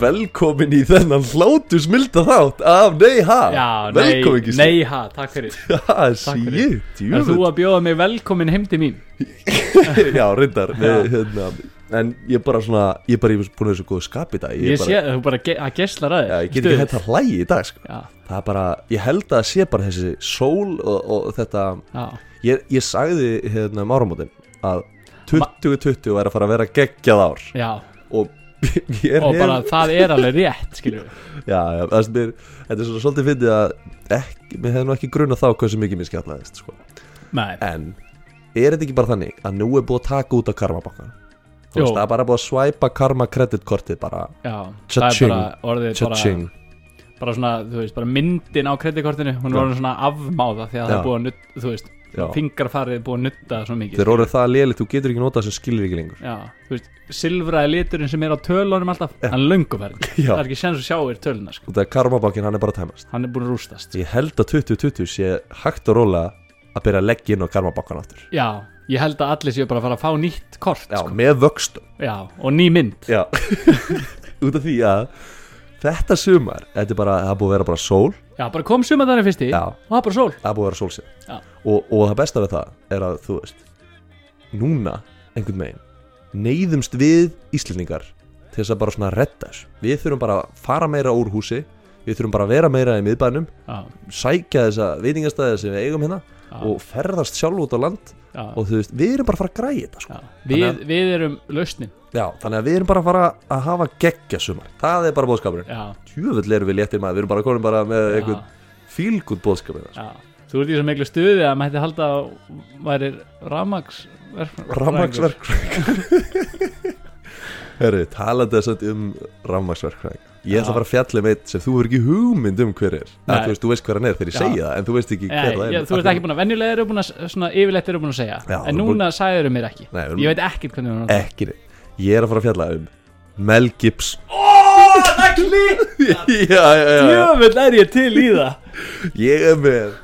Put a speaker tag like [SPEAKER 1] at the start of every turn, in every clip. [SPEAKER 1] velkomin í þennan hlátu smilda þátt af Nei Ha
[SPEAKER 2] Já,
[SPEAKER 1] Velkomin
[SPEAKER 2] nei,
[SPEAKER 1] Gísli.
[SPEAKER 2] nei, ha, takk fyrir
[SPEAKER 1] Ha,
[SPEAKER 2] Takk fyrir.
[SPEAKER 1] shit,
[SPEAKER 2] Er þú
[SPEAKER 1] jú
[SPEAKER 2] að bjóða mig velkomin heim til mín?
[SPEAKER 1] Já, reyndar eh, hérna, En ég bara svona, ég bara ég er búin að þessu góðu skap í dag
[SPEAKER 2] Ég,
[SPEAKER 1] bara,
[SPEAKER 2] sé að þú bara ge að geslar að
[SPEAKER 1] Já, ég get ekki hægt að hlægi í dag sko.
[SPEAKER 2] Já,
[SPEAKER 1] Það er bara, ég held að það sé bara þessi sól og, og þetta
[SPEAKER 2] já,
[SPEAKER 1] Ég, ég sagði hérna um áramótin að 2020 er að fara að vera geggjað ár
[SPEAKER 2] já
[SPEAKER 1] Og ég er
[SPEAKER 2] Og bara það er alveg rétt, skiljum við
[SPEAKER 1] Já, já, það sem er, þetta er svona svolítið fyndið að ekki, mér hefði nú ekki grunað þá hversu mikið mér skjallaðist, sko.
[SPEAKER 2] Nei,
[SPEAKER 1] En, er þetta ekki bara þannig að nú er búið að taka út af karmabakkan? Þú
[SPEAKER 2] Jú.
[SPEAKER 1] veist, það er bara búið að svæpa karma kreditkortið bara,
[SPEAKER 2] já, það er
[SPEAKER 1] Cha-ching.
[SPEAKER 2] bara orðið bara,
[SPEAKER 1] tjötsing.
[SPEAKER 2] bara svona, þú veist, bara myndin á kreditkortinu
[SPEAKER 1] Já.
[SPEAKER 2] Hún er orðin svona afmáða því að það
[SPEAKER 1] Já.
[SPEAKER 2] er búið að nutta, þú veist
[SPEAKER 1] Já,
[SPEAKER 2] Fingarfarið er búið að nutta svo mikið
[SPEAKER 1] þeir orðið það lélitt, þú getur ekki notað sem skilir ekki lengur.
[SPEAKER 2] Já, þú veist, silfraði liturinn sem er á tölunum alltaf Hann er lönguferð,
[SPEAKER 1] Eh. Já.
[SPEAKER 2] það er ekki sens að sjá þér töluna, sko
[SPEAKER 1] Út af karmabakkin, hann er bara að tæmast.
[SPEAKER 2] Hann er búin að rústast
[SPEAKER 1] Ég held að 2020 sé hægt og róla að byrja að leggja inn á karmabakkan aftur.
[SPEAKER 2] Já, ég held að allir séu bara að fara að fá nýtt kort
[SPEAKER 1] Já,
[SPEAKER 2] sko.
[SPEAKER 1] með vöxtum.
[SPEAKER 2] Já og ný mynd
[SPEAKER 1] Já Út af því að þetta sumar Þetta er bara, það er búið að vera bara sól
[SPEAKER 2] Já, bara kom sumandarinn fyrst í
[SPEAKER 1] Já.
[SPEAKER 2] og það er bara sól
[SPEAKER 1] Það er búið að vera sólsinn
[SPEAKER 2] Já.
[SPEAKER 1] og, og það besta við það er að þú veist Núna, einhvern veginn Neyðumst við Íslendingar Til þess að bara svona redda þessu Við þurfum bara að fara meira úr húsi Við þurfum bara að vera meira í miðbænum
[SPEAKER 2] Já,
[SPEAKER 1] Sækja þessa veitingastæði sem við eigum hérna
[SPEAKER 2] já,
[SPEAKER 1] Og ferðast sjálf út á land
[SPEAKER 2] já,
[SPEAKER 1] Og þú veist, við erum bara að fara að græja þetta sko.
[SPEAKER 2] já. Við,
[SPEAKER 1] Þannig
[SPEAKER 2] við erum lausnin
[SPEAKER 1] Já, þannig að við erum bara að fara að hafa geggja sumar Það er bara bóðskapurinn
[SPEAKER 2] Já,
[SPEAKER 1] tjöfull erum við léttir maður, við erum bara komin bara með
[SPEAKER 2] Já.
[SPEAKER 1] einhvern fílgútt bóðskap með það.
[SPEAKER 2] já Þú ert í svo miklu stuði að maður hætti halda að væri ramags
[SPEAKER 1] Rammagsverkfræðingar Herru, talandi þess að um rammagsverkfræðingar Ég ætla
[SPEAKER 2] Já.
[SPEAKER 1] að fara að fjalla um eitt sem þú er ekki hugmynd um hver er að,
[SPEAKER 2] Nei.
[SPEAKER 1] þú, veist, þú veist hver hann er þegar ég
[SPEAKER 2] Já.
[SPEAKER 1] segja það en þú veist ekki hver það
[SPEAKER 2] Nei,
[SPEAKER 1] er
[SPEAKER 2] já, þú ert ekki búin að venjulega eru búin að svona yfirleitt eru búin að segja
[SPEAKER 1] Já,
[SPEAKER 2] en
[SPEAKER 1] þú ert
[SPEAKER 2] núna sagðir mér ekki
[SPEAKER 1] Nei, við erum-
[SPEAKER 2] ég veit ekkert hvernig hún
[SPEAKER 1] Ekki neitt. Ég er að fara að fjalla um Mel Gibbs
[SPEAKER 2] Ó, það klík
[SPEAKER 1] já, já, já, já.
[SPEAKER 2] Jöfull er ég til í það
[SPEAKER 1] Ég er með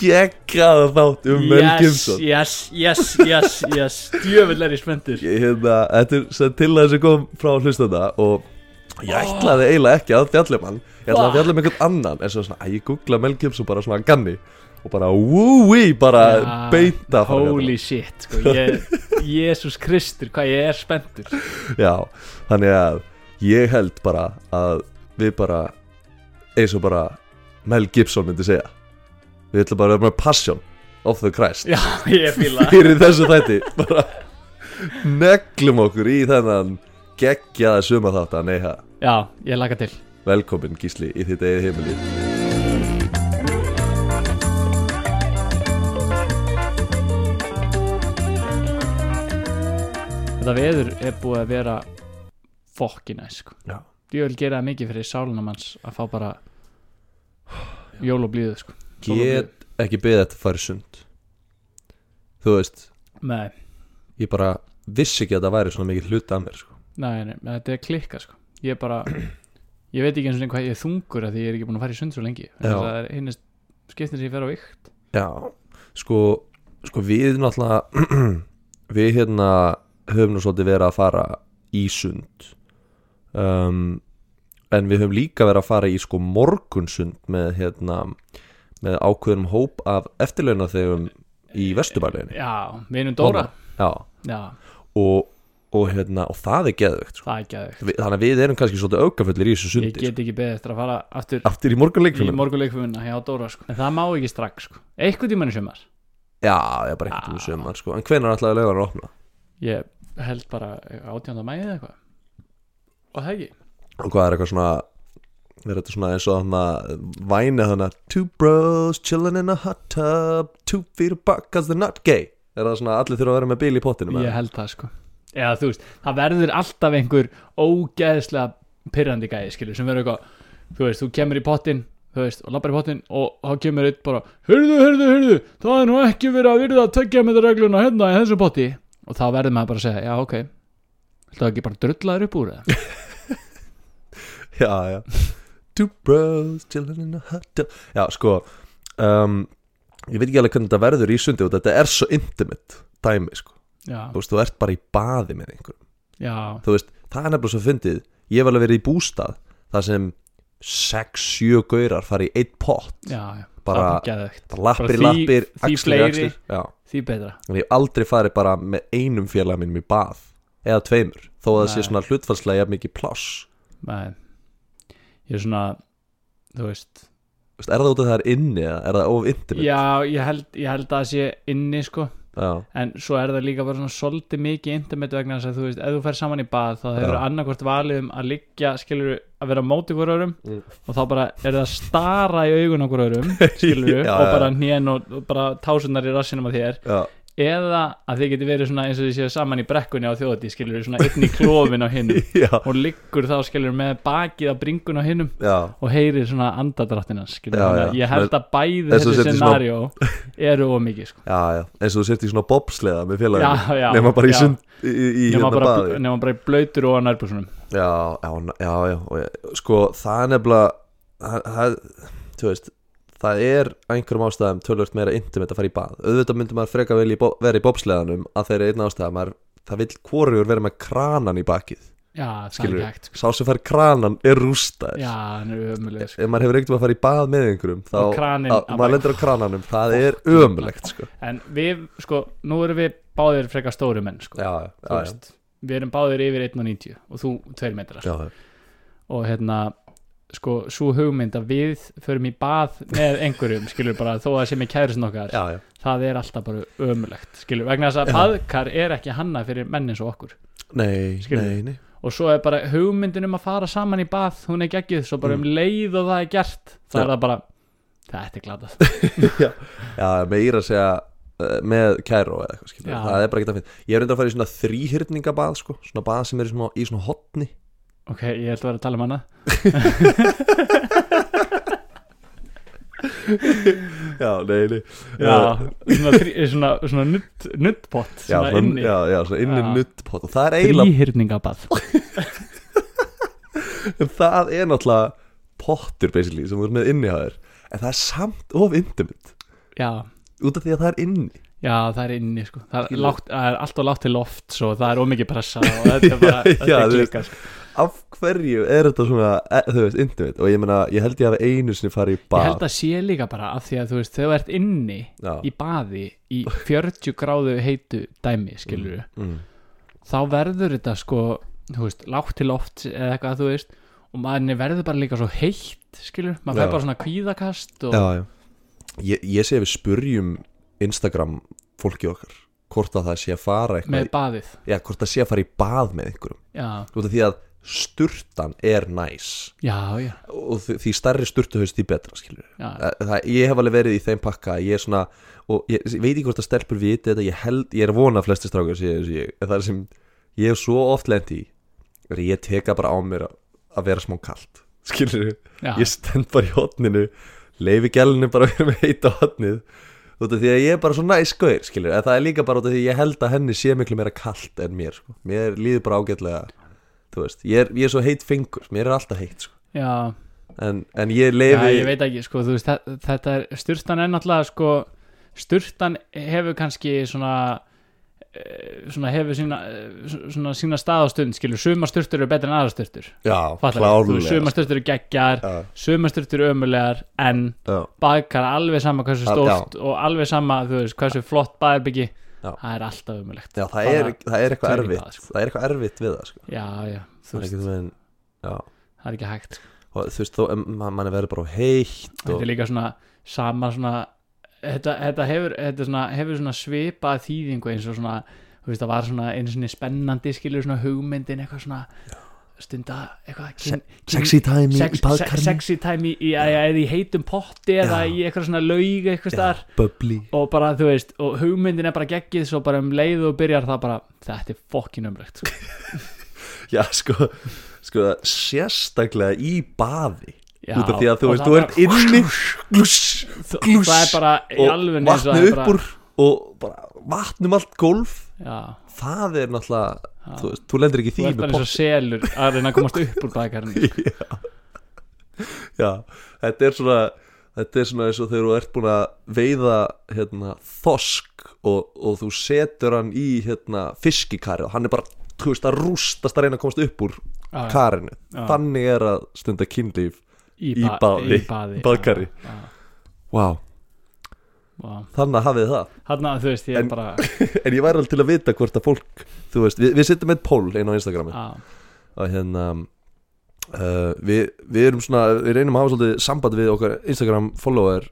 [SPEAKER 1] geggaða þátt um Mel
[SPEAKER 2] Yes,
[SPEAKER 1] Gibson
[SPEAKER 2] yes, yes, yes, yes Djöfull er ég spenntur
[SPEAKER 1] ég, hérna, þetta er sem til að þessi kom frá hlustanda og ég ætlaði eiginlega ekki að fjallum hann ég ætlaði að fjallum einhvern annan en svo svona, að ég googla Mel Gibson bara svona að ganni og bara wúi, bara
[SPEAKER 2] Ja,
[SPEAKER 1] beita að fara að fjalla um
[SPEAKER 2] Holy shit sko, ég, Jesus Kristur, hvað ég er spenntur
[SPEAKER 1] hann. já, þannig að ég held bara að við bara eins og bara Mel Gibson myndi segja við ætlum bara að vera með passion of the Christ
[SPEAKER 2] Já, ég fíla það.
[SPEAKER 1] fyrir þessu þætti bara neglum okkur í þennan geggjaða suma þátt að neyha
[SPEAKER 2] Já, ég laka til
[SPEAKER 1] Velkomin Gísli í þitt eigið heimili
[SPEAKER 2] Þetta veður er búið að vera fokkina sko.
[SPEAKER 1] Já.
[SPEAKER 2] Ég vil gera það mikið fyrir sálunum hans að fá bara jól og blíðu sko. Sól og blíðu.
[SPEAKER 1] Get ekki beðið þetta færi sund Þú veist,
[SPEAKER 2] Nei,
[SPEAKER 1] ég bara vissi ekki að það væri svona mikið hluta að mér sko.
[SPEAKER 2] nei, nei, nei, þetta er klikka sko. Ég er bara Ég veit ekki eins og hvað ég er þungur að því ég er ekki búin að fara í sund svo lengi Vegna
[SPEAKER 1] Já.
[SPEAKER 2] þess að Það er hinn skiptin sem ég fer á vikt
[SPEAKER 1] Já, sko, sko við náttúrulega við hérna höfum nú svolítið verið að fara í sund um, en við höfum líka verið að fara í sko morgunsund með hérna með ákveðnum hóp af eftirlauna þegum í vesturbæleginni
[SPEAKER 2] Já, vinum Dóra
[SPEAKER 1] Já,
[SPEAKER 2] Já,
[SPEAKER 1] og, og hérna, og það er geðvögt sko.
[SPEAKER 2] það er ekki að
[SPEAKER 1] Vi- Þannig að við erum kannski svolítið aukafullir í þessu
[SPEAKER 2] Ég
[SPEAKER 1] sundi
[SPEAKER 2] get ekki beðið eftir að fara aftur
[SPEAKER 1] sko. Aftur í
[SPEAKER 2] í
[SPEAKER 1] morgunleikfilminu
[SPEAKER 2] morguleikfumina hjá Dóra sko. En það má ekki strax sko. Eitthvað tímann í sumar
[SPEAKER 1] Já, ég er bara
[SPEAKER 2] Ah.
[SPEAKER 1] ekkert um sumar sko En hvenær ætlaði laugarnar að opna?
[SPEAKER 2] Ég held bara 18. mæði eða eitthvað Og það ekki
[SPEAKER 1] Og hvað er eitthvað svona Er þetta svona eins og þarna eh, Væna þarna Two bros chillin in a hot tub Two feet apart cause they're not gay Er það svona allir þurfa að vera með bíl í pottinu með
[SPEAKER 2] Ég held það sko Eða þú veist, það verður alltaf einhver ógeðslega pirrandi gæði skilur sem verður eitthvað, þú veist, þú kemur í pottin þú veist, og lappar í pottin og þá kemur eitt bara, hörðu, hörðu, hörðu það er nú ekki verið að virða að tökja með regluna hérna í þessu potti og þá verður maður bara að segja, já ok Viltu ekki bara drulla þér upp úr það?
[SPEAKER 1] Já, já Two bros chillin in a hot tub Já, sko um, Ég veit ekki alveg hvernig þetta verður í sundi og Þetta er svo intimate dæmi sko
[SPEAKER 2] Já,
[SPEAKER 1] Þú veist, þú ert bara í baði með einhverjum
[SPEAKER 2] já,
[SPEAKER 1] þú veist, það er nefnilega svo fyndið ég hef alveg verið í bústað þar sem 6-7 gaurar fara í eitt pott
[SPEAKER 2] já, já,
[SPEAKER 1] Bara-
[SPEAKER 2] það er geðvegt
[SPEAKER 1] bara lappir,
[SPEAKER 2] því-
[SPEAKER 1] lappir,
[SPEAKER 2] því
[SPEAKER 1] axlir,
[SPEAKER 2] fleiri.
[SPEAKER 1] axlir já.
[SPEAKER 2] því betra
[SPEAKER 1] en ég hef aldrei farið bara með einum félag minn í bað eða tveimur, þó að það sé
[SPEAKER 2] Nei.
[SPEAKER 1] svona hlutfallslega jafn mikið pláss
[SPEAKER 2] Nei. ég er svona þú veist
[SPEAKER 1] Þú veist, er það út af það er inni eða er það of intimate
[SPEAKER 2] já, ég held, ég held að það sé inni sko
[SPEAKER 1] já,
[SPEAKER 2] en svo er það líka bara svona svolítið mikið internet vegna þess að þú veist, ef þú fer saman í bað þá hefur
[SPEAKER 1] Já.
[SPEAKER 2] annarkvort valið um að liggja skilur að vera á móti hvora örum
[SPEAKER 1] Mm.
[SPEAKER 2] og þá bara er það að stara í augun okkur örum skilur
[SPEAKER 1] Já,
[SPEAKER 2] og
[SPEAKER 1] já.
[SPEAKER 2] bara hnén og, og bara tásunar í rassinum á þér
[SPEAKER 1] já,
[SPEAKER 2] eða að þið geti verið svona eins og þið séu saman í brekkunni á þjóðatí skilur svona einn í klófin á hinnum
[SPEAKER 1] já,
[SPEAKER 2] og liggur þá skilur með bakið á bringun á hinnum
[SPEAKER 1] já.
[SPEAKER 2] og heyrir svona andadráttina skilur,
[SPEAKER 1] Já,
[SPEAKER 2] þannig að
[SPEAKER 1] já.
[SPEAKER 2] ég held að bæði
[SPEAKER 1] Eins og
[SPEAKER 2] þessi
[SPEAKER 1] setja í svona-
[SPEAKER 2] scenario eru of mikið sko.
[SPEAKER 1] Já, já, eins og þú sért í svona bobsleða með félaginu,
[SPEAKER 2] Já, já,
[SPEAKER 1] nema bara í,
[SPEAKER 2] já.
[SPEAKER 1] sund, í, í, í
[SPEAKER 2] nema,
[SPEAKER 1] hérna
[SPEAKER 2] bara,
[SPEAKER 1] baði
[SPEAKER 2] nema bara í blöytur og á nærbúsunum
[SPEAKER 1] Já, já, n- já, já, og ég, sko það er nefnilega það, það, þú veist, það er af einhverjum ástæðum tölvöld meira intimate að fara í bað auðvitað myndum maður freka vel í, bo- vera í bobsleðanum að þeir eru einn ástæða maður, það vil hvorugur vera með kranan í bakið
[SPEAKER 2] Já, það er
[SPEAKER 1] Skilurðu?
[SPEAKER 2] ekki hægt sko.
[SPEAKER 1] sá sem fær kranan er rústaður
[SPEAKER 2] Já, hann er ömuleg sko.
[SPEAKER 1] ef maður hefur ekkert að fara í bað með einhverjum þá,
[SPEAKER 2] Og kraninn,
[SPEAKER 1] að,
[SPEAKER 2] að bara-
[SPEAKER 1] maður lendur á krananum það er ömulegt sko.
[SPEAKER 2] En við, sko, nú erum við báðir frekar stóri menn sko.
[SPEAKER 1] já, já,
[SPEAKER 2] Þú
[SPEAKER 1] já,
[SPEAKER 2] veist, Við erum báðir yfir 1.90 og þú 2 metrar
[SPEAKER 1] já, já.
[SPEAKER 2] Og hérna, sko, svo hugmynd að við förum í bað með einhverjum skilur bara þó að sem er kærusin okkar
[SPEAKER 1] já, já.
[SPEAKER 2] það er alltaf bara ömulegt skilur, vegna þess að
[SPEAKER 1] Já.
[SPEAKER 2] baðkar er ekki hanna fyrir menn eins og okkur
[SPEAKER 1] Nei,
[SPEAKER 2] Skilurðu?
[SPEAKER 1] nei, nei
[SPEAKER 2] og svo er bara hugmyndin um að fara saman í bað hún er geggið, svo bara um leið og það er gert
[SPEAKER 1] Mm. Já.
[SPEAKER 2] það er það bara, þetta er glatað
[SPEAKER 1] Já, meira að segja eh, með kæró eða eitthvað skilur
[SPEAKER 2] Já.
[SPEAKER 1] það er bara ekki það finn ég er reyndar að fara í svona þrýhyrningabað sko, svona bað sem er í svona, í svona hotni
[SPEAKER 2] Ok, ég ætla að vera að tala um hana
[SPEAKER 1] já, nei, nei
[SPEAKER 2] Já, svona, þrí, svona, svona nutt, nuttpott
[SPEAKER 1] já,
[SPEAKER 2] svona inni
[SPEAKER 1] já, já, svona inni
[SPEAKER 2] Já.
[SPEAKER 1] nuttpott og það er eiginlega,
[SPEAKER 2] Þrýhyrningabað
[SPEAKER 1] það er náttúrulega pottur basically sem þú er með inni haður en það er samt of intimate
[SPEAKER 2] Já,
[SPEAKER 1] út af því að það er inni
[SPEAKER 2] já, það er inni sko Það er,
[SPEAKER 1] Skilur.
[SPEAKER 2] lágt, það er alltaf lágt til loft svo það er ómikið pressa og þetta er bara,
[SPEAKER 1] Já,
[SPEAKER 2] þetta
[SPEAKER 1] já,
[SPEAKER 2] er
[SPEAKER 1] þú veist.
[SPEAKER 2] klikkað sko.
[SPEAKER 1] af hverju er þetta svona, eh, þú veist, intimate og ég meina, ég held ég hafi einu sinni farið í
[SPEAKER 2] Ég
[SPEAKER 1] bað
[SPEAKER 2] held að sé líka bara af því að þú veist þegar þú ert inni í
[SPEAKER 1] já,
[SPEAKER 2] baði í 40 gráðu heitu dæmi, skilur við
[SPEAKER 1] mm,
[SPEAKER 2] þá verður þetta sko, þú veist, lágt til loft eða eitthvað, þú veist og maðurinn verður bara líka svo heitt, skilur maður
[SPEAKER 1] Já.
[SPEAKER 2] fær bara svona kvíðakast og
[SPEAKER 1] já, já. Ég, ég sé að við spurjum Instagram fólki okkar hvort að það sé að fara eitthvað
[SPEAKER 2] með baðið
[SPEAKER 1] já, hvort það sé að fara í bað með einhverjum
[SPEAKER 2] Já,
[SPEAKER 1] út af því að sturtan er næs
[SPEAKER 2] já, já,
[SPEAKER 1] og þ- því stærri sturtuhaust því betra skilur
[SPEAKER 2] já.
[SPEAKER 1] Það, ég hef alveg verið í þeim pakka ég er svona, og ég, ég veit ekki hvort að stelpur viti þetta, ég held, ég er að vona að flesti strákar sé þessu ég, en það er sem ég hef svo oft lent í er að ég teka bara á mér að, að vera smá kalt skilur
[SPEAKER 2] Já.
[SPEAKER 1] ég stend bara í hotninu leifi gælunni bara að vera með heita hotnið út af því að ég er bara svo næs gauðir skilur, en það er líka bara út af því að ég held að henni sé miklu meira kalt en mér sko. mér líður bara ágætlega þú veist, ég er, ég er svo heitt fingur mér er alltaf heitt sko.
[SPEAKER 2] Já,
[SPEAKER 1] en, en ég leifi
[SPEAKER 2] já, ég veit ekki, sko, þú veist, þa- þetta er, styrtan er náttúrulega, sko, styrtan hefur kannski svona, eh, svona hefur sína, eh, svona sína stað og stund, skilur, sumar styrtur eru betri en aðra styrtur,
[SPEAKER 1] Já,
[SPEAKER 2] þú
[SPEAKER 1] klárlega sko.
[SPEAKER 2] veist, sumar styrtur eru geggjar,
[SPEAKER 1] Já,
[SPEAKER 2] sumar styrtur eru ömulegar, en
[SPEAKER 1] já,
[SPEAKER 2] baðkar alveg sama hversu
[SPEAKER 1] Al-
[SPEAKER 2] stórt og alveg sama, þú veist, hversu flott baðarbyggi,
[SPEAKER 1] Já.
[SPEAKER 2] það er alltaf ömulegt.
[SPEAKER 1] já það, er, það er eitthvað
[SPEAKER 2] Bara
[SPEAKER 1] erfitt
[SPEAKER 2] tökum í bað, sko.
[SPEAKER 1] Það er eitthvað erfitt við það sko.
[SPEAKER 2] Já, já, þú
[SPEAKER 1] Það er
[SPEAKER 2] veist,
[SPEAKER 1] ekkert með Já,
[SPEAKER 2] það er ekki hægt, sko.
[SPEAKER 1] og þú veist þó em, ma- mann er verið bara of heitt
[SPEAKER 2] þetta
[SPEAKER 1] og,
[SPEAKER 2] er líka svona sama svona þetta, þetta, hefur, þetta svona, hefur svona svipað þýðingu eins og svona þú veist það var svona einu sinni spennandi skilur svona hugmyndin eitthvað svona stunda eitthvað kyn,
[SPEAKER 1] Sexy time í- í
[SPEAKER 2] sex, se,
[SPEAKER 1] baðkarinu
[SPEAKER 2] sexy time í, í, eða eða í heitum potti eða
[SPEAKER 1] Já.
[SPEAKER 2] í eitthvað svona laug eitthvað staðar
[SPEAKER 1] Bubbly
[SPEAKER 2] og bara þú veist og hugmyndin er bara geggið svo bara um leið og byrjar það bara þetta er fokkin umrækt sko.
[SPEAKER 1] Já, sko, sko sérstaklega í baði
[SPEAKER 2] Já,
[SPEAKER 1] Út af því að þú
[SPEAKER 2] og
[SPEAKER 1] veist,
[SPEAKER 2] það
[SPEAKER 1] þú
[SPEAKER 2] bara-
[SPEAKER 1] ert inni glúss,
[SPEAKER 2] Þa-
[SPEAKER 1] glúss,
[SPEAKER 2] það er bara í alveg
[SPEAKER 1] og
[SPEAKER 2] eins og það
[SPEAKER 1] vatnið
[SPEAKER 2] er
[SPEAKER 1] upp úr og bara vatnum allt gólf
[SPEAKER 2] já,
[SPEAKER 1] það er náttúrulega, þú veist, þú lendir ekki í
[SPEAKER 2] þú
[SPEAKER 1] því
[SPEAKER 2] ert
[SPEAKER 1] með
[SPEAKER 2] bara eins og selur að reyna að komast upp úr bækarinn
[SPEAKER 1] Já, þetta er svona Þetta er svona eins og þegar þú ert búin að veiða hérna, þosk og, og þú setur hann í hérna, fiskikari og hann er bara þú veist, að rústast að reyna að komast upp úr
[SPEAKER 2] Já, já.
[SPEAKER 1] karinu
[SPEAKER 2] Já.
[SPEAKER 1] þannig er að stunda kynlíf
[SPEAKER 2] í,
[SPEAKER 1] í baði,
[SPEAKER 2] í baði
[SPEAKER 1] baðkari.
[SPEAKER 2] já, já,
[SPEAKER 1] wow.
[SPEAKER 2] já.
[SPEAKER 1] þannig að hafið það
[SPEAKER 2] Þarna, þú veist, ég
[SPEAKER 1] En-
[SPEAKER 2] er bara
[SPEAKER 1] en ég væri alveg til að vita hvort að fólk þú veist, við, við sittum með poll inn á Instagrami
[SPEAKER 2] já,
[SPEAKER 1] að hérna uh, við, við erum svona, við reynum að hafa svolítið samband við okkar Instagram followers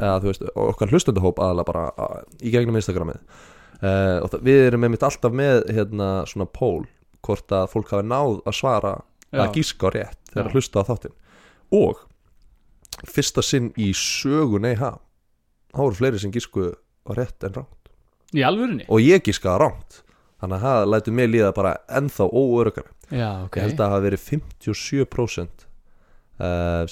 [SPEAKER 1] eða þú veist, okkar hlustendahóp aðalega bara að, í gegnum Instagramið uh, og það, við erum einmitt alltaf með hérna svona poll hvort að fólk hafi náð að svara
[SPEAKER 2] já,
[SPEAKER 1] að gíska á rétt þegar
[SPEAKER 2] Já.
[SPEAKER 1] að hlusta á þáttinn og fyrsta sinn í sögu nei ha þá eru fleiri sem gísku á rétt en rámt
[SPEAKER 2] í alvörunni
[SPEAKER 1] og ég gíska á rámt þannig að það lætur mig líða bara ennþá óörugara
[SPEAKER 2] já, ok,
[SPEAKER 1] ég held að það hafi verið 57% uh,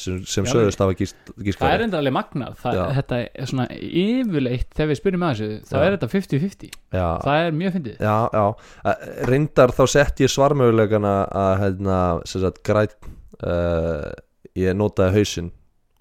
[SPEAKER 1] sem, sem
[SPEAKER 2] Já,
[SPEAKER 1] sögðust hafa gísk,
[SPEAKER 2] það
[SPEAKER 1] gíska
[SPEAKER 2] er enda alveg magnað það,
[SPEAKER 1] Já.
[SPEAKER 2] þetta er svona yfirleitt þegar við spyrjum að þessu, þá
[SPEAKER 1] Já.
[SPEAKER 2] er þetta 50-50
[SPEAKER 1] já,
[SPEAKER 2] það er mjög fyndið
[SPEAKER 1] já, já. Uh, reyndar þá sett ég svarmögulegana að hérna, sem sagt græt uh, ég notaði hausinn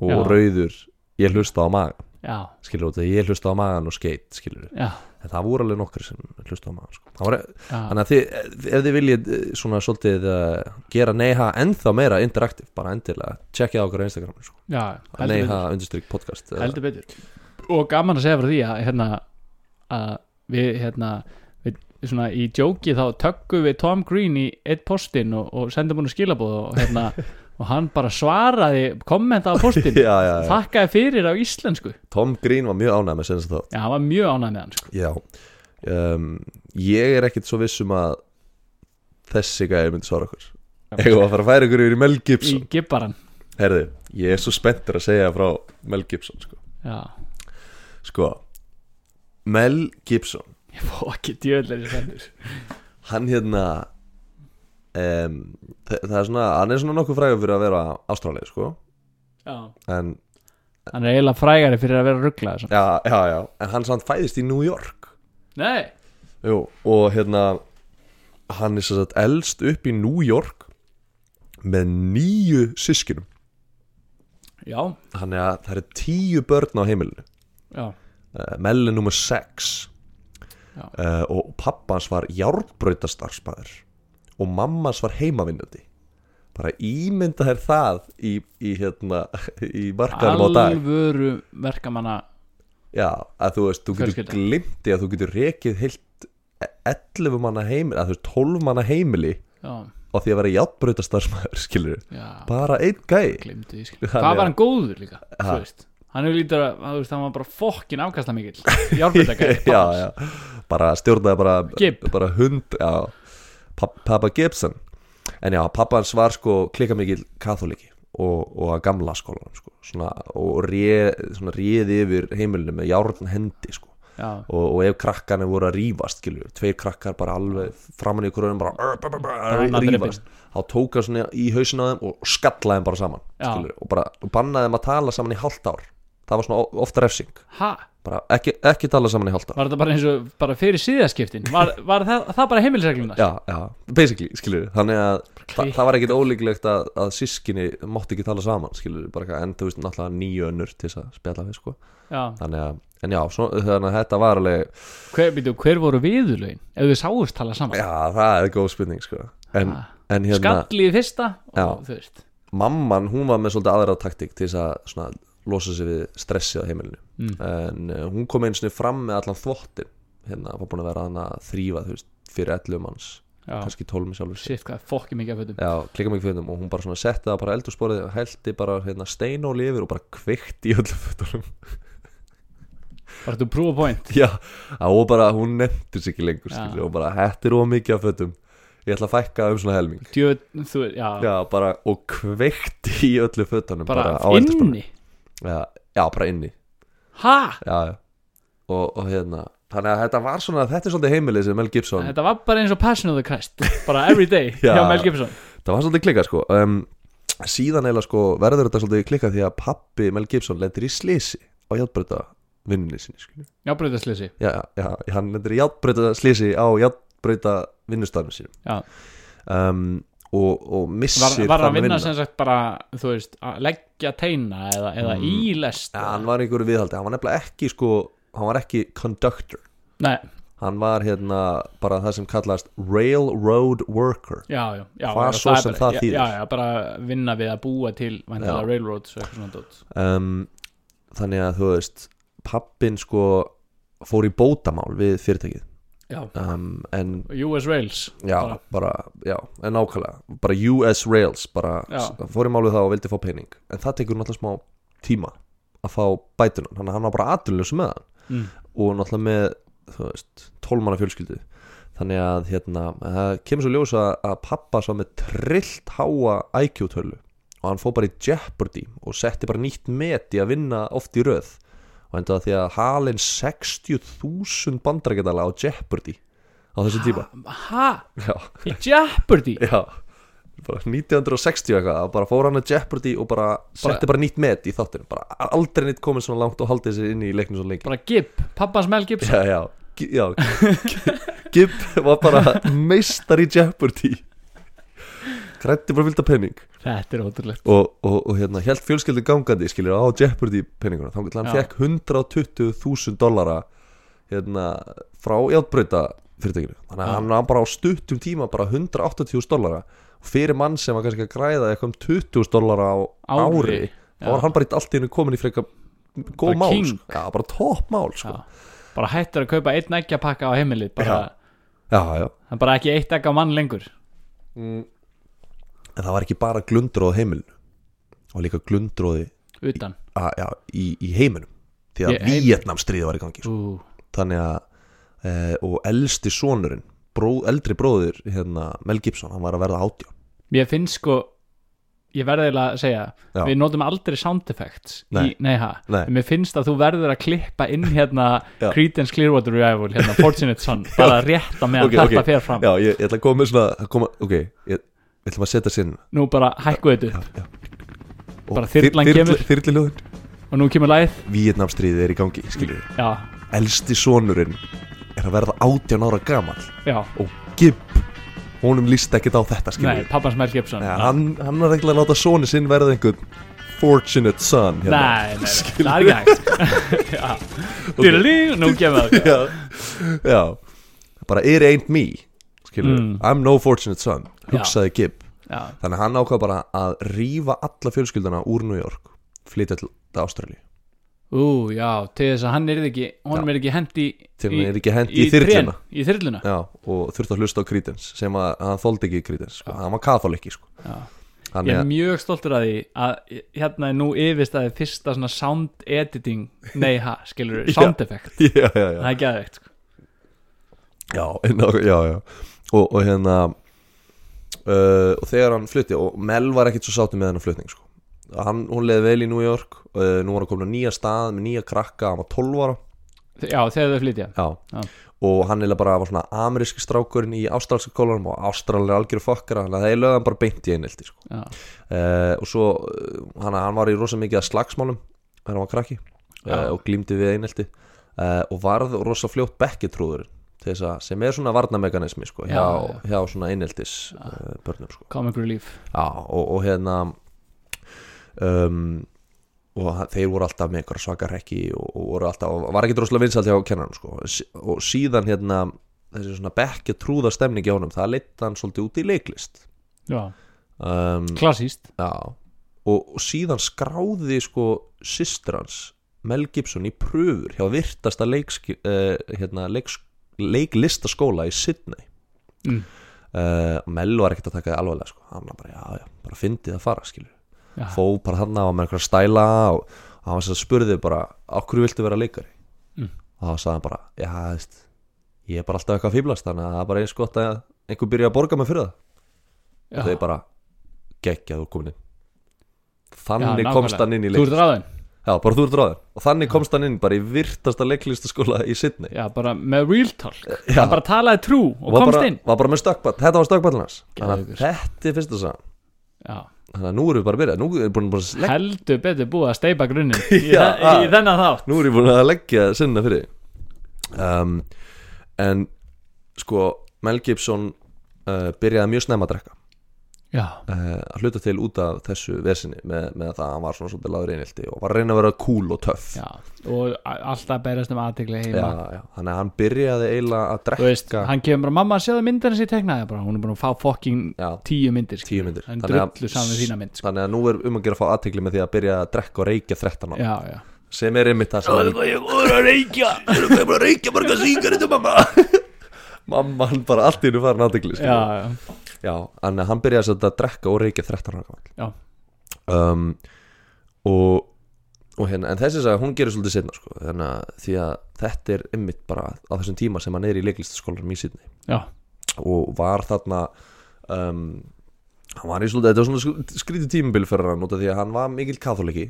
[SPEAKER 1] og
[SPEAKER 2] Já.
[SPEAKER 1] rauður ég hlusta á maga
[SPEAKER 2] já,
[SPEAKER 1] skilur út að ég hlusta á magan og skeit skilur
[SPEAKER 2] já,
[SPEAKER 1] en það voru alveg nokkri sem hlusta á magan sko. Það var,
[SPEAKER 2] já,
[SPEAKER 1] þannig að þið, ef þið viljið eh, svona svolítið uh, gera neyha ennþá meira interaktiv, bara endilega tjekkið á okkar á Instagram sko.
[SPEAKER 2] já heldur
[SPEAKER 1] neyha
[SPEAKER 2] betur,
[SPEAKER 1] undirstrykk podcast eh. eða-
[SPEAKER 2] heldur betur og gaman að segja frá því að hérna að við hérna við, svona í djóki þá tökkum við Tom Green í eitt postin og, og sendum hún skilabóð og hérna og hann bara svaraði kommenta á postin
[SPEAKER 1] já, já, já.
[SPEAKER 2] þakkaði fyrir á íslensku
[SPEAKER 1] Tom Green var mjög ánægð með senast þátt
[SPEAKER 2] já, hann var mjög ánægð með hann sko.
[SPEAKER 1] já um, ég er ekkit svo viss um að þessi gæði myndi svara okkur ég var að fara að færa ykkur yfir í Mel
[SPEAKER 2] í
[SPEAKER 1] Gibson
[SPEAKER 2] gibbaran
[SPEAKER 1] herði, ég er svo spenntur að segja frá Mel Gibson sko,
[SPEAKER 2] já,
[SPEAKER 1] sko Mel Gibson
[SPEAKER 2] ég fó ekki djöðlega sendur
[SPEAKER 1] hann hérna um, það er svona hann er svona nokkuð frægur fyrir að vera ástrálið sko
[SPEAKER 2] já,
[SPEAKER 1] en,
[SPEAKER 2] hann er eiginlega frægari fyrir að vera rugglað
[SPEAKER 1] já, já, já, en hann samt fæðist í New York
[SPEAKER 2] nei,
[SPEAKER 1] Jú, og hérna hann er svo sagt elst upp í New York með nýju sískinum
[SPEAKER 2] já,
[SPEAKER 1] þannig að það eru tíu börn á heimilinu
[SPEAKER 2] já
[SPEAKER 1] uh, mellin nummer 6
[SPEAKER 2] Já.
[SPEAKER 1] uh, og pappans var járnbrautarstarfsmæður og mammans var heimavinnandi bara ímynda þær það í, í, hérna, í markaðum á dag
[SPEAKER 2] alvöru verkamanna
[SPEAKER 1] Já, að þú veist, þú getur
[SPEAKER 2] Fjölskylda.
[SPEAKER 1] glimti að þú getur rekið heilt 11 manna heimili, að þú veist 12 manna heimili
[SPEAKER 2] já,
[SPEAKER 1] á því að vera járnbrautarstarfsmæður, skilur
[SPEAKER 2] já,
[SPEAKER 1] bara einn gæi
[SPEAKER 2] glemdi því sko.
[SPEAKER 1] Hann
[SPEAKER 2] hvað
[SPEAKER 1] er-
[SPEAKER 2] var hann góður líka
[SPEAKER 1] Ha.
[SPEAKER 2] þú veist hann er lítur að, þú veist, hann var bara fokkin afkasta mikill járbrytakar
[SPEAKER 1] já, já, bara stjórnaði bara,
[SPEAKER 2] Gibb.
[SPEAKER 1] bara hund já, Papp- pappa Gibson en já, pappa hans var sko klika mikil katholiki og, og að gamla skólanum sko, svona, og réð, svona réði yfir heimilinu með járn hendi sko
[SPEAKER 2] já,
[SPEAKER 1] og, og ef krakkarnir voru að rífast skilur, tveir krakkar bara alveg framan í hverjum bara ör, ör, ör,
[SPEAKER 2] Bara
[SPEAKER 1] ör,
[SPEAKER 2] drepin.
[SPEAKER 1] rífast þá tók hann svona í hausin á þeim og skallaði þeim bara saman
[SPEAKER 2] Já.
[SPEAKER 1] skilur, og bara og bannaði þeim að tala saman í hálft ár það var svona o- ofta refsing
[SPEAKER 2] ha,
[SPEAKER 1] bara ekki, ekki tala saman í hálft ár
[SPEAKER 2] var þetta bara eins og bara fyrir síðaskiptin, var, var það, það bara heimilsregluna
[SPEAKER 1] já, já, basically, skilur þannig að þa
[SPEAKER 2] klikkað.
[SPEAKER 1] það var ekkit ólíklegt að, að sískinni mátti ekki tala saman, skilur bara, eitthvað, en þú veist náttúrulega nýju önnur til þess að spjalla við sko.
[SPEAKER 2] já,
[SPEAKER 1] þannig að, en já, svona, þannig að þetta var alveg
[SPEAKER 2] hver, býtu, hver voru viðurlögin ef þau sáust tala saman
[SPEAKER 1] Já, það er góð spurning sko En,
[SPEAKER 2] Ha.
[SPEAKER 1] en Eh, hérna
[SPEAKER 2] skallið í fyrsta og
[SPEAKER 1] Já.
[SPEAKER 2] þú veist
[SPEAKER 1] Mamman, hún var með svolítið aðra taktík Til þess að svona, losa sig við stressi á heimilinu
[SPEAKER 2] Mm.
[SPEAKER 1] En uh, hún kom einu sinni fram með allan þvottin Hérna, var búin að vera hann að þrýfa Þú veist, fyrir 11 manns
[SPEAKER 2] já,
[SPEAKER 1] kannski 12 með sjálfur sér.
[SPEAKER 2] shit, hvað fokkin mikið af fötum
[SPEAKER 1] Já, klikka mikið fyrir þeim Og hún bara svona setti það bara eldursporið Og hælti bara hérna, steinóli yfir Og bara kveikti í öllum fötunum
[SPEAKER 2] bara þú prúa point
[SPEAKER 1] Já, og bara, hún nefndi sig ekki lengur
[SPEAKER 2] Já.
[SPEAKER 1] skilur, Og bara, þetta er of mikið af fötum Ég ætla að fækka um svona helming
[SPEAKER 2] Djö, þú, já,
[SPEAKER 1] Já, bara, og kveikti í öllu fötunum
[SPEAKER 2] bara,
[SPEAKER 1] á eldhúsborðinu.
[SPEAKER 2] inni
[SPEAKER 1] já, já, bara inni
[SPEAKER 2] ha,
[SPEAKER 1] já, já. Og, og hérna Þannig að þetta var svona, þetta er svolítið heimilið sem Mel Gibson
[SPEAKER 2] Þetta var bara eins og Passion of the Christ Bara every day
[SPEAKER 1] Já.
[SPEAKER 2] hjá Mel Gibson
[SPEAKER 1] Það var svolítið klikkað sko um, Síðan eiginlega sko verður þetta svolítið klikkað því að pappi Mel Gibson lendir í slisi á játbreyta vinnunni sinni skilju.
[SPEAKER 2] Já, breytasleysi
[SPEAKER 1] Já, já, já, hann lendir í játbreyta slisi á játbreyta vinnustafnum sínum
[SPEAKER 2] Já.
[SPEAKER 1] um, og, og
[SPEAKER 2] Var,
[SPEAKER 1] missir
[SPEAKER 2] var að
[SPEAKER 1] þann
[SPEAKER 2] vinna sem sagt bara Þú veist, að leggja teina Eða, eða
[SPEAKER 1] Mm.
[SPEAKER 2] í lest
[SPEAKER 1] Já, hann var í einhverju viðhaldi, hann var nefnilega ekki sko, hann var ekki conductor
[SPEAKER 2] Nei,
[SPEAKER 1] hann var hérna bara það sem kallast railroad worker
[SPEAKER 2] já, já, já
[SPEAKER 1] Hvað
[SPEAKER 2] já,
[SPEAKER 1] svo
[SPEAKER 2] er
[SPEAKER 1] sem
[SPEAKER 2] bara-
[SPEAKER 1] það
[SPEAKER 2] já,
[SPEAKER 1] þýðir.
[SPEAKER 2] Já, já, bara vinna við að búa til væntanlega
[SPEAKER 1] Já.
[SPEAKER 2] railroads og eitthvað svona dót
[SPEAKER 1] um, þannig að þú veist pappin sko fór í bótamál við fyrirtækið
[SPEAKER 2] Já,
[SPEAKER 1] um, en
[SPEAKER 2] US Rails
[SPEAKER 1] já,
[SPEAKER 2] Bara.
[SPEAKER 1] bara, já, en nákvæmlega bara US Rails, bara
[SPEAKER 2] Já.
[SPEAKER 1] s- fór í mál við það og vildi fá pening en það tekur náttúrulega smá tíma að fá bætunan, þannig að hann var bara aðurlösa með hann
[SPEAKER 2] mm.
[SPEAKER 1] og náttúrulega með, þú veist, tólmanna fjölskyldu þannig að hérna, það kemur svo ljósa að pappa svo með trillt háa IQ-tölu og hann fór bara í Jeopardy og setti bara nýtt met í að vinna oft í röð og endaði á því að halinn 60.000 bandrækjadala á Jeopardy á þessum tíma
[SPEAKER 2] Ha?
[SPEAKER 1] já,
[SPEAKER 2] Í Jeopardy?
[SPEAKER 1] já bara 1960 eitthvað, þá bara fór hann að Jeopardy og bara, setti bara nýtt met í þáttunum bara aldrei nýtt komið svona langt og haldið sér inn í leiknum svona lengi
[SPEAKER 2] Bara Gibb, pappans Mel Gibson
[SPEAKER 1] já, já, Gi- já Gibb var bara meistar í Jeopardy grætti bara vilda penning
[SPEAKER 2] Þetta er ótrúlegt
[SPEAKER 1] og, og, og hérna, held fjölskyldu gangandi skilur á Jeopardy penninguna þá hann
[SPEAKER 2] Já.
[SPEAKER 1] fekk 120.000 dollara hérna, frá játbrauta fyrirtækinu þannig að
[SPEAKER 2] Já.
[SPEAKER 1] hann var bara á stuttum tíma bara 180.000 dollara fyrir mann sem var kannski að græða eitthvað um 20.000 dollara á
[SPEAKER 2] Ári.
[SPEAKER 1] ári, þá
[SPEAKER 2] Já.
[SPEAKER 1] var hann bara í allt í hennu komin í freka góð
[SPEAKER 2] Bara
[SPEAKER 1] mál,
[SPEAKER 2] king.
[SPEAKER 1] sko. já, bara topp mál sko.
[SPEAKER 2] Já. Bara hættir að kaupa einn eggjapakka á heimilið bara,
[SPEAKER 1] já, já,
[SPEAKER 2] Það er bara ekki eitt egg á mann lengur
[SPEAKER 1] En það var ekki bara glundróð heimilinu Það var líka glundróði
[SPEAKER 2] Utan
[SPEAKER 1] að, já, í, í heiminum Því að
[SPEAKER 2] Ég-
[SPEAKER 1] yeah,
[SPEAKER 2] heim-
[SPEAKER 1] Vietnam stríði var í gangi sko.
[SPEAKER 2] Ú,
[SPEAKER 1] Þannig að e, Og elsti sonurinn bró, Eldri bróðir hérna, Mel Gibson Hann var að verða átjá
[SPEAKER 2] Ég finnst sko Ég verði eiginlega að segja
[SPEAKER 1] Já.
[SPEAKER 2] Við notum aldrei sound effects
[SPEAKER 1] Nei.
[SPEAKER 2] í, nei, ha,
[SPEAKER 1] Nei.
[SPEAKER 2] En Mér finnst að þú verður að klippa inn hérna
[SPEAKER 1] Já.
[SPEAKER 2] Creedence Clearwater Revival hérna, Fortunate Son, bara rétt að meðan
[SPEAKER 1] Ok,
[SPEAKER 2] þetta
[SPEAKER 1] ok.
[SPEAKER 2] fer fram
[SPEAKER 1] Já, ég, ég ætla að koma með svona að koma, Ok, ég, ég ætla að setja sinn
[SPEAKER 2] Nú bara hækku þetta upp
[SPEAKER 1] Og
[SPEAKER 2] Bara þyrlan kemur.
[SPEAKER 1] Þyrlilöðin
[SPEAKER 2] og nú kemur lagið
[SPEAKER 1] Vietnam stríði er í gangi skilur. við.
[SPEAKER 2] Já,
[SPEAKER 1] Elsti sonurinn er að verða átján ára gamall
[SPEAKER 2] já,
[SPEAKER 1] Og Gibb Honum líst ekkert á þetta skilur
[SPEAKER 2] nei,
[SPEAKER 1] við.
[SPEAKER 2] pappans Mel Gibson
[SPEAKER 1] Já, hann, hann er ekkert að láta sónu sinn verða einhvern fortunate son hérna.
[SPEAKER 2] Nei, nei, nei, það er ekki hægt Já. Dýrlí, nú kemur það
[SPEAKER 1] já, já bara it ain't me skilur,
[SPEAKER 2] Mm.
[SPEAKER 1] I'm no fortunate son hugsaði Gibb,
[SPEAKER 2] Já,
[SPEAKER 1] þannig að hann ákvað bara að rífa alla fjölskyldana úr New York flytja til Ástralíu
[SPEAKER 2] ú, já, til þess að hann er ekki honum er ekki hendi
[SPEAKER 1] Til hann yrði ekki hent í þyrluna.
[SPEAKER 2] Í þyrluna
[SPEAKER 1] já, og þurfti að hlusta á Creedence sem að hann þóldi ekki Creedence, sko. hann var katholikki sko.
[SPEAKER 2] Já. Ég
[SPEAKER 1] þannig
[SPEAKER 2] er
[SPEAKER 1] að
[SPEAKER 2] mjög stoltur að því að hérna er nú yfirstaðið fyrsta svona sound editing, nei ha, skilur
[SPEAKER 1] Já.
[SPEAKER 2] sound effect,
[SPEAKER 1] já, já, já,
[SPEAKER 2] það er geðveikt sko.
[SPEAKER 1] já, ná, já, já. Og, og hérna uh, og þegar hann flutti og Mel var ekkit svo sáttum með hennar flutning sko. hann, hún leiði vel í New York uh, nú var hann komin á nýja stað með nýja krakka hann var 12 ára
[SPEAKER 2] Já, þegar þau flytja
[SPEAKER 1] Já.
[SPEAKER 2] Já.
[SPEAKER 1] og hann eða bara var svona ameríski strákurinn í ástralska kólanum og ástralir algjöru fokkara þannig að það er lögðan bara beint í einelti sko.
[SPEAKER 2] Já,
[SPEAKER 1] uh, og svo hann, hann var í rosa mikið að slagsmálum þegar hann var krakki uh,
[SPEAKER 2] Já.
[SPEAKER 1] og glímdi við einelti uh, og varð rosa fljótt bekkitrúður þess að sem er svona varnamekanismi sko, hjá,
[SPEAKER 2] Já,
[SPEAKER 1] hjá svona eineltis uh, börnum sko.
[SPEAKER 2] comic relief
[SPEAKER 1] Já, og, og hérna um, og hann- þeir voru alltaf með einhverja svaka rekki og, og voru alltaf, og var ekki droslega vinsalt hjá kennarum sko, S- og síðan hérna þessi svona bekkja trúða stemning hjá honum, það leitt hann svolítið út í leiklist
[SPEAKER 2] Já,
[SPEAKER 1] um,
[SPEAKER 2] klassíst
[SPEAKER 1] já, og, og síðan skráði sko systir hans Mel Gibson í pröfur hjá virtasta leikski, uh, hérna, leiks, leiklistaskóla í Sydney
[SPEAKER 2] Mm.
[SPEAKER 1] uh, Mel var ekkert að taka það alvarlega sko. hann var bara, já, já, bara fyndið að fara skilur
[SPEAKER 2] Já.
[SPEAKER 1] fó bara þarna og með einhverja stæla og og hann var sem spurði bara á hverju viltu vera leikari
[SPEAKER 2] Mm.
[SPEAKER 1] og þá sagði hann bara, já, þú veist ég er bara alltaf eitthvað að fýblast þannig að það er bara eins gott að einhver byrja að borga mig fyrir það
[SPEAKER 2] Já.
[SPEAKER 1] og þau bara geggjaðu komin inn
[SPEAKER 2] Já,
[SPEAKER 1] þannig
[SPEAKER 2] nákvæmlega.
[SPEAKER 1] komst hann inn í
[SPEAKER 2] Þú
[SPEAKER 1] leik
[SPEAKER 2] ert ráðin,
[SPEAKER 1] já, bara þú ert ráðin og þannig komst hann inn bara í virtasta leiklistaskóla í Sydney
[SPEAKER 2] já, bara með real talk
[SPEAKER 1] Já.
[SPEAKER 2] Hann bara talaði trú og
[SPEAKER 1] var
[SPEAKER 2] komst
[SPEAKER 1] bara,
[SPEAKER 2] inn
[SPEAKER 1] var bara með stökkball, þetta var stökkballin hans þannig
[SPEAKER 2] Geðveikur.
[SPEAKER 1] að þetta er fyrsta sagan
[SPEAKER 2] Já,
[SPEAKER 1] þannig að nú erum við bara að byrja nú erum við búin að bara slegg-
[SPEAKER 2] heldur betur búið að steipa grunnin í,
[SPEAKER 1] Já,
[SPEAKER 2] þe í
[SPEAKER 1] að-
[SPEAKER 2] þennan þátt
[SPEAKER 1] nú erum við búin að leggja sinna fyrir þig. um, en sko Mel Gibson uh, byrjaði mjög snemma að drekka
[SPEAKER 2] já,
[SPEAKER 1] uh, að hluta til út af þessu vesinni með, með það að hann var svona svolítið laður einhildi og var að reyna að vera cool og töff
[SPEAKER 2] já og a- alltaf berast um aðtegli
[SPEAKER 1] já,
[SPEAKER 2] heima
[SPEAKER 1] já. þannig að hann byrjaði eiginlega að
[SPEAKER 2] þú veist,
[SPEAKER 1] drekka
[SPEAKER 2] hann kemur bara mamma að sjá það myndir hans í teknaði bara, hún er búin að fá fokking
[SPEAKER 1] já,
[SPEAKER 2] tíu myndir, sko.
[SPEAKER 1] tíu myndir
[SPEAKER 2] en
[SPEAKER 1] Þannig að-
[SPEAKER 2] drullu saman við þína mynd sko.
[SPEAKER 1] Þannig að nú er um að gera að fá aðtegli með því að byrja að drekka og reykja 13 ára
[SPEAKER 2] já, já,
[SPEAKER 1] sem er einmitt það sem hann
[SPEAKER 2] ég voru að reykja
[SPEAKER 1] Erum við bara að reykja marga síkaretu mamma Mamma hann bara allt í hennu farin aðtegli
[SPEAKER 2] já,
[SPEAKER 1] sko.
[SPEAKER 2] já,
[SPEAKER 1] Já, þannig að hann byrjaði sem sagt að drekka og reykja 13 ára gamall
[SPEAKER 2] já,
[SPEAKER 1] um, og, og hérna, en þessi sagði hún gerir svolítið setna sko, þannig að því að þetta er ymmit bara á þessum tíma sem hann er í leiklistaskólarum í Sydney
[SPEAKER 2] já,
[SPEAKER 1] og var þarna um, hann var í svolítið, þetta var svona sk- skrítið tímabil fyrir hann út af því að hann var mikill katholiki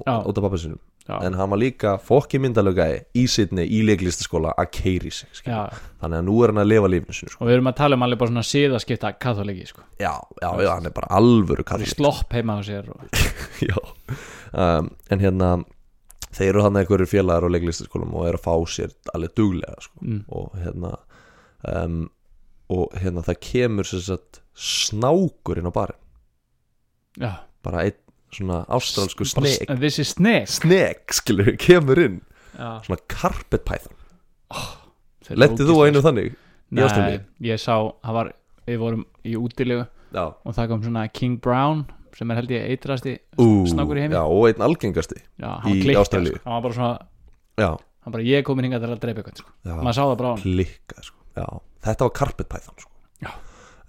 [SPEAKER 2] Já.
[SPEAKER 1] út af pappa sinum
[SPEAKER 2] já,
[SPEAKER 1] en hann var líka fokki myndalögaði í Sydney í leiklistaskóla að keiri sig skilur.
[SPEAKER 2] já
[SPEAKER 1] þannig að nú er hann að lifa lífinu sinu sko.
[SPEAKER 2] og við erum að tala um alveg bara svona síðaskipta katholiki sko,
[SPEAKER 1] já, já, já, hann er bara alvöru
[SPEAKER 2] Bara í
[SPEAKER 1] katholiki
[SPEAKER 2] slopp heima á sér og,
[SPEAKER 1] Já, um, en hérna þeir eru hann einhverjur félagar á leiklistaskólum og eru að fá sér alveg duglega sko.
[SPEAKER 2] mm,
[SPEAKER 1] og hérna um, og hérna það kemur sem sagt snákur inn á barinn
[SPEAKER 2] já,
[SPEAKER 1] bara einn svona ástralsku
[SPEAKER 2] Bara
[SPEAKER 1] sneg
[SPEAKER 2] s- þessi sneg
[SPEAKER 1] sneg skilur, kemur inn
[SPEAKER 2] já,
[SPEAKER 1] svona carpet python lettið þú á einu þannig? í
[SPEAKER 2] Nei,
[SPEAKER 1] Ástralíu?
[SPEAKER 2] ég sá, það var, við vorum í útilegu
[SPEAKER 1] Já,
[SPEAKER 2] og það kom svona King Brown sem er held ég eitrasti
[SPEAKER 1] Ú,
[SPEAKER 2] Snákur í heimi?
[SPEAKER 1] já, og einn algengasti
[SPEAKER 2] já, hann
[SPEAKER 1] Í
[SPEAKER 2] klikkað,
[SPEAKER 1] Ástralíu?
[SPEAKER 2] sko. hann var bara svona,
[SPEAKER 1] já,
[SPEAKER 2] hann bara ég er komin hingað til að drepa eitthvað, sko.
[SPEAKER 1] já.
[SPEAKER 2] maður sá það bara á hann
[SPEAKER 1] klikkað sko. Já, þetta var Carpet Python sko.
[SPEAKER 2] Já.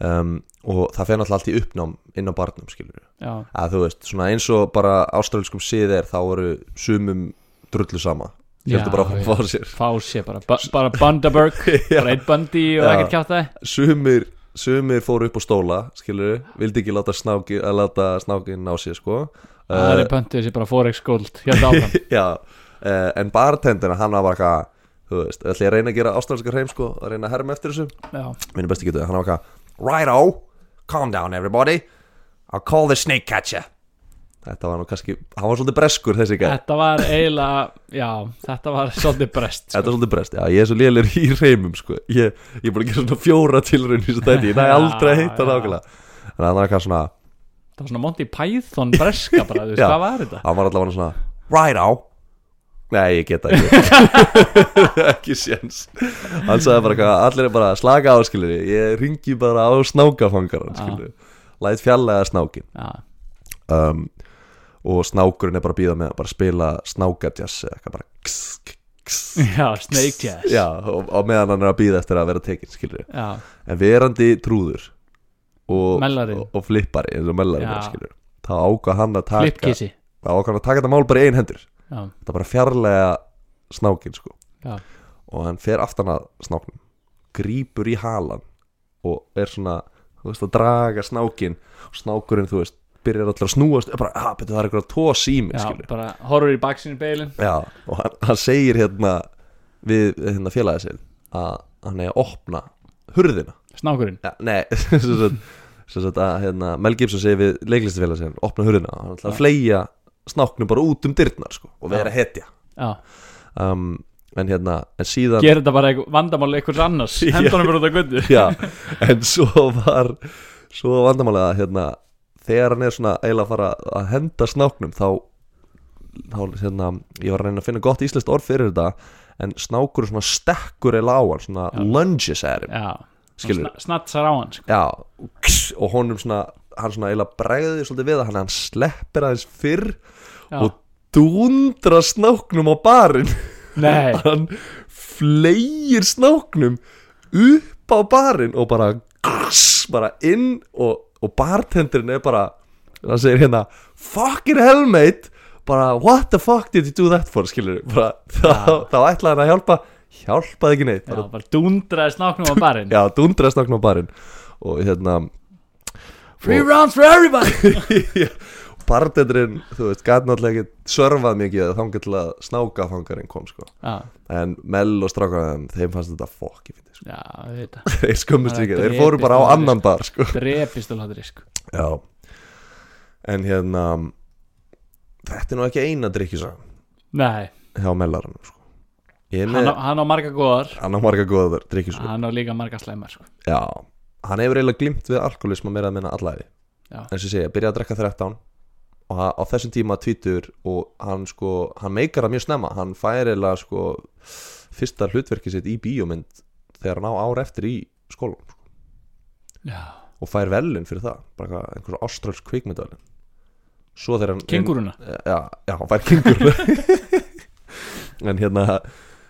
[SPEAKER 1] um, og það fer náttúrulega allt í uppnám inn á barnum skilur
[SPEAKER 2] já,
[SPEAKER 1] að þú veist, svona eins og bara ástralskum sið er þá eru sumum drullu sama
[SPEAKER 2] Já,
[SPEAKER 1] heldur bara að
[SPEAKER 2] já.
[SPEAKER 1] fá sér
[SPEAKER 2] fá sér bara, ba bara Bundaberg,
[SPEAKER 1] Já.
[SPEAKER 2] bara einn bandi og
[SPEAKER 1] Já.
[SPEAKER 2] ekkert kjátt það
[SPEAKER 1] sumir, sumir fóru upp á stóla skilur, vildi ekki láta, snáki, að láta snákin á sér sko
[SPEAKER 2] það er pöntuð sér bara Forex Gold hérna áfram,
[SPEAKER 1] Já, uh, en bartendina hann var bara eitthvað, þú veist, ætla ég að reyna að gera ástralska hreim sko, að reyna að herma eftir þessu
[SPEAKER 2] já,
[SPEAKER 1] minn besti getur, hann var eitthvað Righto, calm down everybody I'll call the snake catcher Þetta var nú kannski, hann var svolítið breskur þessi gæð
[SPEAKER 2] þetta var eiginlega já, þetta var svolítið brest sko.
[SPEAKER 1] Þetta var svolítið brest, já ég er svo lélir í reymum sko. Ég ég er búin að gera svona fjóra tilraun í þessu dæti, ég næ aldrei að hitta
[SPEAKER 2] Já, já.
[SPEAKER 1] nákvæmlega Þannig að hann var eitthvað svona,
[SPEAKER 2] það var svona Monty Python breska bara, þú veist,
[SPEAKER 1] Já.
[SPEAKER 2] hvað var þetta
[SPEAKER 1] hann var allavega svona Righto Nei, ég geta ekki Ekki séns Hann sagði bara eitthvað, allir er bara að slaka á skilur Ég ringi bara á snákafangaran
[SPEAKER 2] Já.
[SPEAKER 1] skilur Læt fjallega snákin
[SPEAKER 2] já,
[SPEAKER 1] um, og snákurinn er bara að býða með að bara spila snákajazz eða eitthvað bara kss, kss, kss.
[SPEAKER 2] já Snake Jazz
[SPEAKER 1] Já, og, og meðan hann er að býða eftir að vera tekinn skilur
[SPEAKER 2] já,
[SPEAKER 1] en verandi trúður og,
[SPEAKER 2] Mellari.
[SPEAKER 1] og, og flippari eins og mellari
[SPEAKER 2] Já.
[SPEAKER 1] bara, skilur þá ákvað hann að taka
[SPEAKER 2] flipkissi
[SPEAKER 1] þá ákvað hann að taka þetta mál bara í ein hendur
[SPEAKER 2] já,
[SPEAKER 1] þetta bara fjarlæga snákin sko
[SPEAKER 2] já,
[SPEAKER 1] og hann fer aftan að snáknum grípur í halan og er svona, þú veist, að draga snákin og snákurinn, þú veist, byrjar allir að snúast bara, að, betur það er eitthvað tós í mig,
[SPEAKER 2] já
[SPEAKER 1] skilur
[SPEAKER 2] bara horfur í baksinu beilin
[SPEAKER 1] Já, og hann, hann segir hérna við hérna félagið sinn að hann er að opna hurðina
[SPEAKER 2] snákurinn
[SPEAKER 1] ja, Nei, sem sagt, sem sagt að hérna, Mel Gibson segir við leiklistafélagið sinn opna hurðina, hann ætla
[SPEAKER 2] Já.
[SPEAKER 1] að fleia snáknum bara út um dyrnar sko, og vera hetja
[SPEAKER 2] já
[SPEAKER 1] um, en hérna, en síðan
[SPEAKER 2] gera þetta bara eitthvað vandamál einhvers annars henda hann bara út á guttu
[SPEAKER 1] Já, en svo var svo vandamálið að hérna þegar hann er svona eiginlega að fara að henda snáknum þá, þá hérna, ég var að reyna að finna gott íslenskt orð fyrir þetta en snákur svona stekkur eða á hann, svona lunges er hann,
[SPEAKER 2] já,
[SPEAKER 1] skilur
[SPEAKER 2] Sna- snatsar á hann sko.
[SPEAKER 1] Já, og kss, og honum svona hann svona eiginlega bregði svolítið við að hann hann sleppir aðeins fyrr
[SPEAKER 2] Já.
[SPEAKER 1] og dúndra snáknum á barinn
[SPEAKER 2] nei,
[SPEAKER 1] hann fleir snáknum upp á barinn og bara grss, bara inn og, og bartendurinn er bara hann segir hérna fucking hell mate bara what the fuck did you do that for skilur bara, þá, þá ætlaði hann að hjálpa hjálpaði ekki neitt
[SPEAKER 2] já,
[SPEAKER 1] bara,
[SPEAKER 2] bara dundraði snáknum á barinn
[SPEAKER 1] já, dundraði snáknum á barinn og hérna
[SPEAKER 2] free rounds for everybody
[SPEAKER 1] bartendurinn, þú veist, gæti náttúrulega ekki sörfað mikið þangar til að snákafangarinn kom sko,
[SPEAKER 2] já,
[SPEAKER 1] en Mell og strákarinn, þeim fannst þetta fokki fyndi
[SPEAKER 2] já, þetta
[SPEAKER 1] þeir skummust
[SPEAKER 2] Bara
[SPEAKER 1] ekki, þeir
[SPEAKER 2] drepist
[SPEAKER 1] fóru bara á
[SPEAKER 2] maður,
[SPEAKER 1] annan bar sko.
[SPEAKER 2] drepist alveg risk
[SPEAKER 1] já en hérna þetta er nú ekki eina drikkjusagan
[SPEAKER 2] nei,
[SPEAKER 1] hjá mellaranum sko. ég er
[SPEAKER 2] hann
[SPEAKER 1] með
[SPEAKER 2] á, hann á marga góðar
[SPEAKER 1] hann á marga góðar drikkjusagan
[SPEAKER 2] hann á líka marga slæmar sko.
[SPEAKER 1] já, hann hefur eiginlega glimt við alkoholism að meira að minna allæði
[SPEAKER 2] Já.
[SPEAKER 1] en sem segja, byrjaði að drekka 13 og ha- á þessum tíma tvítur og hann sko, hann meikar það mjög snemma hann fær eða sko fyrsta hlutverki sitt í bíómynd þegar hann á ár eftir í skólan sko.
[SPEAKER 2] Já.
[SPEAKER 1] og fær velun fyrir það, bara eitthvað- einhversu ástralsk kvikmyndalun svo þegar hann
[SPEAKER 2] Kenguruna
[SPEAKER 1] já, já, hann fær kengur en hérna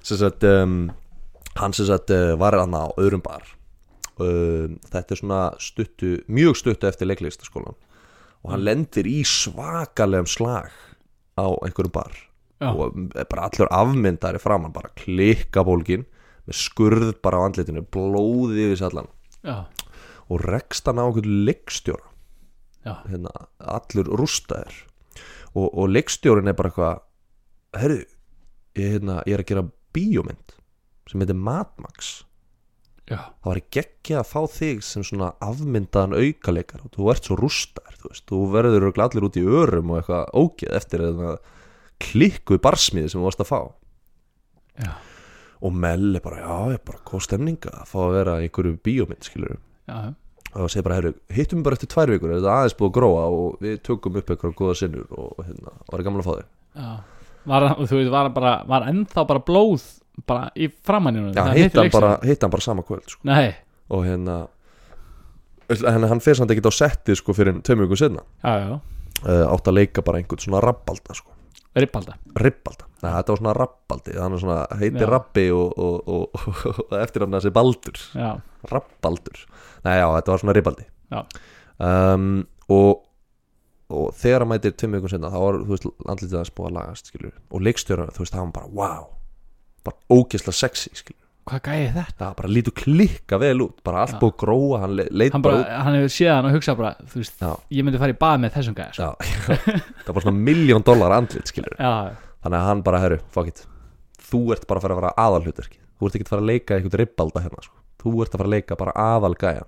[SPEAKER 1] sem sagt um, hann sem sagt uh, var hann á öðrum bar um, þetta er svona stuttu mjög stuttu eftir leiklistaskólan og hann lendir í svakalegum slag á einhverjum bar
[SPEAKER 2] Já.
[SPEAKER 1] og er bara allur afmyndari framan bara klikka bólgin með skurð bara á andlitinu blóði yfir sallan
[SPEAKER 2] Já,
[SPEAKER 1] og rekst hann á einhvern leikstjóra
[SPEAKER 2] já,
[SPEAKER 1] hérna, allur rústaðir og, og leikstjórin er bara eitthvað herru, ég, hérna, ég er að gera bíómynd sem heitir Mad Max
[SPEAKER 2] já
[SPEAKER 1] það var ekki að fá þig sem svona afmyndaðan aukaleikar og þú ert svo rústaðir, þú veist, þú verður örugglega allir út í örum og eitthvað ógeð eftir hérna, klikku í barsmiði sem þú varst að fá
[SPEAKER 2] Já.
[SPEAKER 1] og Mel er bara, já, ég er bara góð stemninga að fá að vera í einhverju bíómynd, skilur
[SPEAKER 2] Já,
[SPEAKER 1] og það segir bara, herru, hittum við bara eftir tvær vikur er þetta aðeins búið að gróa og við tökum upp eitthvað góða sinnur og hérna, og það er gaman að fá þig
[SPEAKER 2] já Var, hann- þú veit, var, hann bara, var ennþá bara blóð bara í framanninu
[SPEAKER 1] Já, hitt hann, bara, hitt hann bara sama kvöld sko.
[SPEAKER 2] Nei,
[SPEAKER 1] og hérna hann, hann fyrir samt ekkert á setti sko fyrir tveim vikur sinna
[SPEAKER 2] já, já,
[SPEAKER 1] uh, átt að leika bara einhvern svona rabbalda sko
[SPEAKER 2] rippalda
[SPEAKER 1] ribbalda, Nei, þetta var svona rabbaldi hann er svona, heitir
[SPEAKER 2] Já.
[SPEAKER 1] rabbi og, og, og, og, og eftir hann að þessi baldur
[SPEAKER 2] Já,
[SPEAKER 1] rabbaldur, nei já, þetta var svona ribbaldi
[SPEAKER 2] já,
[SPEAKER 1] um, og, og þegar hann mætir tveim vikum sinna þá var, þú veist, andlitið hans búið að lagast skilur, og leikstjóra, þú veist, það var bara wow, bara ógeðslega sexy skilur,
[SPEAKER 2] hvað gæði þetta?
[SPEAKER 1] það var bara lítur klikka vel út, bara allt
[SPEAKER 2] Já.
[SPEAKER 1] búið að gróa hann le- leit
[SPEAKER 2] Hann, bara, hann hefur séð hann og hugsað bara þú veist,
[SPEAKER 1] Já.
[SPEAKER 2] ég myndi fara í bað með þessum gæði sko.
[SPEAKER 1] já, já, það var svona miljón dólar andlit skilur,
[SPEAKER 2] Já,
[SPEAKER 1] þannig að hann bara, herru, fuck it þú ert bara að fara að vera aðalhuturki þú ert ekki að fara að leika eitthvað ribbalda hérna sko. þú ert að fara að leika bara aðalgæja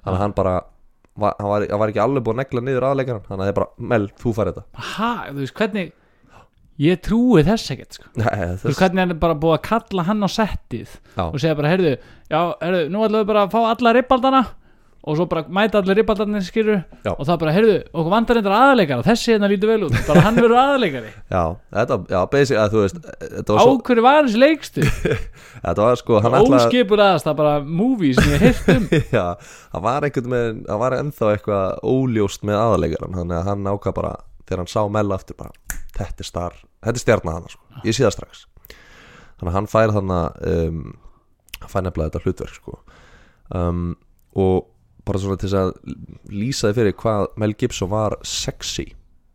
[SPEAKER 1] þannig að hann bara, var, hann, var, hann var ekki alveg búið að negla niður aðalleikaran þannig að það er bara, mel, þú fær þetta
[SPEAKER 2] ha, þú veist, hvernig Ég trúi þess ekkert sko.
[SPEAKER 1] Nei,
[SPEAKER 2] Þú veist, hvernig hann er bara búið að kalla hann á settið
[SPEAKER 1] Já.
[SPEAKER 2] og segja bara, heyrðu, já, heyrðu, nú ætlum við bara að fá alla rippaldana og svo bara mæta allir rippaldarnir skilur
[SPEAKER 1] Já.
[SPEAKER 2] og það bara, heyrðu, okkur vandar endur aðalegara þessi hérna lítur vel út, bara hann verður aðalegari
[SPEAKER 1] Já, þetta, já, basic að þú veist Þetta
[SPEAKER 2] á
[SPEAKER 1] var, svo,
[SPEAKER 2] hverju var hans leikstu
[SPEAKER 1] þetta var sko, hann ætlaði
[SPEAKER 2] óskipur aðast, það bara movie sem ég heilt um
[SPEAKER 1] Já, hann var einhvern veginn, hann var ennþá eitthvað óljóst með aðalegaran Þannig að hann ákvað bara, þegar hann sá Mella aftur bara Þetta er star, þetta er stjarnar hann, sko, ég sé það strax Þannig að hann fær þannig, um, hann fær nefnilega þetta hlutverk, sko um, Og bara svona til þess að lýsa þið fyrir hvað Mel Gibson var sexy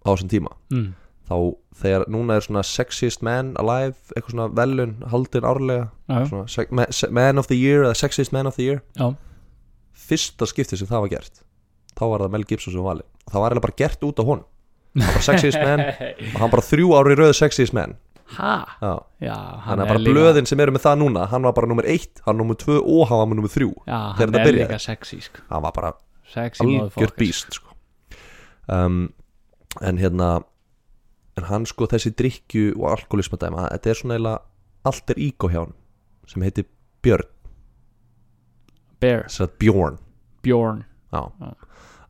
[SPEAKER 1] á þessum tíma
[SPEAKER 2] mm.
[SPEAKER 1] þá þegar núna er svona sexiest man alive, eitthvað svona velun haldin árlega,
[SPEAKER 2] já,
[SPEAKER 1] svona sec- ma- se- man of the year eða sexiest man of the year
[SPEAKER 2] já,
[SPEAKER 1] fyrsta skipti sem það var gert þá var það Mel Gibson sem var valinn og það var eiginlega bara gert út á honum hann var bara sexiest man og hann bara þrjú ári röð sexiest man
[SPEAKER 2] ha
[SPEAKER 1] já,
[SPEAKER 2] já,
[SPEAKER 1] hann er bara blöðin sem eru með það núna hann var bara nummer eitt, hann var nummer tvö og hann var nummer þrjú
[SPEAKER 2] já,
[SPEAKER 1] þegar
[SPEAKER 2] hann
[SPEAKER 1] þetta
[SPEAKER 2] er
[SPEAKER 1] byrjaði.
[SPEAKER 2] líka sexy sko.
[SPEAKER 1] hann var bara
[SPEAKER 2] sexy
[SPEAKER 1] algjör
[SPEAKER 2] motherfucker.
[SPEAKER 1] býst sko. um, en hérna en hann sko þessi drikju og alkoholisma dæma þetta er svona eiginlega allt er ígó hjá hann sem heitir Björn
[SPEAKER 2] Bear,
[SPEAKER 1] sem sagt Bjorn
[SPEAKER 2] Bjorn
[SPEAKER 1] já.
[SPEAKER 2] Já.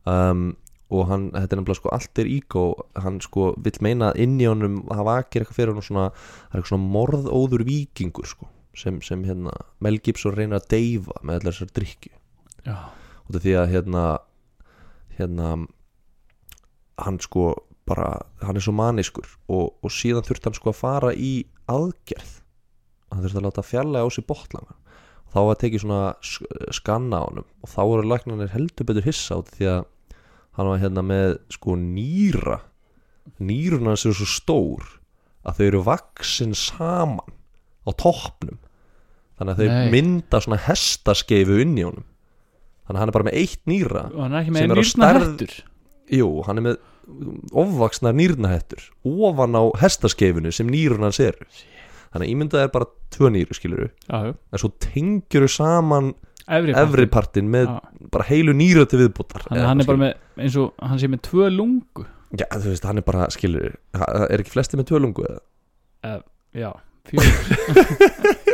[SPEAKER 1] Um, og hann, þetta er nefnilega sko allt er ígó hann sko vill meina að inn í honum það vakir eitthvað fyrir hann svona það er eitthvað svona morðóður vikingur sko sem, sem hérna Mel Gibson reynir að deyfa með allar þessar drikju
[SPEAKER 2] já,
[SPEAKER 1] út af því að hérna hérna hann sko bara hann er svo maniskur og, og síðan þurfti hann sko að fara í aðgerð hann þurfti að láta fjarlæga á sér botlangan þá var tekið svona sk- skanna á honum og þá voru læknanir heldur betur hissa út af því að hann var hérna með sko nýra nýruna sem er svo stór að þau eru vaksin saman á toppnum þannig að þau
[SPEAKER 2] Nei.
[SPEAKER 1] mynda svona hestaskeifu inn í honum þannig að hann er bara með eitt nýra
[SPEAKER 2] og hann er ekki
[SPEAKER 1] Sem
[SPEAKER 2] með
[SPEAKER 1] er á
[SPEAKER 2] nýrna
[SPEAKER 1] stærð-
[SPEAKER 2] hættur
[SPEAKER 1] Jú, hann er með ofvaksnar nýrnahettur ofan á hestaskeifinu sem nýrun hans eru Þannig að ímyndað er bara tvö nýru skiluru
[SPEAKER 2] já, já,
[SPEAKER 1] en svo tengjuru saman
[SPEAKER 2] efri
[SPEAKER 1] efri partin með
[SPEAKER 2] Já.
[SPEAKER 1] bara heilu nýra til viðbútar
[SPEAKER 2] Þannig að hann er bara með, eins og hann sé með tvö lungu
[SPEAKER 1] Já, þú veist, hann er bara, skiluru Er ekki flesti með tvölungu eða?
[SPEAKER 2] Já, fjögur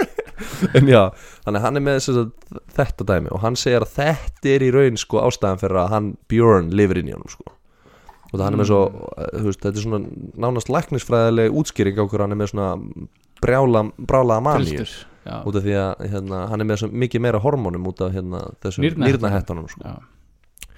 [SPEAKER 1] en já, þannig að hann er með sem sagt, þetta dæmi og hann segir að þetta er í raun sko ástæðan fyrir að hann Björn lifir inn í honum sko og það hann er með svo,
[SPEAKER 2] Mm.
[SPEAKER 1] eh, þú veist, þetta er svona nánast læknisfræðileg útskýring á hverju hann er með svona brjála, brálaða maníu
[SPEAKER 2] Piltur Já,
[SPEAKER 1] út af því að hérna, hann er með svo mikið meira hormónum út af hérna, þessum
[SPEAKER 2] Nýrnahettunum.
[SPEAKER 1] nýrnahettanum sko.
[SPEAKER 2] já,